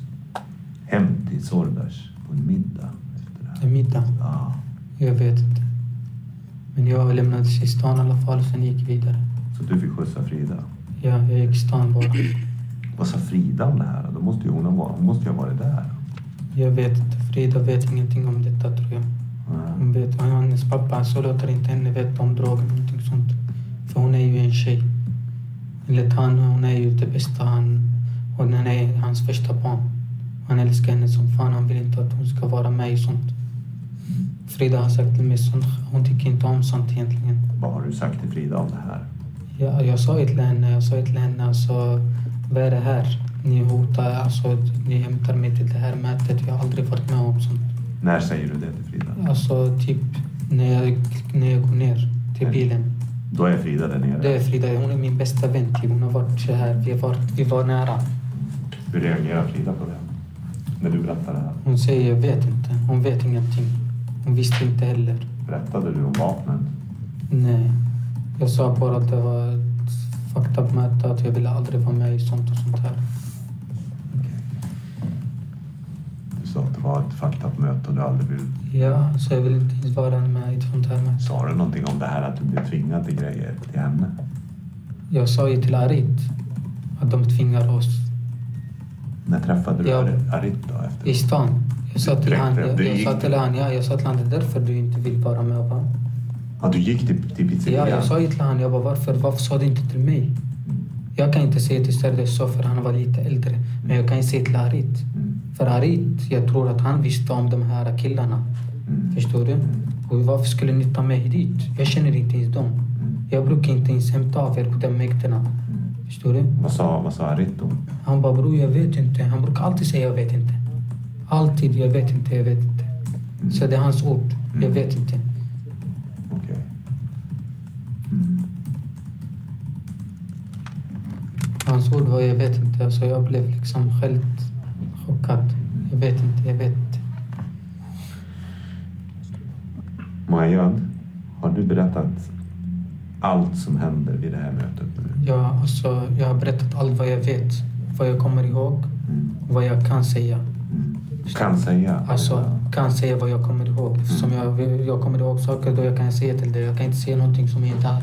hem till Sordas på en middag efter det
Det är
här.
middag.
Ja.
Jag vet inte. Men jag lämnades i stan i alla fall, sen gick jag vidare.
Så du fick skjutsa Frida.
Ja, jag gick i stan bara.
Vad sa Frida om det här? Då måste ju hon, ha varit, hon måste ju ha varit där.
Jag vet inte. Frida vet ingenting om detta, tror jag.
Nej.
Hon vet, och hennes pappa så låter inte henne veta om droger och någonting sånt. För hon är ju en tjej. Enligt han, hon är ju det bästa han... Hon är hans första barn. Han älskar henne som fan. Han vill inte att hon ska vara med i sånt. Frida har sagt till mig sånt. Hon tycker inte om sånt egentligen.
Vad har du sagt till Frida om det här?
Ja, jag sa ju till henne, jag sa ju till henne alltså, vad är det här? Ni hotar, alltså, ni hämtar mig till det här mötet. Jag har aldrig varit med om sånt.
När säger du det till Frida?
Alltså typ när jag, när jag går ner till
Mm.
bilen.
Då är Frida där nere.
Det är Frida, hon är min bästa vän. Typ. Hon har varit så här, vi var, vi var nära.
Hur reagerar Frida på det? När du berättar det här?
Hon säger, jag vet inte. Hon vet ingenting. Hon visste inte heller.
Berättade du om vapnen?
Nej. Jag sa bara att det var ett fucked up möte, att jag ville aldrig vara med i sånt och sånt här.
Du sa att det var ett faktat möte och du aldrig vill...
Ja, så jag vill inte ens vara med i ett sånt här möte.
Sa du någonting om det här att du blev tvingad till grejer till henne?
Jag sa ju till Arit att de tvingar oss
När träffade du
Ja.
Ar- Arit då? Efter?
i stan. Jag sa till han, jag,
Du
jag sa
gick-
till han, ja, jag sa till han, det är därför du inte vill vara med. Va?
Ja, du gick till, till pizzerian?
Ja, jag sa ju till han, jag bara, varför, varför sa du inte till mig? Jag kan inte säga till Serdes så för han var lite äldre. Men jag kan ju säga till Arit.
Mm.
För Arit, jag tror att han visste om de här killarna.
Mm.
Förstår du? Och varför skulle ni ta mig dit? Jag känner inte ens dem. Jag brukar inte ens hämta av er på de mäkterna. Förstår du?
Vad, sa, vad sa Arit då?
Han bara bror jag vet inte. Han brukar alltid säga jag vet inte. Alltid jag vet inte, jag vet inte. Så det är hans ord. Jag vet inte.
Okej.
Hans ord var jag vet inte. Så jag blev liksom helt chockad. Jag vet inte, jag vet inte.
Majad, har du berättat allt som händer vid det här mötet nu?
Jag, alltså, jag har berättat allt vad jag vet. Vad jag kommer ihåg.
Mm.
Vad jag kan säga.
Kan säga?
Alltså, kan säga vad jag kommer ihåg. Eftersom jag, jag kommer ihåg saker då jag kan säga till dig. Jag kan inte säga någonting som jag inte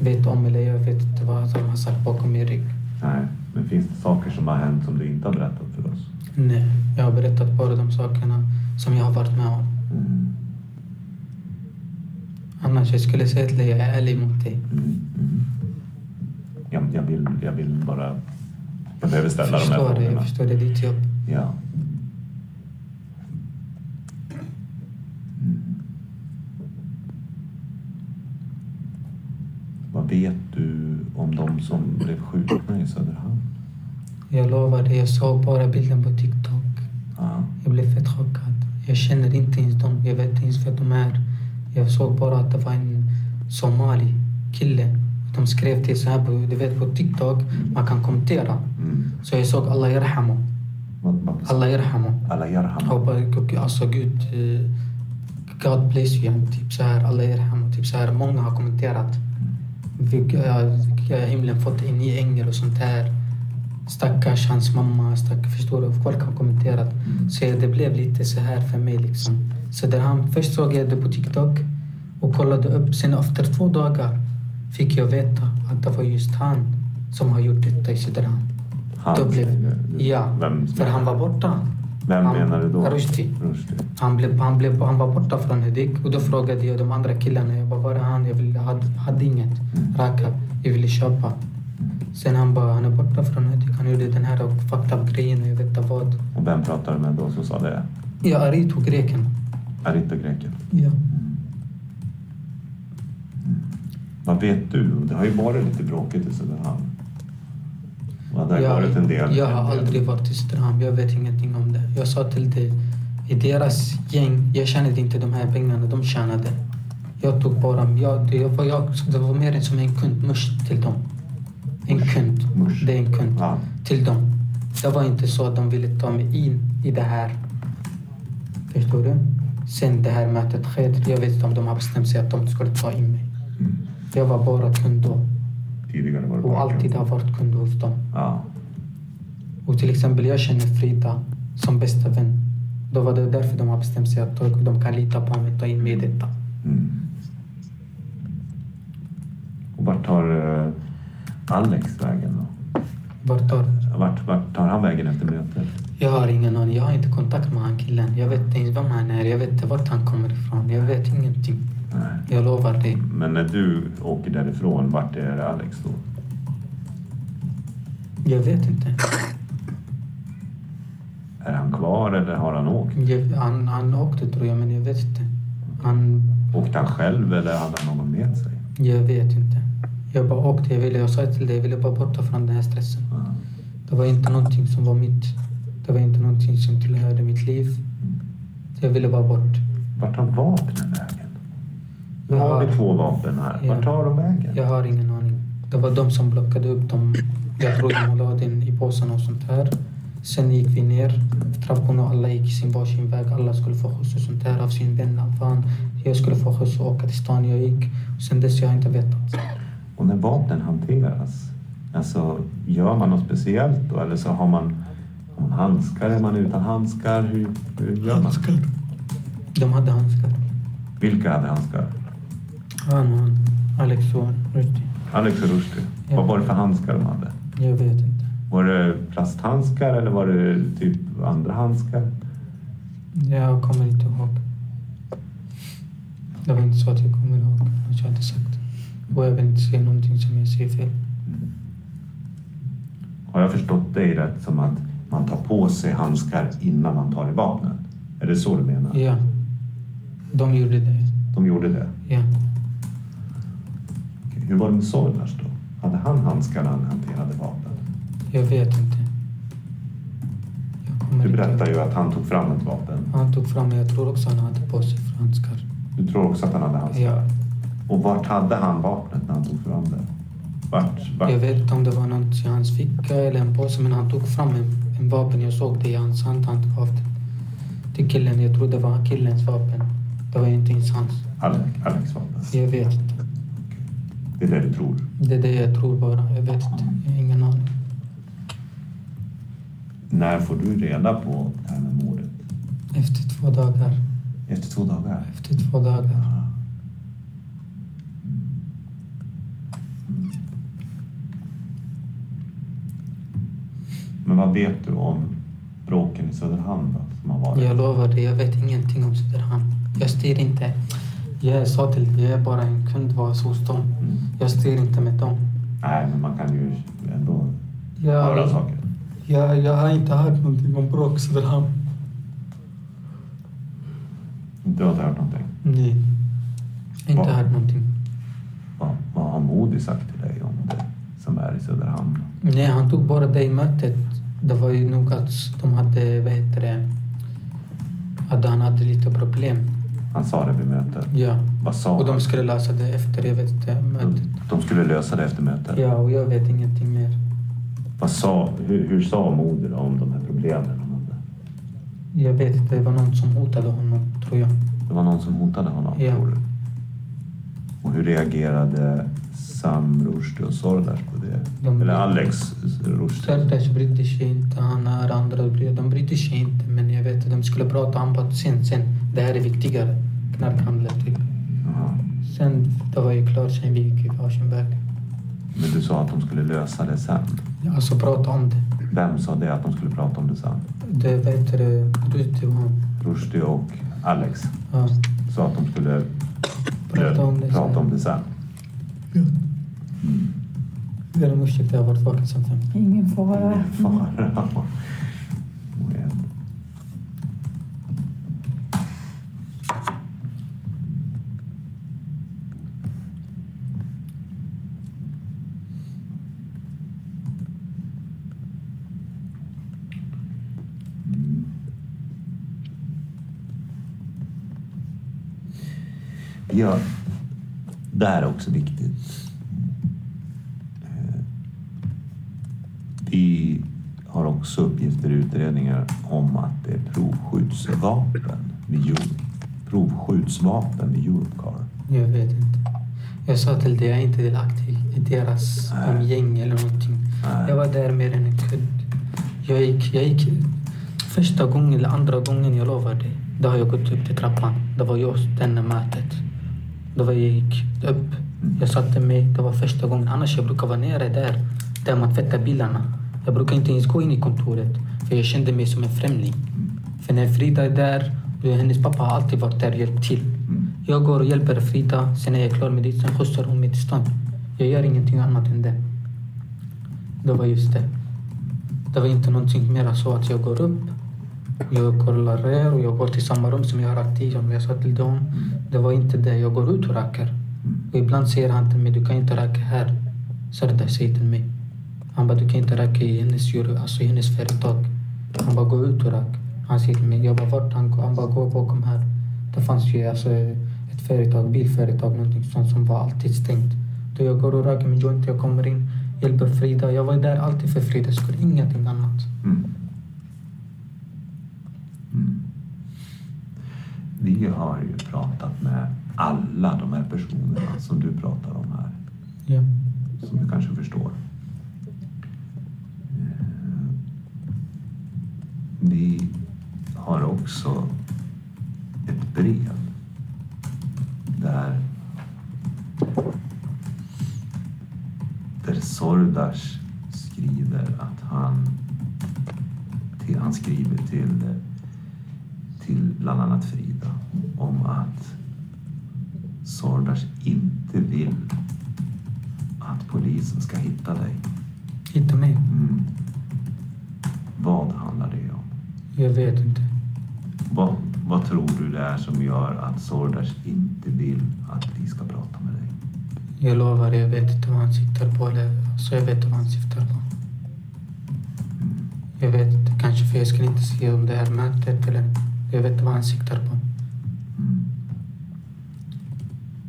vet om eller jag vet inte vad de har sagt bakom min rygg.
Nej, men finns det saker som har hänt som du inte har berättat för oss?
Nej, jag har berättat bara de sakerna som jag har varit med om.
Mm.
Annars jag skulle säga till dig, jag är ärlig mot dig.
Mm. Mm. Jag, jag, vill, jag vill bara... Jag behöver ställa
Jag
de här
förstår det,
frågorna.
jag förstår det, det är ditt jobb.
Ja. Vad vet du om de som blev skjutna i Söderhamn?
Jag lovar dig, jag såg bara bilden på TikTok.
Ja.
Jag blev fett chockad. Jag känner inte ens dem, jag vet inte ens vad de är. Jag såg bara att det var en somali kille. De skrev till så här på, du vet, på TikTok, man kan kommentera.
Mm.
Så jag såg Allah yarhamu,
Vad, vad,
Allah yarhamu.
alla Yarham.
Och bara, och- alltså gud, eh, God bless you, yani, typ så här, Allah yarhamu, typ så här. Många har kommenterat. Vilka, eh, himlen fått en ny ängel och sånt här. Stackars hans mamma, stackars, förstår du? Folk har kommenterat. Så det blev lite så här för mig liksom. Så där han, först såg jag det på TikTok och kollade upp. Sen efter två dagar fick jag veta att det var just han som har gjort detta i Söderhamn.
Han,
Då blev,
säger du.
ja,
Vem,
för han var borta.
vem
han-
menar du då?
Rushdie.
Rushdie.
Han, blev, han, blev, han var borta från Hudik och då frågade
Mm.
jag de andra killarna. Jag bara, var är han? Jag ville, hade, hade inget. Raka. Jag ville köpa. Sen han bara, han är borta från Hudik. Han gjorde den här och fucked up grejen och jag vet inte vad.
Och vem pratade du med då som sa det?
Ja, Arito, greken.
Är inte greken?
Ja.
Vad vet du? Det har ju varit lite bråkigt i Söderhamn. Och det har
jag,
varit en del.
Jag
en
har
del-
aldrig varit i Söderhamn. Jag vet ingenting om det. Jag sa till dig, i deras gäng, jag tjänade inte de här pengarna. De tjänade. Jag tog bara, jag, det, var, jag, det var mer än som en kundmusch till dem. En kund.
Musch.
Det är en kund.
Ja.
Till dem. Det var inte så att de ville ta mig in i det här. Förstår du? Sen det här mötet skedde, jag vet inte om de har bestämt sig att de skulle ta in mig.
Mm.
Jag var bara kund då.
Tidigare var det
Och
bakgrund.
alltid har varit kund hos dem.
Ja.
Och till exempel jag känner Frida som bästa vän. Då var det därför de har bestämt sig att de kan lita på mig och ta in mig i detta.
Mm. Och vart tar eh, Alex vägen då?
Vart tar...
Vart, vart tar han vägen efter mötet?
Jag har ingen aning. Jag har inte kontakt med han killen. Jag vet inte ens vem han är. Jag vet inte vart han kommer ifrån. Jag vet ingenting.
Nej.
Jag lovar dig.
Men när du åker därifrån, vart är Alex då?
Jag vet inte.
Är han kvar eller har han åkt?
Jag, han, han åkte tror jag, men jag vet inte. Han...
Åkte han själv eller hade han någon med sig?
Jag vet inte. Jag bara åkte. Jag, ville, jag sa till dig, jag ville bara borta från den här stressen.
Ja.
Det var inte någonting som var mitt. Det var inte någonting som tillhörde mitt liv.
Mm.
Jag ville bara bort.
Vart tar vapnen vägen? Nu
Jag
har vi
har,
två vapen här.
Ja.
Vart tar de vägen?
jag har ingen aning. Det var de som plockade upp dem. Jag tror de la den i påsen och sånt här. Sen gick vi ner för trapporna och alla gick sin varsin väg. Alla skulle få skjuts och sånt här av sin vän. av Fan, jag skulle få skjuts och åka till stan. Jag gick. Sen dess jag har inte vetat.
Och när vapnen hanteras, alltså gör man något speciellt då? Eller så har man, har man handskar, är man utan handskar? Hur, hur gör man?
De hade handskar.
Vilka hade handskar?
Han och han. Alex och Rutti.
Alex och Rushdie.
Ja.
Vad var det för handskar de hade?
Jag vet inte.
Var det plasthandskar eller var det typ andra handskar?
Jag kommer inte ihåg. Det var inte så att jag kommer ihåg något jag hade sagt. Och jag vill inte säga någonting som jag säger fel.
Har jag förstått dig rätt som att man tar på sig handskar innan man tar i vapnen? Är det så du menar?
Ja. De gjorde det.
De gjorde det.
Ja.
Hur var det med Sornars då? Hade han handskar när han hanterade vapen?
Jag vet inte. Jag kommer
Du
inte
berättar
ihåg.
ju att han tog fram ett vapen.
Han tog fram, jag tror också han hade på sig franskar.
Du tror också att han hade handskar?
Ja.
Och vart hade han vapnet när han tog fram det? Vart? vart?
Jag vet inte om det var något i hans ficka eller en påse, men han tog fram en, en vapen. Jag såg det i hans hand. Han gav det till killen. Jag tror det var killens vapen. Det var inte ens hans.
Alex, Alex vapen.
Jag vet inte.
Det är det du tror?
Det är det jag tror bara. Jag vet inte. Jag har ingen aning.
När får du reda på det här med mordet?
Efter två dagar.
Efter två dagar?
Efter två dagar.
Men vad vet du om bråken i Söderhamn då, som har varit?
Jag lovar dig, jag vet ingenting om Söderhamn. Jag styr inte. Jag sa till dig, jag är bara en kund var hos dem.
Mm.
Jag styr inte med dem.
Nej, men man kan ju ändå höra
Jag,
saker.
jag, jag har inte hört någonting om bråk i Söderhamn.
Du har inte hört någonting?
Nej. Inte
Va?
hört någonting.
Vad, vad har Modi sagt till dig om det som är i Söderhamn?
Nej, han tog bara det i mötet. Det var ju nog att de hade, vad heter det, att han hade lite problem.
Han sa det vid mötet.
Ja.
Vad sa
Och
han?
de skulle lösa det efter, jag vet inte, mötet.
de skulle lösa det efter mötet.
Ja, och jag vet ingenting mer.
Vad sa, hur, hur sa Modi då om de här problemen? han hade?
Jag vet inte, det var någon som hotade honom, tror jag.
Det var någon som hotade honom,
Ja.
tror du? Och hur reagerade Sam Rushdie och Sordas på det?
De-
Eller Alex Rushdie?
Serdash brydde sig inte, han är andra, bry- de brydde sig inte. Men jag vet att de skulle prata, han bara sen, sen, det här är viktigare. Knarkhandlare, typ.
Jaha.
Sen, det var ju klart, sen vi gick i varsin väg.
Men du sa att de skulle lösa det sen.
Alltså prata om det.
Vem sa det att de skulle prata om det sen?
Det vet du, Ruti och han.
Rushdie och Alex
Ja,
sa att de skulle
prata om det.
prata
sen.
om det sen.
ber om ursäkt, jag har varit vaken sen fem.
Ingen fara.
Fara. Och en. Ja, det här är också viktigt. Eh, Vi har också uppgifter i utredningar om att det är provskjutsvapen vid Euro- provskjutsvapen vid Eurocar.
Jag vet inte. Jag sa till dig, jag är inte delaktig i deras
Nej.
umgänge eller någonting.
Nej.
Jag var där mer än en kudd. Jag gick, jag gick första gången eller andra gången, jag lovar dig. Då har jag gått upp till trappan. Det var just denna mötet. Då var jag gick upp. Jag satte mig. Det var första gången. Annars jag brukar vara nere där. Där man tvättar bilarna. Jag brukar inte ens gå in i kontoret. För jag kände mig som en främling. För när Frida är där, och hennes pappa har alltid varit där och hjälpt till.
Mm.
Jag går och hjälper Frida. Sen är jag klar med det. Sen skjutsar hon mig till stan. Jag gör ingenting annat än det. Det var just det. Det var inte någonting mer så att jag går upp, jag kollar här och jag går till samma rum som jag har rakt i, som jag sa till dem. Det var inte det. Jag går ut och röker. Och ibland säger han till mig, du kan inte röka här. Sardar säger till mig. Han bara, du kan inte röka i hennes, djur- alltså i hennes företag. Han bara, gå ut och rök. Han säger till mig, jag bara, vart han går? Han bara, gå bakom här. Det fanns ju alltså ett företag, bilföretag, någonting sånt som var alltid stängt. Då jag går och röker min joint, jag kommer in, hjälper Frida. Jag var där alltid för Fridas skull, ingenting annat.
Vi har ju pratat med alla de här personerna som du pratar om här.
Ja.
som du kanske förstår. Eh, Vi har också ett brev där där Sordas skriver att han till, han skriver till till bland annat Frida om att Sordas inte vill att polisen ska hitta dig.
Inte mig.
Vad handlar det om?
Jag vet inte.
Vad, vad tror du det är som gör att Sordas inte vill att vi ska prata med dig?
Jag lovar, jag vet inte vad han siktar på. Eller, så jag vet inte vad han siktar på. Jag vet inte, kanske för jag skulle inte säga om det här mötet eller... Jag vet inte vad han siktar på.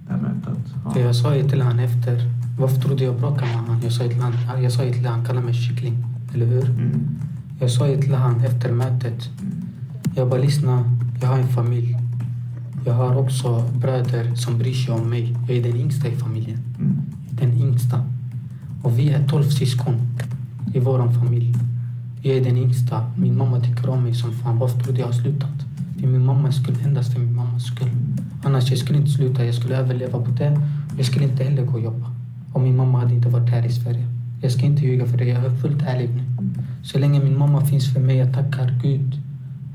Det här mötet?
För
Ja.
jag sa ju till han efter. Varför trodde jag bråkade med honom? Jag sa ju till han, jag sa ju till han kalla mig kyckling. Eller hur?
Mm.
Jag sa ju till han efter mötet. Jag bara lyssna, jag har en familj. Jag har också bröder som bryr sig om mig. Jag är den yngsta i familjen.
Mm.
Den yngsta. Och vi är tolv syskon i vår familj. Jag är den yngsta. Min mamma tycker om mig som fan. Varför trodde jag har slutat? För min mammas skull. Endast för min mammas skull. Annars jag skulle inte sluta. Jag skulle överleva på det. Jag skulle inte heller gå och jobba. Om min mamma hade inte varit här i Sverige. Jag ska inte ljuga för dig. Jag är fullt ärlig nu. Så länge min mamma finns för mig, jag tackar Gud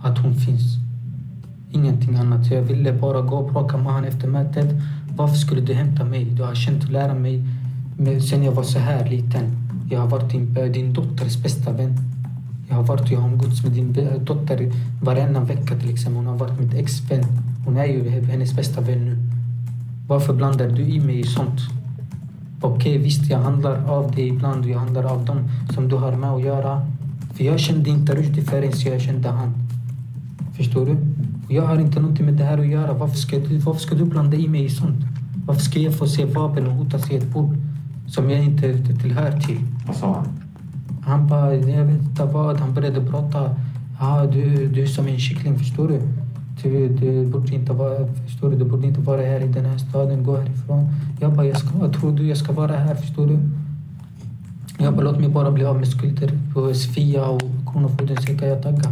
att hon finns. Ingenting annat. Jag ville bara gå och bråka med honom efter mötet. Varför skulle du hämta mig? Du har känt och lära mig men sen jag var så här liten. Jag har varit din, eh, din dotters bästa vän. Jag har varit jag har umgåtts med din eh, dotter varannan vecka till exempel. Hon har varit mitt ex-vän. Hon är ju he- hennes bästa vän nu. Varför blandar du i mig i sånt? Okej, visst jag handlar av dig ibland och jag handlar av dem som du har med att göra. För jag kände inte Rushdie förrän jag kände han. Förstår du? Och Jag har inte någonting med det här att göra. Varför ska du, varför ska du blanda i mig i sånt? Varför ska jag få se vapen och hotas i ett bord som jag inte tillhör till?
Vad sa han?
Han bara, jag vet inte vad. Han började prata. Ah, du, du är som en kyckling, förstår du? Du, du, borde inte vara, förstår du? du borde inte vara här i den här staden. Gå härifrån. Jag bara, jag ska, tror du jag ska vara här, förstår du? Jag bara, låt mig bara bli av med skulder på Sofia och Kronofogden. Sen kan jag tagga.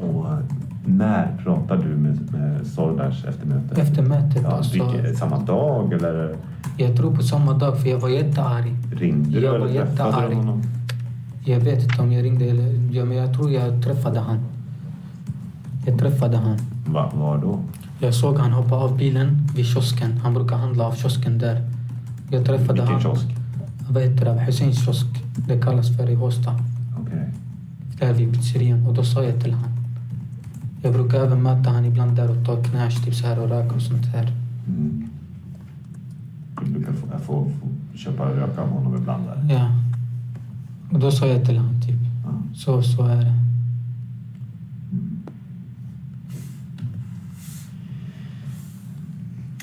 Och eh, när pratar du med, med Sordas efter mötet?
Efter mötet,
ja,
alltså.
vilket- Samma dag eller
Jag tror på samma dag, för jag var jättearg.
ringde du
Jag var
eller träffade du
jättearg.
honom?
Jag vet inte om jag ringde eller... Ja, men jag tror jag träffade han. Jag träffade han.
Va, var då?
Jag såg han hoppa av bilen vid kiosken. Han brukar handla av kiosken där. Jag träffade
Vilken
han.
kiosk?
vad heter det, Husseins kiosk. Det kallas för i Håsta.
Okej.
Där vid pizzerian. Och då sa jag till han. Jag brukar även möta han ibland där och ta knäsch typ så här och röka och sånt här.
Mm. Du kan få, jag får, får köpa röka av honom ibland där.
Ja. Och då sa jag till han typ.
Ja.
Så, så är det.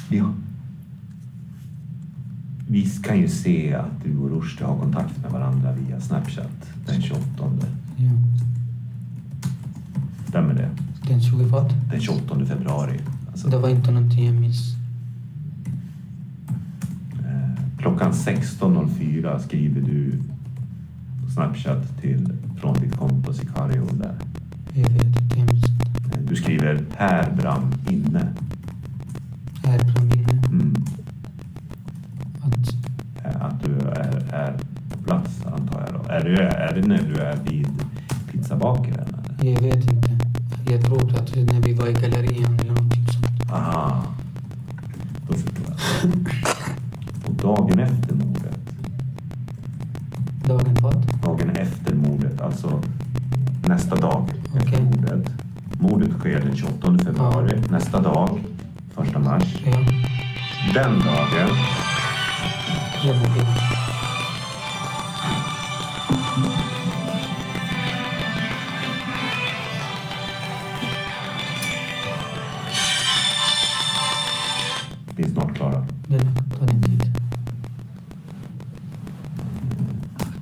Ja. Vi kan ju se att du och Rushdie har kontakt med varandra via Snapchat den 28.
Ja.
Stämmer det?
Den 20 vad?
Den 28 februari. Alltså,
Det var inte någonting jag minns.
Klockan 16.04 skriver du på Snapchat till, från ditt konto Sicario där.
Jag vet inte, jag minns inte.
Eh, Du skriver Per Bram inne.
Här på minne.
Mm.
Att,
Eh, Att du är, är på plats antar jag då. Är, du, är det när du är vid pizzabakaren? eller?
jag vet inte. Jag tror att när vi var i gallerian eller någonting sånt.
Aha. Då förstår jag. Och dagen efter mordet.
Dagen vad?
Dagen efter mordet, alltså nästa dag efter
Okej.
mordet. Mordet sker den 28 februari. Nästa dag, första mars.
Ja.
Den dagen
Jag mår bra.
vi är snart klara.
Det tar en tid.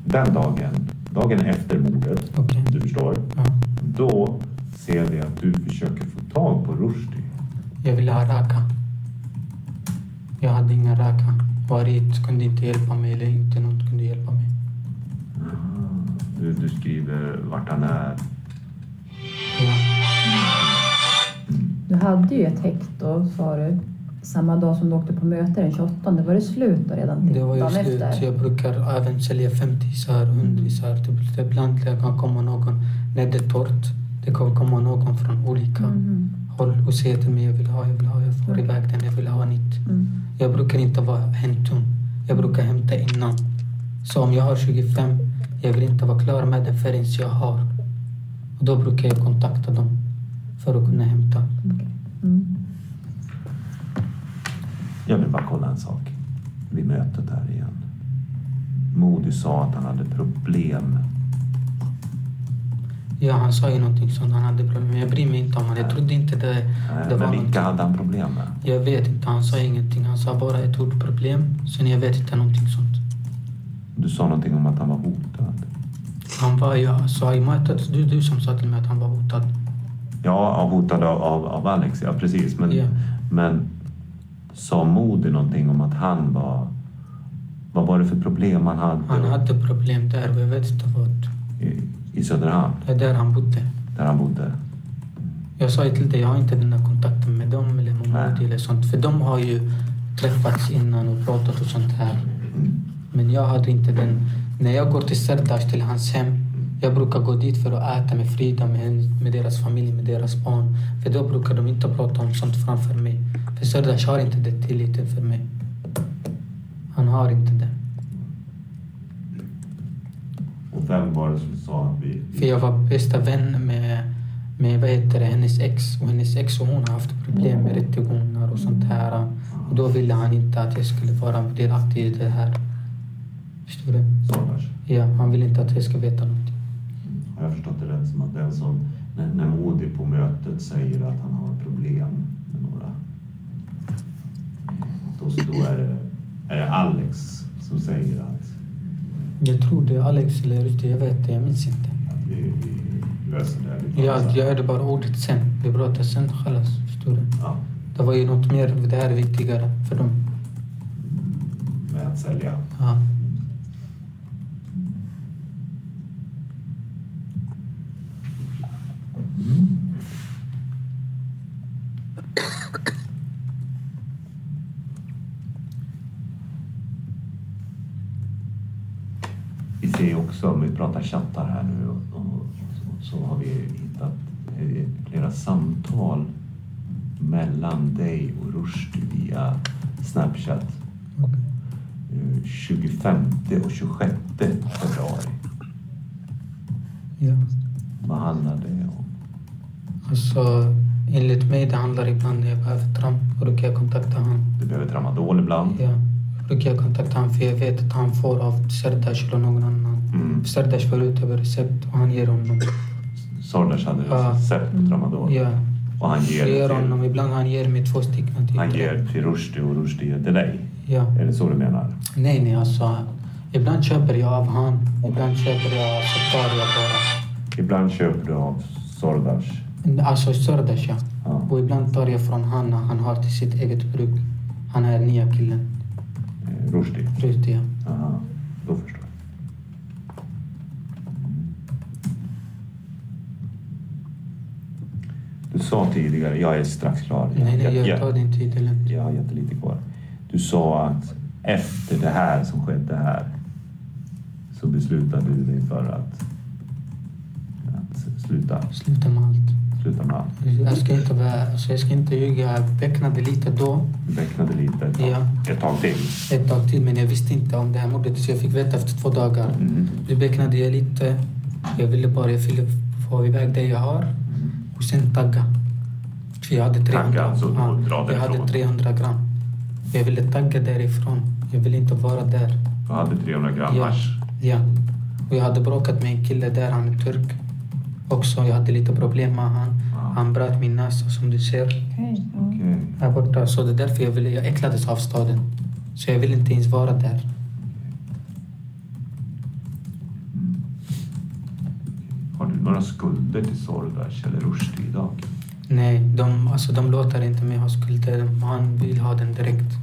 Den dagen, dagen efter mordet,
Okej.
du förstår,
Ja.
då ser vi att du försöker få tag på Rushdie.
Jag ville ha raka. Jag hade inga raka. Warit kunde inte hjälpa mig eller inte någon kunde hjälpa mig.
Du, du skriver vart han är.
Ja.
Du hade ju ett häkt då, sa du. Samma dag som du åkte på möte den 28. Var det slut då redan? till
Det var ju
dagen
slut.
efter? Mm.
Jag brukar även sälja 50 isar, 100 isar. Typ. Ibland det kan komma någon, när det är torrt, det kan komma någon från olika
Mhm,
håll och säga till mig jag vill ha, jag vill ha, jag får
Mm.
iväg den, jag vill ha nytt.
mm.
Jag brukar inte vara hämtum. Jag brukar hämta innan. Så om jag har 25, jag vill inte vara klar med det förrän jag har. Och då brukar jag kontakta dem för att kunna hämta.
okej. Mm.
Jag vill bara kolla en sak. Vid mötet här igen. Modi sa att han hade problem.
Ja, han sa ju någonting sånt, han hade problem. Men jag bryr mig inte om honom. Jag trodde inte det,
Eh,
det var
Men vilka
någonting.
hade han problem med?
Jag vet inte, han sa ingenting. Han sa bara ett ord problem. Sen jag vet inte någonting sånt.
Du sa någonting om att han var hotad.
Han var, jag sa i mötet, du, du som sa till mig att han var hotad.
Ja, ja, hotad av, av, av Alex, ja precis. Men,
Ja.
men sa Modi någonting om att han var... Vad var det för problem han hade,
Han hade problem där och jag vet inte vart.
I, i Söderhamn,
Det är där han bodde.
där han bodde?
Jag sa ju till dig, jag har inte den där kontakten med dem eller med
Nej.
Modi eller sånt. För de har ju träffats innan och pratat och sånt här. Men jag hade inte den. När jag går till Serdash, till hans hem, jag brukar gå dit för att äta med Frida, med, hen- med deras familj, med deras barn. För då brukar de inte prata om sånt framför mig. För Serdash har inte den tilliten för mig. Han har inte det.
Och vem var det som sa att vi...
För jag var bästa vän med, med vad heter det, hennes ex. Och hennes ex och hon har haft problem med rättegångar och sånt här. Och då ville han inte att jag skulle vara delaktig i det här. Förstår du?
Sordas.
Ja, han vill inte att jag ska veta någonting.
Har jag förstått det rätt som att den som... När, när Modi på mötet säger att han har problem med några. Då, då är, det, är det Alex som säger att,
Jag tror det är Alex eller Rushdie, jag vet det, jag minns inte.
att vi, vi löser det. här. Vi tar
Jag,
det
jag
här.
hörde bara ordet sen. Vi pratade sen, خلاص. Förstår du?
Ja,
Det var ju något mer, det här är viktigare för dem.
med att sälja.
Ja.
Vi ser ju också, om vi pratar chattar här nu, och, och, och, så har vi hittat eh, flera samtal mellan dig och Rushdie via Snapchat.
Okej.
Eh, 20 25 och 26 februari.
Ja.
Vad handlar det om?
Alltså, enligt mig det handlar ibland när jag behöver tramp. Då kan jag kontakta han.
Du behöver tramadol ibland.
Ja. Då kan jag kontakta han för jag vet att han får av Serdash eller någon annan.
Mm.
Serdash får ut över recept och han ger honom.
Sordas hade
Ja. Mm.
recept på tramadol.
Ja.
Och han ger,
Jag ger
till,
honom. Ibland han ger mig två stycken. till.
han ger till Rushdie och Rushdie till dig.
Ja.
Är det så du menar?
Nej, nej alltså. Ibland köper jag av han. Ibland köper jag, så tar jag
Ibland köper du av Sordas.
bara. Alltså Sardash ja.
Ja.
Och ibland tar jag från han när han har till sitt eget bruk. Han är nya killen.
eh, Rushdie.
Förut ja.
Aha, då förstår jag. Mm. Du sa tidigare, jag är strax klar.
Nej, nej,
jag,
jag tar
jag,
din tid. Eller?
jag har jättelite kvar. Du sa att efter det här som skedde här så beslutade du dig för att, att sluta,
Sluta med allt.
sluta med allt.
Jag ska inte, vara- alltså, jag ska inte ljuga. Jag becknade lite då,
Du väcknade lite ett,
Ja.
ett tag till.
ett tag till, men jag visste inte om det här mordet. Så jag fick veta efter två dagar.
Mm.
Då becknade jag lite. Jag ville bara jag ville få iväg det jag har och sen tagga. För jag hade 300,
Tagga, alltså,
ja,
och dra
jag
därifrån.
hade 300 gram. Jag ville tagga därifrån. Jag ville inte vara där.
Du hade 300 gram
Ja.
hasch.
Ja. Och jag hade bråkat med en kille där, han är turk. Också, jag hade lite problem med han. Han bröt min näsa som du ser
Okej. ja.
Okej.
här borta. Så det är därför jag, ville, jag äcklades av staden. Så jag ville inte ens vara där.
Har du några skulder till Sordas eller Rushdie idag?
Nej, de, alltså, de låter inte mig ha skulder. Han vill ha den direkt.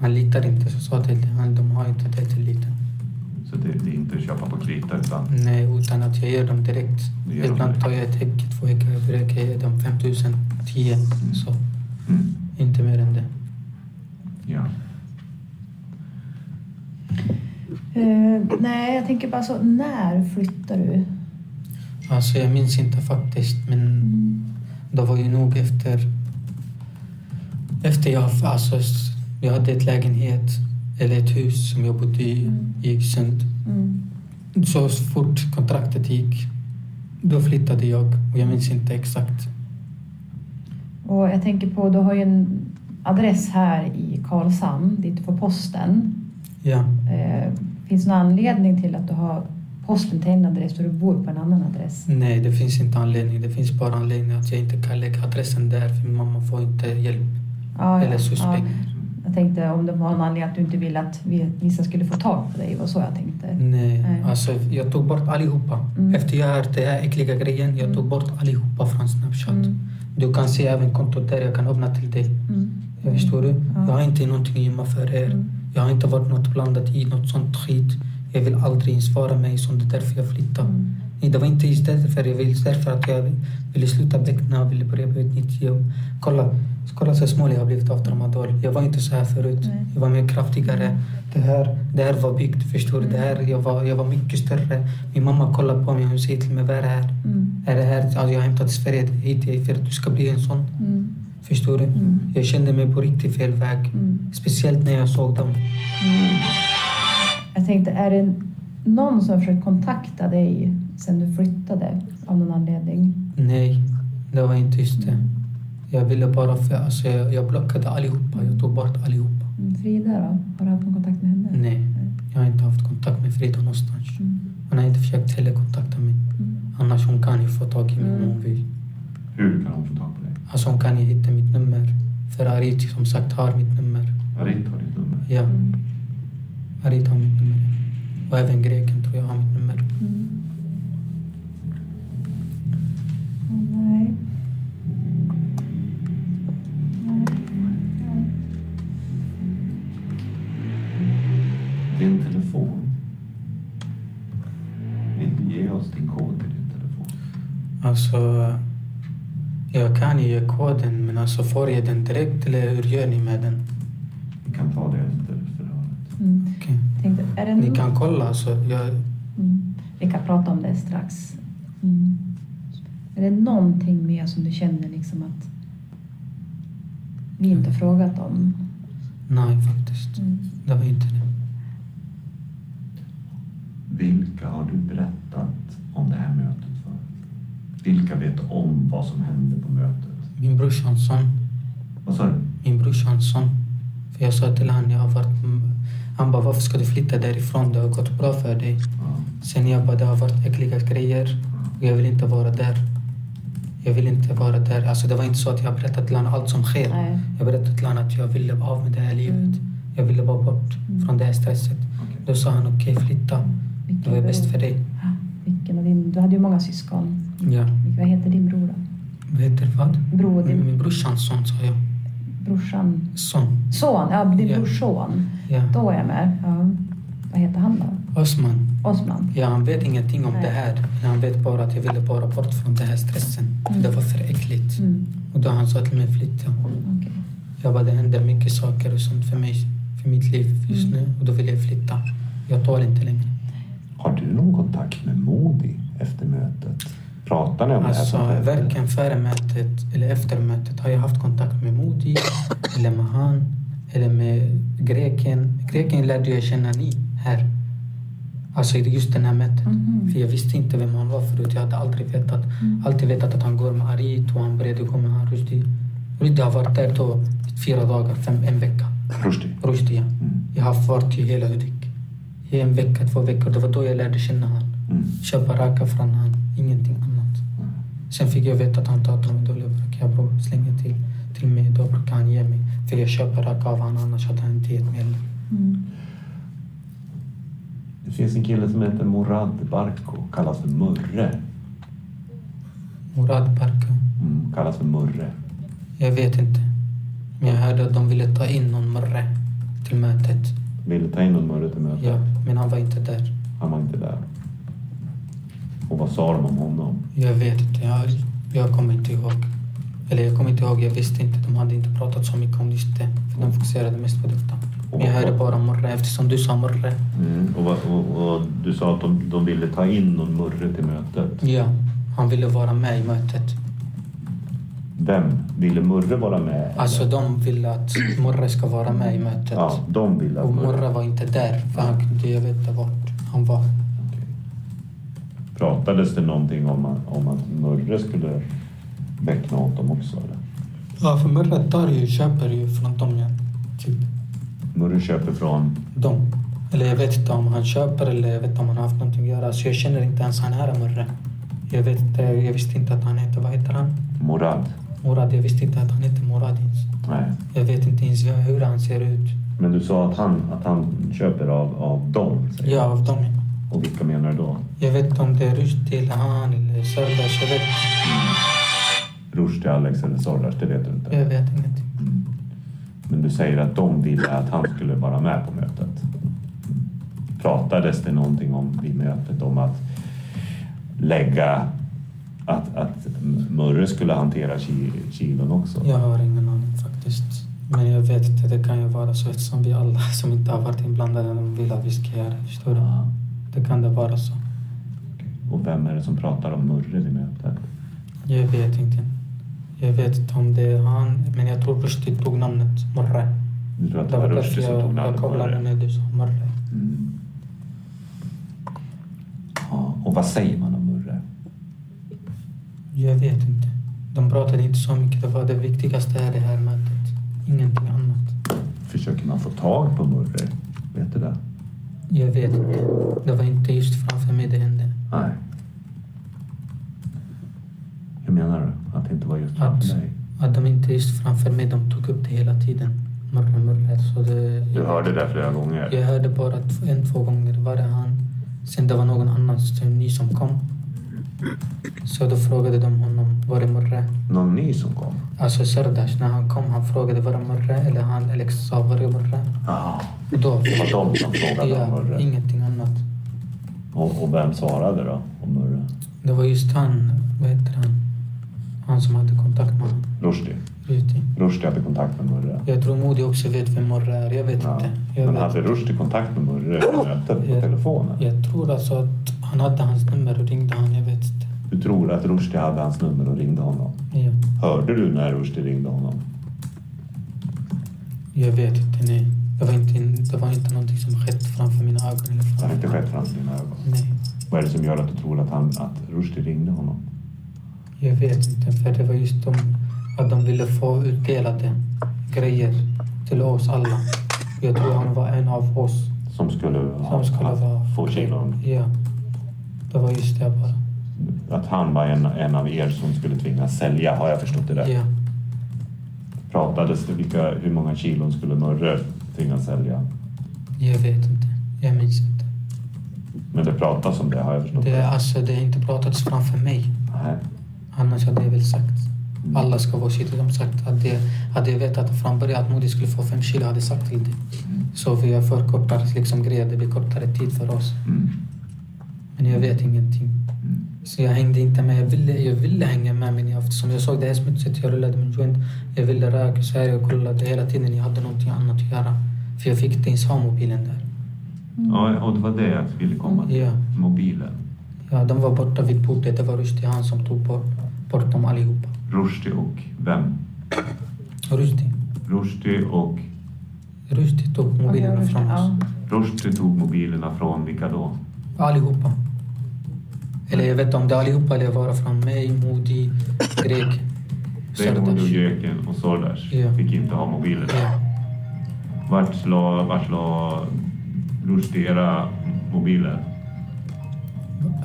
Han litar inte. Så jag sa till honom, de har inte det tilliten.
Så det, det är inte att köpa på krita utan
Nej, utan att jag ger dem direkt.
Du ger dem
Ibland
direkt.
tar jag ett häck, två häckar, fyra häckar. Jag ger dem 5000, 10. Så
Mm.
inte mer än det.
Ja.
Eh, nej, jag tänker bara så, när flyttar du?
Alltså jag minns inte faktiskt, men det var ju nog efter... Efter jag... Alltså, s- jag hade ett lägenhet, eller ett hus som jag bodde i, i Yxsund.
Mm.
Så fort kontraktet gick, då flyttade jag. Och jag minns inte exakt.
Och jag tänker på, du har ju en adress här i Karlshamn dit du får posten.
Ja.
Eh, finns det någon anledning till att du har posten till en adress och du bor på en annan adress?
Nej, det finns inte anledning. Det finns bara anledning att jag inte kan lägga adressen där, för min mamma får inte hjälp.
Ja,
Eller
ja,
suspekt.
ja. Jag tänkte om det var någon anledning att du inte ville att vi- vissa skulle få tag på dig. Det var så jag tänkte.
Nej,
Nej.
alltså jag tog bort allihopa.
Mm.
Efter jag hört den här äckliga grejen, jag tog bort allihopa från Snapchat.
Mm.
Du kan se även kontot där, jag kan öppna till dig.
Mm.
Jag Eh, förstår du?
Ja.
Jag har inte någonting att gömma för er.
Mm.
Jag har inte varit något blandat i något sånt skit. Jag vill aldrig ens vara mig som det är därför jag flyttade.
Mm.
Nej, det var inte just därför jag ville, därför att jag ville sluta beckna och ville börja på ett nytt jobb. Kolla, kolla så smal jag har blivit av tramadol. Jag var inte så här förut.
Nej.
Jag var mer kraftigare. Det här, det här var byggt, förstår du? Det här, jag, var, jag var mycket större. Min mamma kollar på mig och hon säger till mig, vad är det här?
Mm.
Är det här? Alltså, jag har hämtat Sverige hit jag är för att du ska bli en sån.
Mm.
Förstår du?
Mm.
Jag kände mig på riktigt fel väg.
Mm.
Speciellt när jag såg dem.
Jag tänkte, är det någon som har försökt kontakta dig sedan du flyttade av någon anledning?
Nej, det var inte just
Mm.
det. Jag ville bara... För, alltså, jag, jag blockade allihopa. Jag tog bort allihopa.
Mm, Frida då? Har du haft någon kontakt med henne?
Nej, jag har inte haft kontakt med Frida någonstans.
Mm.
Hon har inte försökt heller kontakta mig.
Mm.
Annars hon kan ju få tag i mig
Mm.
om hon vill.
Hur kan hon få tag på dig?
Alltså hon kan ju hitta mitt nummer. För Arit som sagt har mitt nummer.
Arit har ditt nummer.
Ja,
Mm.
Arit har mitt nummer. Och även greken tror jag har mitt nummer.
Mm. Åh, Nej. Nej. Nej.
Din telefon. Vill du ge oss din kod till din telefon?
Alltså, jag kan ju ge koden men alltså får jag den direkt eller hur gör ni med den?
Vi kan ta det efter förhöret.
Mm.
Okej.
Tänkte, är det
Ni kan kolla alltså. Jag,
Mm. Vi kan prata om det strax. Mm. Är det någonting mer som du känner liksom att vi inte har frågat om?
nej faktiskt.
Mm.
Det var inte det.
Vilka har du berättat om det här mötet för? Vilka vet om vad som hände på mötet?
Min brorsans son.
Vad sa du?
Min brorsans son. För jag sa till honom, jag har varit... Han bara, varför ska du flytta därifrån? Det har gått bra för dig.
Ja.
Sen jag bara, det har varit äckliga grejer och jag vill inte vara där. Jag vill inte vara där. Alltså det var inte så att jag berättade till honom allt som sker.
Nej.
Jag berättade till honom att jag ville vara av med det här livet.
Mm.
Jag ville vara bort från det här stresset.
Okej.
Då sa han, okej flytta. Det var bäst för dig.
Ja, Vilken av din, du hade ju många syskon.
Ja.
Vad heter din bror då?
Vad heter det, vad? Mm,
Bror, din
Min brorsans son sa jag.
brorsan?
Son.
Son, ja din
Ja.
brorson.
Ja.
Då är jag med. Ja. Vad heter han då?
Osman.
Osman?
Ja, han vet ingenting om
Nej.
det här. Men han vet bara att jag ville bara bort från den här stressen.
Mm.
Det var för äckligt.
Mm.
Och då han sa till mig flytta.
okej.
Jag bara, det händer mycket saker och sånt för mig, för mitt liv just
Mm.
nu. Och då vill jag flytta. Jag tål inte längre.
Har du någon kontakt med Modi efter mötet? Pratar ni om
Alltså,
det här? som skedde?
varken före mötet eller efter mötet har jag haft kontakt med Modi, eller med han, eller med greken. Greken lärde jag känna ni här. Alltså i just det här mötet.
Mm-hmm.
Mhm.
För jag visste inte vem han var förut. Jag hade aldrig vetat.
Mm.
Alltid vetat att han går med Arit och han började gå med han Rushdie. Rushdie har varit där då i fyra dagar, fem, en vecka.
Rushdie?
Rushdie, ja.
Mm.
Jag har varit i hela Hudik. I en vecka, två veckor. Det var då jag lärde känna han.
Mm.
Köpa raka från han, ingenting annat. Sen fick jag veta att han tar dem dåliga brak. Jag bror, slänger till, till mig. Då brukar han ge mig. För jag köper raka av honom, annars hade han inte gett mig. heller.
Mm.
Det finns en kille som heter Morad Barko, kallas för Murre.
Murad Barka.
Mm, kallas för Murre.
Jag vet inte. Men jag hörde att de ville ta in någon murre till mötet.
Ville ta in någon Murre till mötet.
Ja, men han var inte där.
Han var inte där. Och vad sa de om honom?
Jag vet inte. Jag, jag kommer inte ihåg. Eller jag kommer inte ihåg. Jag visste inte. De hade inte pratat så mycket om just det. För de fokuserade mest på detta. Men jag hörde bara murre eftersom du sa murre.
Mm. Och, vad- och, och du sa att de, de ville ta in någon Murre till mötet.
Ja, han ville vara med i mötet.
Vem? Ville Murre vara med?
Alltså de ville att murre ska vara med i mötet.
Ja, de ville att
Och
Murre...
murre var inte där. För han kunde, jag vet inte vart han var.
Pratades det någonting om, att- om att Murre skulle väckna åt dem också? Eller?
Ja, för murre tar ju, köper ju från dem ja. Typ.
Murre köper från...
dem. Eller jag vet inte om han köper eller jag vet inte om han har haft någonting att göra. Så jag känner inte ens han här Murre. Jag, vet, inte- jag visste inte att han hette, vad heter han?
Morad?
Murad. Jag visste inte att han hette Murad ens.
Nej.
Jag vet inte ens hur han ser ut.
Men du sa att han, att han köper av, av dem? säger
Ja, av dem.
du. Och vilka menar du då?
Jag vet inte om det är Rushdie eller han eller Sardas. Jag vet,
Rushdie, Alex eller Sordas? Det vet du inte?
jag vet ingenting.
Men du säger att de ville att han skulle vara med på mötet. Pratades det någonting om vid mötet om att lägga att, att Murre skulle hantera ki- kilon också?
Jag har ingen aning faktiskt. Men jag vet inte, det kan ju vara så eftersom vi alla som inte har varit inblandade de vill att vi ska göra. Förstår du?
Ja.
Det kan det vara så.
Och vem är det som pratar om Murre vid mötet?
Jag vet inte. Jag vet inte om det är han, men jag tror Rushdie tog namnet Murre.
Du tror att
Det
det var
var därför
Rushdie som tog
jag, jag
namnet
kopplade
Murre?
när du sa Murre.
Mm. Ja, och vad säger man om Murre?
Jag vet inte. De pratade inte så mycket. Det var det viktigaste här i det här mötet. Ingenting annat.
Försöker man få tag på Murre? Vet du det?
Jag vet inte. Det var inte just framför mig det hände.
Nej. Hur menar du? Att det inte var just framför
Att-
dig?
Att de inte just framför mig, de tog upp det hela tiden. Murre, Murre. Så det,
Du hörde det flera gånger.
Jag hörde bara tv- en, två gånger. Var det han? Sen det var någon annan som- ny som kom. Så då frågade de honom, var är Murre?
Någon ny som kom?
Alltså Sardash, när han kom, han frågade var är Murre? Eller han, Alex, sa var är Murre?
Ja,
Då,
det var de som frågade om
ja,
Murre.
ingenting annat.
Och, och vem svarade då om Murre?
Det var just han, vad heter han? Han som hade kontakt med honom.
Rushdie.
Ruti.
Rushdie hade kontakt med Murre.
Jag tror Modi också vet vem Murre är. Jag vet
Ja.
inte. Jag,
Men
vet.
hade Rushdie kontakt med Murre på mötet på
Ja.
telefonen?
jag tror alltså att han hade hans nummer och ringde han. Jag vet inte.
Du tror att Rushdie hade hans nummer och ringde honom?
Ja.
Hörde du när Rushdie ringde honom?
Jag vet inte, nej. Det var inte, det var inte någonting som skett framför mina ögon. Eller
Det har inte
framför.
skett framför dina ögon.
Nej,
Vad är det som gör att du tror att, han, att Rushdie ringde honom?
jag vet inte. För det var just de, att de ville få utdelade grejer till oss alla. Jag tror han var en av oss
Som skulle,
som skulle vara...
få kilon?
Ja. Det var just det bara.
Att han var en, en av er som skulle tvingas sälja, har jag förstått det rätt?
Ja.
Pratades det vilka, hur många kilon skulle Mörre tvingas sälja?
Jag vet inte. Jag minns inte.
Men det pratas om det, har jag förstått
Det, är alltså, det har inte pratats framför mig.
Nej.
Annars hade jag väl sagt. Alla ska vara sitt. De sagt att det, hade jag vetat från början att Modi skulle få fem kilo hade jag sagt till det. Så vi har förkortat liksom grejer. Det blir kortare tid för oss. Men jag vet ingenting. Så jag hängde inte med. Jag ville, jag ville hänga med men jag, som jag såg det här smutsigt, jag rullade min joint. Jag ville röka så här. Jag kollade hela tiden. Jag hade någonting annat att göra. För jag fick inte ens ha mobilen där.
Ja, och det var det jag ville komma till.
Ja.
Mobilen.
Ja, de var borta vid bordet. Det var Rushdie, han som tog bort, bort dem allihopa.
Rushdie och vem?
Rushdie.
Rushdie och...
Rushdie tog mobilerna från oss.
Ja.
Rushdie tog mobilerna från vilka då?
Allihopa. Eller jag vet inte om det är allihopa eller bara från mig, Modi, Greg,
Raymond och
Sardash.
Göken och Sordash
Ja.
fick inte ha mobilerna.
Ja.
Vart la, vart la Rushdie era mobiler?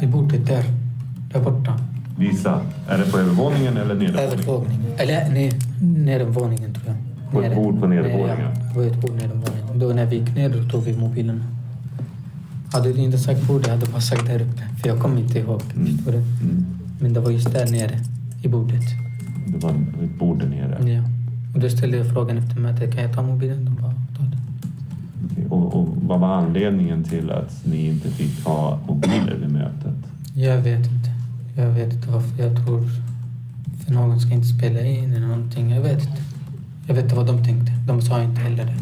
I bordet där. Där borta.
Visa. Är det på övervåningen eller nedervåningen?
Övervåningen. Eller nej, nedervåningen tror jag.
På ett
Nere.
bord på nedervåningen?
Nere, Ja, på ett bord nedervåningen. Då när vi gick ner då tog vi mobilen. Hade du inte sagt bordet hade jag bara sagt där uppe. För jag kommer inte ihåg. Förstår du?
Mm.
Men det var just där nere i bordet.
Det var ett bord där nere.
Ja. Och då ställde jag frågan efter mötet, kan jag ta mobilen? De bara, ta den.
Okej, Och, och vad var anledningen till att ni inte fick ha mobiler vid mötet?
Jag vet inte. Jag vet inte varför. Jag tror... För någon ska inte spela in eller någonting. Jag vet inte. Jag vet inte vad de tänkte. De sa inte heller det.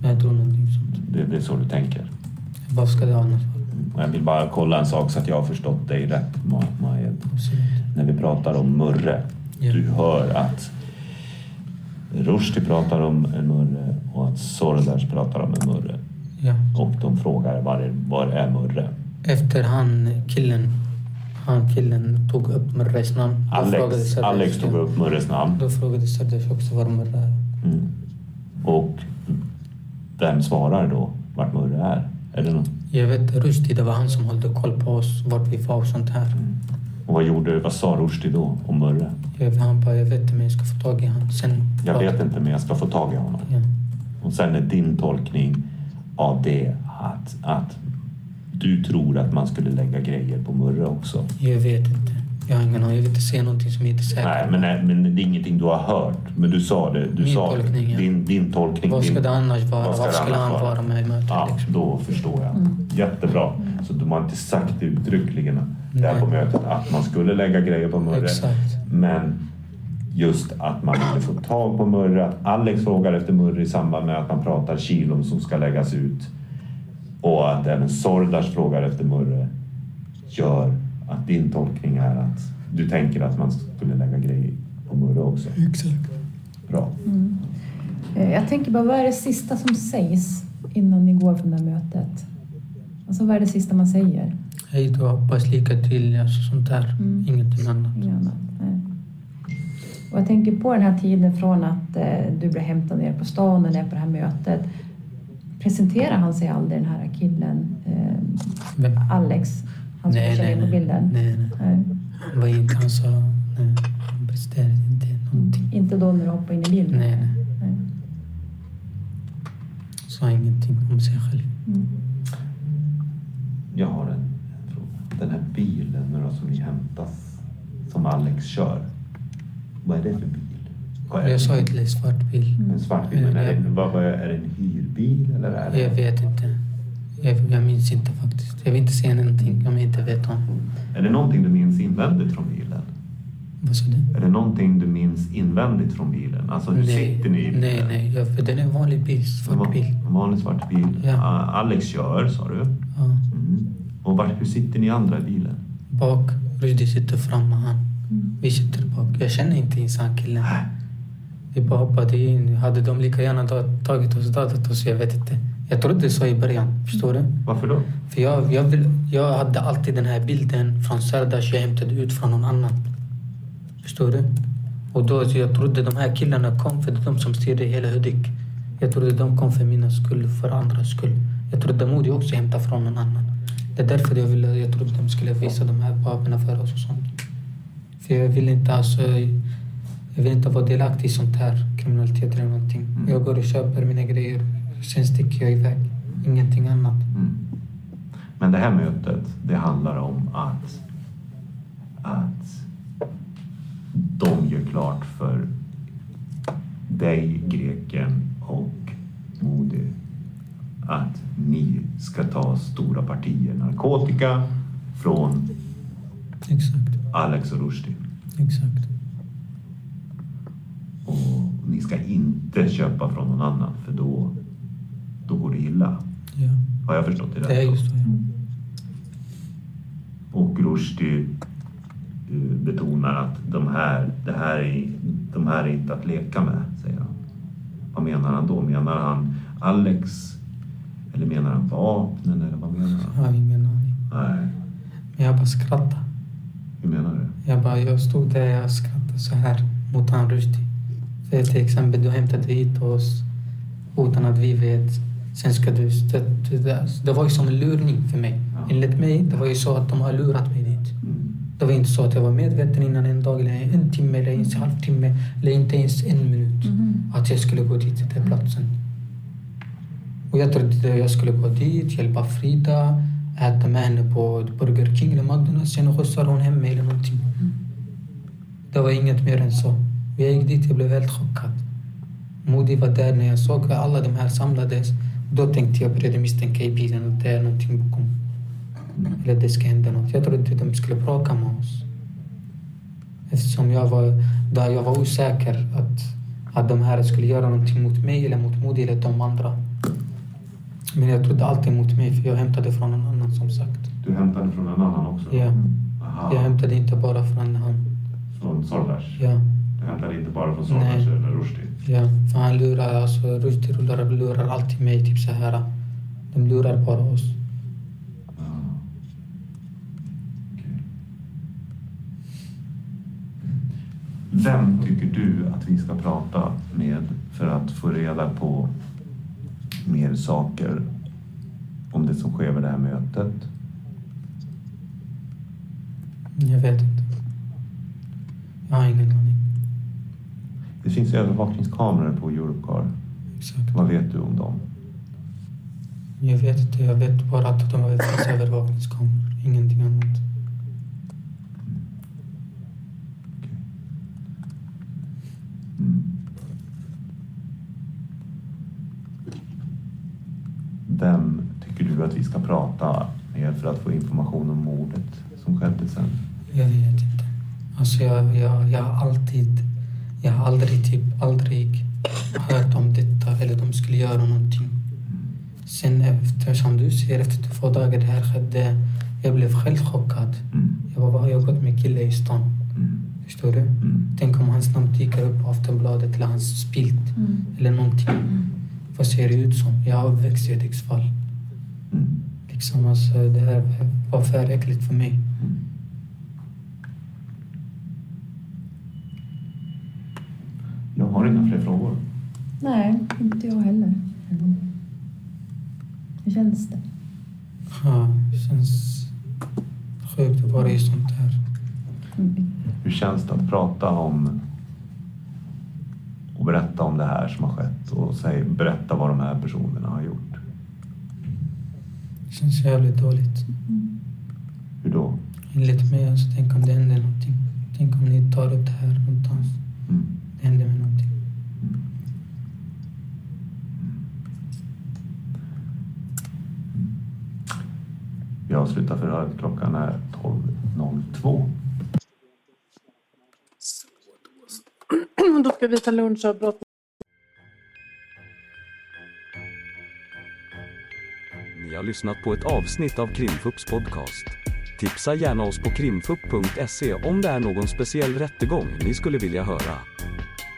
Men jag tror någonting sånt.
Det, det är så du tänker?
Varför ska det annars vara?
Jag vill bara kolla en sak så att jag har förstått dig rätt, Ma- Majed.
Absolut.
När vi pratar om Murre,
Ja.
du hör att Rushdie pratar om en Murre och att Sordash pratar om en Murre.
Ja.
Och de frågar var är, var är Murre?
Efter han killen... Han killen tog upp Murres namn. Då frågade
Alex,
Sardash-
Alex tog upp Murres namn.
Då frågade Sardash också var Murre är.
Mm. Och vem svarar då vart Murre är? är det någon?
Jag vet Rushdie, det var han som höll koll på oss, vart vi var och sånt här.
Och vad, gjorde, vad sa Rushdie då om Murre?
Jag, han bara, jag vet inte men jag ska få tag i han sen.
Jag vet inte men jag ska få tag i honom.
Ja.
Och sen är din tolkning av det att, att du tror att man skulle lägga grejer på Murre också.
Jag vet inte. Jag har ingen aning. Jag vill inte säga någonting som jag inte är säker
Nej,
på.
men, nej, men det är ingenting du har hört. Men du sa det. Du
Min
sa
tolkning,
det.
ja.
Din, din tolkning.
Vad ska
din...
det annars vara?
Vad ska
Varför
det
skulle
annars
han
vara?
vara med i mötet?
Ja,
Liksom?
då förstår jag. Jättebra. Så de har inte sagt det uttryckligen där
Nej.
på mötet att man skulle lägga grejer på Murre.
Exakt.
Men just att man ville få tag på Murre. Att Alex frågar efter Murre i samband med att man pratar kilon som ska läggas ut. Och att även Sordas frågar efter Murre gör att din tolkning är att du tänker att man skulle lägga grejer på Murre också.
Exakt.
Bra.
Eh, Jag tänker bara, vad är det sista som sägs innan ni går från det här mötet? Alltså vad är det sista man säger?
Hej då, hoppas lycka till. Alltså, sånt där.
Mm.
Ingenting annat.
Inget annat, nej. Och jag tänker på den här tiden från att eh, du blir hämtad ner på stan och ner på det här mötet. Presenterar han sig aldrig den här killen, eh,
Vem?
Alex? Han som
Nej,
kör
nej,
in på
nej.
bilden?
Nej, nej.
Nej.
Han var inte... Han sa... Nej, han presterade inte någonting.
Inte då när du hoppar in i bilen?
Nej, nej.
nej.
Sa ingenting om sig själv.
Jag har en, en fråga. Den här bilen nu då som ni hämtas, som Alex kör. Vad är det för bil? Vad är
Jag
det?
sa ju till dig, svart bil.
En svart bil, men är det, vad, vad, är det en hyrbil eller är
Jag
det,
vet inte. Jag, jag minns inte faktiskt. Jag vill inte säga någonting om jag inte vet om.
är det någonting du minns invändigt från bilen?
Vad sa du?
Är det någonting du minns invändigt från bilen? Alltså hur sitter ni i bilen?
Nej, nej. Ja, för den är en vanlig bil.
En
Svart
va-
bil.
En vanlig svart bil.
Ja.
Ah, Alex kör, sa du.
Ja.
Mm. Och var, hur sitter ni andra i bilen?
Bak.
Mm.
Rushdie sitter fram med han. Vi sitter bak. Jag känner inte ens han killen. Vi bara hoppade in. Hade de lika gärna ta- tagit oss, dödat oss? Jag vet inte. Jag trodde så i början. Förstår du?
Varför då?
För jag, jag, vill, jag hade alltid den här bilden från Sardash jag hämtade ut från någon annan. Förstår du? Och då så jag trodde de här killarna kom för det är de som styrde hela Hudik. Jag trodde de kom för mina skull, för andras skull. Jag trodde Modi också hämtade från någon annan. Det är därför jag, ville, jag trodde de skulle visa de här papperna för oss och sånt. För jag vill inte alltså, jag vill inte vara delaktig i sånt här kriminalitet eller någonting. Jag går och köper mina grejer, sen sticker jag iväg. Ingenting annat.
Men det här mötet, det handlar om att, att de gör klart för dig, greken och Modi att ni ska ta stora partier narkotika från
Exakt,
Alex och Rushdie.
exakt.
Och ni ska inte köpa från någon annan för då, då går det illa.
Ja,
Har jag förstått det rätt?
det är
då?
just det. ja.
Och Rushdie eh, betonar att de här, det här är, de här är inte att leka med, säger han. Vad menar han då? Menar han Alex? Eller menar han vapnen? Eller vad menar
Jag
han?
har ingen aning.
Nej,
Men jag bara skrattade.
hur menar du?
Jag bara, jag stod där och skrattade så här mot han Rushdie. För till exempel, du hämtade hit oss utan att vi vet. Sen ska du... stö- Det, alltså, det var ju som en lurning för mig. Enligt mig, det var ju så att de har lurat mig dit. Det var inte så att jag var medveten innan en dag, eller en timme, eller ens en halvtimme, eller inte ens en minut. Att jag skulle gå dit, till den platsen. Och jag trodde att jag skulle gå dit, hjälpa Frida, äta med henne på Burger King eller McDonalds. Sen skjutsade hon hem mig eller någonting. Det var inget mer än så. Jag gick dit, jag blev helt chockad. Modi var där när jag såg att alla de här samlades. Då tänkte jag, började misstänka i bilen att det är någonting bakom. Eller det ska hända något. Jag trodde att de skulle bråka med oss. Eftersom jag var, där jag var osäker att, att de här skulle göra någonting mot mig eller mot Modi eller de andra. Men jag trodde alltid mot mig för jag hämtade från någon annan som sagt.
Du hämtade från en annan också?
Ja, jag
Aha,
hämtade inte bara från han.
från Soldash?
Ja,
Du hämtade inte bara från
Nej.
Soldash eller Rushdie?
ja. För han lurar, alltså Rushdie lurar, lurar alltid mig typ så här. De lurar bara oss.
Ja. Okej. Vem tycker du att vi ska prata med för att få reda på mer saker om det som sker vid det här mötet?
Jag vet inte. Jag har ingen aning.
Det finns övervakningskameror på Europcar.
Exakt.
Vad vet du om dem?
Jag vet inte. Jag vet bara att de har ett övervakningskameror. Ingenting annat.
Mm. Vem tycker du att vi ska prata med för att få information om mordet som skedde sen?
Jag vet inte. Alltså jag, jag, jag har alltid... Jag har aldrig, typ, aldrig hört om detta eller de skulle göra någonting. Sen efter, som du säger, efter två dagar det här skedde, jag blev själv chockad. Jag bara, vad har jag gått med killar i stan? Förstår du?
Mm.
Tänk om hans namn dyker upp på Aftonbladet eller hans spilt eller någonting. Vad ser det ut som? Jag har uppväxt i Hudiksvall. Liksom alltså, det här var för äckligt för mig.
Jag har inga fler frågor.
Nej, inte jag heller. Hur känns det?
Ja, det känns sjukt att vara i sånt här.
Mm.
Hur känns det att prata om och berätta om det här som har skett och säg, berätta vad de här personerna har gjort?
Det känns jävligt dåligt.
Hur då?
Enligt mig, alltså, tänk om det händer någonting. Tänk om ni tar upp det här någonstans.
Mm.
Det händer med någonting.
Vi avslutar förhöret. Klockan är 12.02.
Då ska vi ta lunchavbrott
Ni har lyssnat på ett avsnitt av Krimfupps podcast. Tipsa gärna oss på krimfupp.se om det är någon speciell rättegång ni skulle vilja höra.